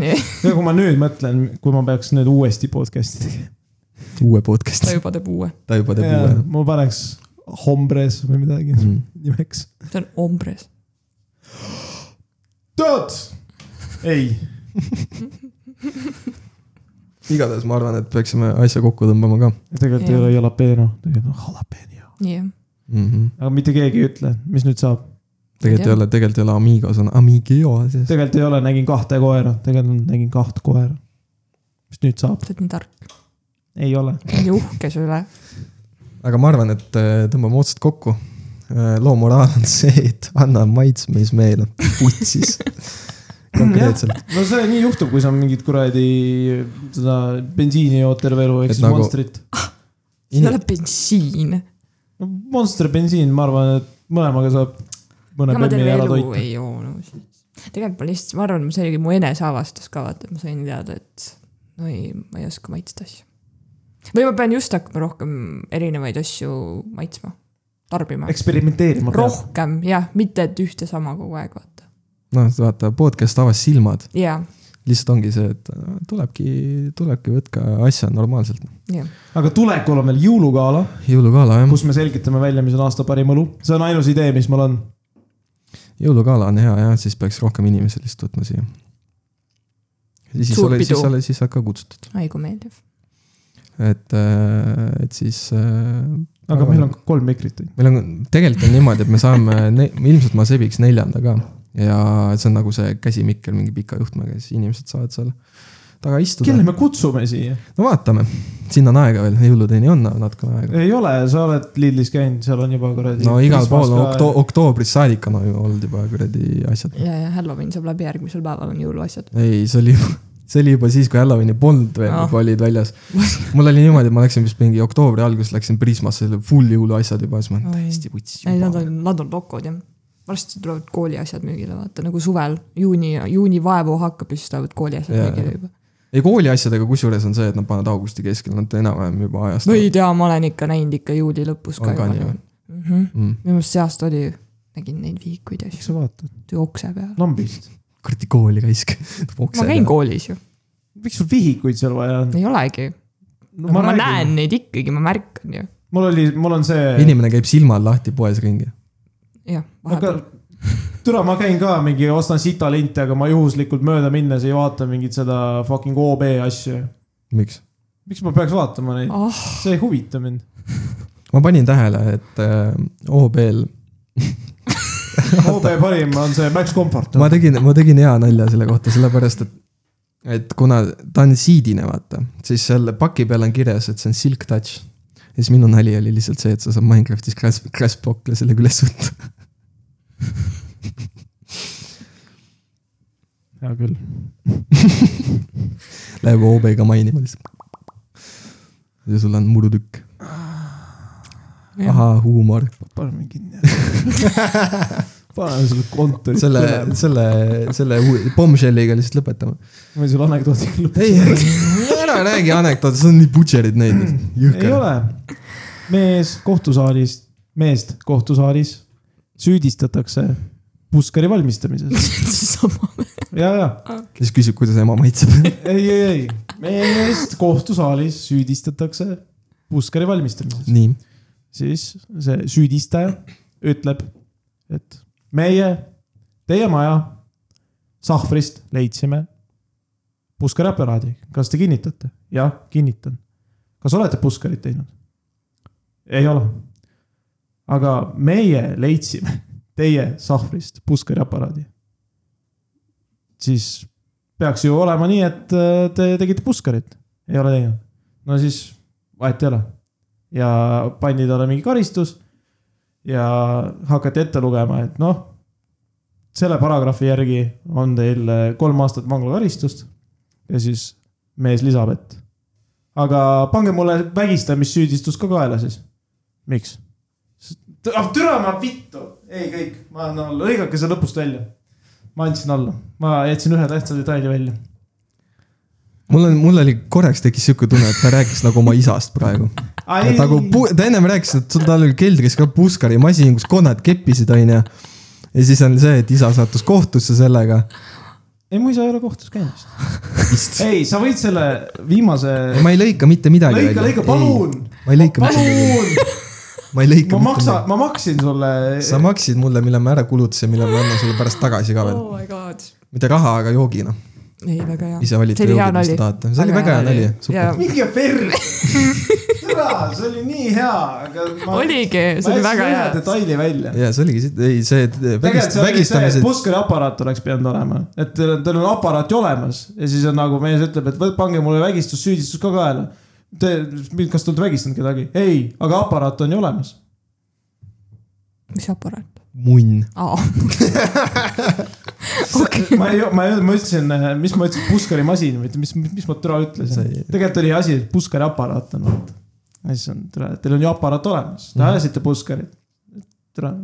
kui ma nüüd mõtlen , kui ma peaks nüüd uuesti podcast'i tegema .
uue podcast'i
[laughs] ta . juba teeb uue .
ta juba teeb
ja
uue .
ma paneks Hombres või midagi mm. nimeks .
see on ombres .
tead , ei ,
igatahes ma arvan , et peaksime asja kokku tõmbama ka
tegelikult ei
Jah.
ole jalapeno , tegelikult on jalapeno .
jah .
mm . -hmm.
aga mitte keegi ei ütle , mis nüüd saab .
tegelikult ei ole , tegelikult ei ole Amigos , on Amigio sees .
tegelikult ei ole , nägin kahte koera , tegelikult nägin kaht koera . mis nüüd saab ?
sa oled nii tark .
ei ole .
nii uhke su üle .
aga ma arvan , et äh, tõmbame otsad kokku . loo moraal on see , et anna maitsmeis meile , putsis . konkreetselt ,
no see nii juhtub , kui sa mingit kuradi seda bensiini jood terve elu ,
Et
ehk siis
nagu-
nagu... Monstrit .
see ei
Ini-
ole bensiin .
no Monster bensiin , ma arvan , et mõlemaga saab mõne
ja ma
bemmi
terve
ära
elu
toita .
ei joonud . tegelikult ma lihtsalt , ma arvan , see oli mu eneseavastus ka vaata , et ma sain teada , et no ei , ma ei oska maitsta asju . või ma pean just hakkama rohkem erinevaid asju maitsma , tarbima .
eksperimenteerima peab .
rohkem jah , mitte et ühte sama kogu aeg vaata .
noh , vaata podcast avas silmad ,
ja ,
lihtsalt ongi see , et äh, tulebki , tulebki võtka asja normaalselt .
ja ,
aga tulekul on veel jõulugala ,
Mhm. jõulugala jah ,
kus me selgitame välja , mis on aasta parim õlu . see on ainus idee , mis mul on .
jõulugala on hea jah , siis peaks rohkem inimesi lihtsalt võtma siia . siis
Suur
oled ,
pidu.
siis oled , siis oled ka kutsutud ,
ai kui meeldiv .
et , et siis äh,
aga meil on kolm mikrit .
meil on , tegelikult on niimoodi , et me saame [laughs] ne, , ilmselt ma sebiks neljanda ka ja see on nagu see käsimikker mingi pika juhtmega , siis inimesed saavad seal taga istuda
kelle . me kutsume siia ?
no vaatame , sinna on aega veel , jõuludeni on natukene aega .
ei ole , sa oled Lidlis käinud , seal on juba kuradi .
no igal pool okto- ,. oktoobrist saadik on ju olnud juba kuradi asjad .
ja , ja Halloween saab läbi , järgmisel päeval on jõuluasjad .
ei , see oli juba , see oli juba siis , kui Halloweeni polnud veel
Ah.
oh. , kui olid
[laughs]
väljas . mul oli niimoodi , et ma läksin vist mingi oktoobri alguses läksin Prismasse , full jõuluasjad juba , siis ma olin
Oi.
täiesti vuts
ei , nad
juba .
on , nad on lokod jah . varsti tulevad kooliasjad müügile , vaata nagu suvel , juuni , juuni vaevu hakkab ja siis tulevad kooliasjad
Jaa,
müügile
jaa.
juba .
ei kooli asjadega kusjuures on see , et nad panevad augusti keskel , nad enam-vähem juba ajast .
no ei tea , ma olen ikka näinud ikka juuli lõpus ka
On ka
juba Mhm.
nii, või? .
minu
mm. .
meelest see aasta oli , nägin neid vihikuid ja
miks
asju
sa vaatad ?
okse peal .
lambist .
kuradi kooli raisk . [laughs]
ma käin . koolis ju ,
miks sul vihikuid seal vaja on ?
ei olegi . ma, ma . näen neid ikkagi , ma märkan ju .
mul oli , mul on see .
inimene käib silmad lahti poes ringi .
jah ,
aga
vahepeal .
türa , ma käin ka mingi , ostan sita linte , aga ma juhuslikult mööda minnes ei vaata mingit seda fucking OB asju .
miks ?
miks ma peaks vaatama neid ?
ah ,
see ei huvita mind .
ma panin tähele , et äh, OB-l , [laughs]
OB parim on see Max Comfort .
ma tegin , ma tegin hea nalja selle kohta , sellepärast et , et kuna ta on siidine , vaata , siis seal paki peal on kirjas , et see on silk touch . ja siis minu nali oli lihtsalt see , et sa saad Minecraftis Crash , Crash Block'le selle üles võtta .
hea küll .
[laughs] Läheb OB-ga mainima lihtsalt . ja sul on murutükk . ahaa , huumor .
paneme [laughs] kinni . paneme selle kontori .
selle , selle , selle uu- pommšelliga lihtsalt lõpetame .
või selle anekdoodiga lõpetame .
ei , [laughs] ära räägi anekdoote , see on nii butcher'id neid .
Mm, ei ole . mees kohtusaalis , meest kohtusaalis süüdistatakse puskari valmistamises .
sama .
ja , ja ,
siis küsib , kuidas ema maitseb .
[laughs] ei , ei , ei , meest kohtusaalis süüdistatakse puskari valmistamises .
nii ,
siis see süüdistaja ütleb , et meie , teie maja sahvrist leidsime puskariaparaadi , kas te kinnitate ? jah , kinnitan . kas olete puskarit teinud ? ei ole . aga meie leidsime teie sahvrist puskariaparaadi . siis peaks ju olema nii , et äh, te tegite puskarit , ei ole teinud . no siis vahet ei ole ja pandi talle mingi karistus . ja hakati ette lugema , et noh , selle paragrahvi järgi on teil eh, kolm aastat vanglakaristust . ja siis mees lisab , et aga pange mulle vägistamissüüdistus ka kaela siis . miks ? ah türa ma vittu , ei kõik , ma annan alla , lõigake see lõpust välja . ma andsin alla , ma jätsin ühe tähtsa detaili välja .
mul on , mul oli korraks tekkis sihuke tunne , et ta rääkis nagu oma isast praegu . et nagu , ta ennem rääkis , et sul- tal oli keldris ka puskarimasin , kus konnad keppisid , onju . ja siis on see , et isa sattus kohtusse sellega .
ei mu isa ei ole kohtus käinud vist . ei , sa võid selle viimase .
ma ei lõika mitte midagi
lõika , lõika , palun .
ma ei lõika mitte midagi , ma
palun ,
ei lõika
[laughs] ma
mitte
maksan ,
midagi .
ma maksin sulle .
sa maksid mulle , mille ma ära kulutasin , mille ma annan sulle pärast tagasi ka veel .
oh my god .
mitte raha , aga noh. joogina .
ei , väga hea .
ise valite joogid , mis te tahate . see oli väga hea nali , super .
minge perre . türa , see oli nii hea , aga ma .
oligi , see oli väga
ühe
hea .
detaili välja .
ja see oligi , ei see et vägist,
tegelikult see oli see ,
vägistamised
et , puskari aparaat oleks pidanud olema , et teil on , teil on aparaat ju olemas ja siis on nagu mees ütleb , et võ- pange mulle vägistussüüdistus ka kaela . Te , kas te olete vägistanud kedagi ? ei , aga aparaat on ju olemas .
mis aparaat ?
munn .
aa ,
ma ei , ma ei , ma ütlesin , mis ma ütlesin , puskarimasin või mis , mis ma türa ütlesin
Sa ei- .
tegelikult oli asi , et puskariaparaat on vaata . ja siis on , tere , teil on ju aparaat olemas , te ajasite puskarit . tere .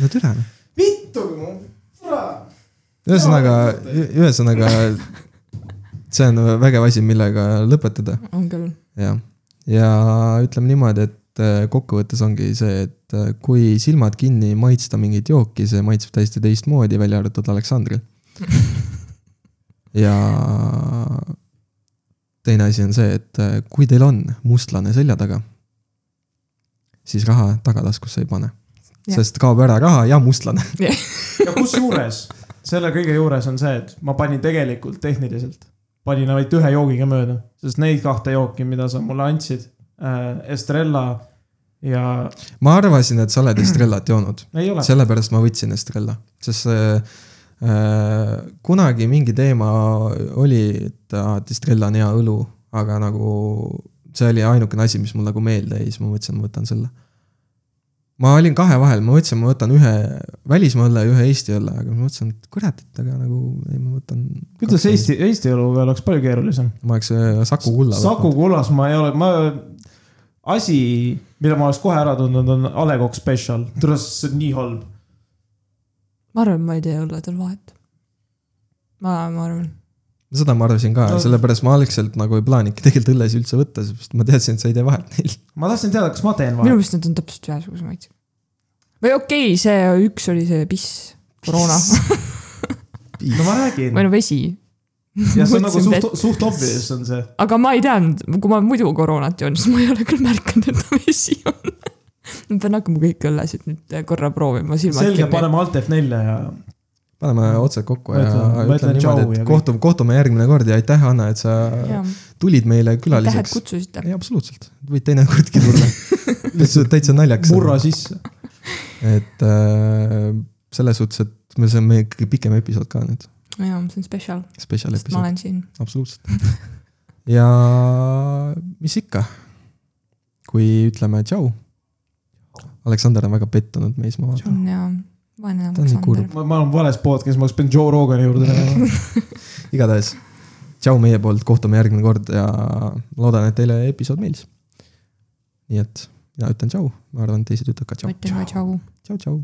no tere .
vittu , kurat .
ühesõnaga , ühesõnaga see on vägev asi , millega lõpetada
on küll .
jah , ja ütleme niimoodi , et äh, kokkuvõttes ongi see , et äh, kui silmad kinni maitsta mingit jooki , see maitseb täiesti teistmoodi , välja arvatud Aleksandril . ja teine asi on see , et äh, kui teil on mustlane selja taga , siis raha tagataskusse ei pane .
Jah.
sest kaob ära raha ja mustlane .
ja kusjuures selle kõige juures on see , et ma panin tegelikult tehniliselt , panin ainult ühe joogiga mööda , sest neid kahte jooki , mida sa mulle andsid äh, , Estrella ja
ma arvasin , et
[clears throat]
sa oled Estrellat joonud ,
ei ole see... ,
sellepärast ma võtsin Estrella , sest see äh, kunagi mingi teema oli , et aa, et Estrella on hea õlu , aga nagu see oli ainukene asi , mis mul nagu meelde jäi , siis ma mõtlesin , ma võtan selle . ma olin kahe vahel , ma mõtlesin , ma võtan ühe välismaa õlle ja ühe Eesti õlle , aga ma mõtlesin , et kurat , et aga nagu ei , ma võtan .
kuidas ? Eesti , Eesti eluga oleks palju keerulisem .
ma oleks äh, Saku kulla
Saku . Kullas ma ei ole , ma , asi , mille ma oleks kohe ära tundnud , on A Le Coq Special , tule , see on nii halb .
ma arvan , ma ei tee õlledel vahet . ma , ma arvan ,
seda ma arvasin ka
No.
no. , sellepärast ma algselt nagu ei plaaninudki tegelikult õllesid üldse võtta , sest ma teadsin , et sa ei tee vahet neil .
ma tahtsin teada , kas ma teen
minu
vahet .
meelest need on täpselt ühesuguse maitsega . või okei okay, , see üks oli see piss , koroona
no ma räägin
või no vesi ,
ja see on nagu
mõtlesin,
suht , suht obvious on see .
aga ma ei teadnud , kui ma muidu koroonat joon , siis ma ei ole küll märganud , et ta vesi on . ma pean hakkama kõiki õllesid nüüd korra proovima , silmad
selge , paneme Alt F4 ja
paneme otsad kokku
Ma
ja
ütlen- ma
ütleme
ütlen tšau
niimoodi ,
ja
et
kõik.
kohtume , kohtume järgmine kord ja aitäh , Anna , et sa
kinni .
tulid meile
aitäh , et
külaliseks .
kutsusite .
ei , absoluutselt , võid teinekordki
[laughs]
tulla . täitsa , täitsa naljakas .
murra sisse .
et äh, selles suhtes , et me , see on meie kõige pikem episood ka nüüd ,
jaa , see on spetsial ,
spetsial
sest ma
episood ,
olen siin .
absoluutselt . ja mis ikka , kui ütleme tšau . Aleksander on väga pettunud meis , ma vaatan .
on jaa , vaene
Ta on nii kurb.
Aleksander .
ma , ma olen vales podcast'is , ma oleks pidanud Joe Rogani juurde minema .
igatahes tšau meie poolt , kohtume järgmine kord ja loodan , et teile episood meeldis . nii et mina ütlen tšau , ma arvan , teised ütlevad ka
ma
tšau ,
ütlen ka tšau .
tšau , tšau .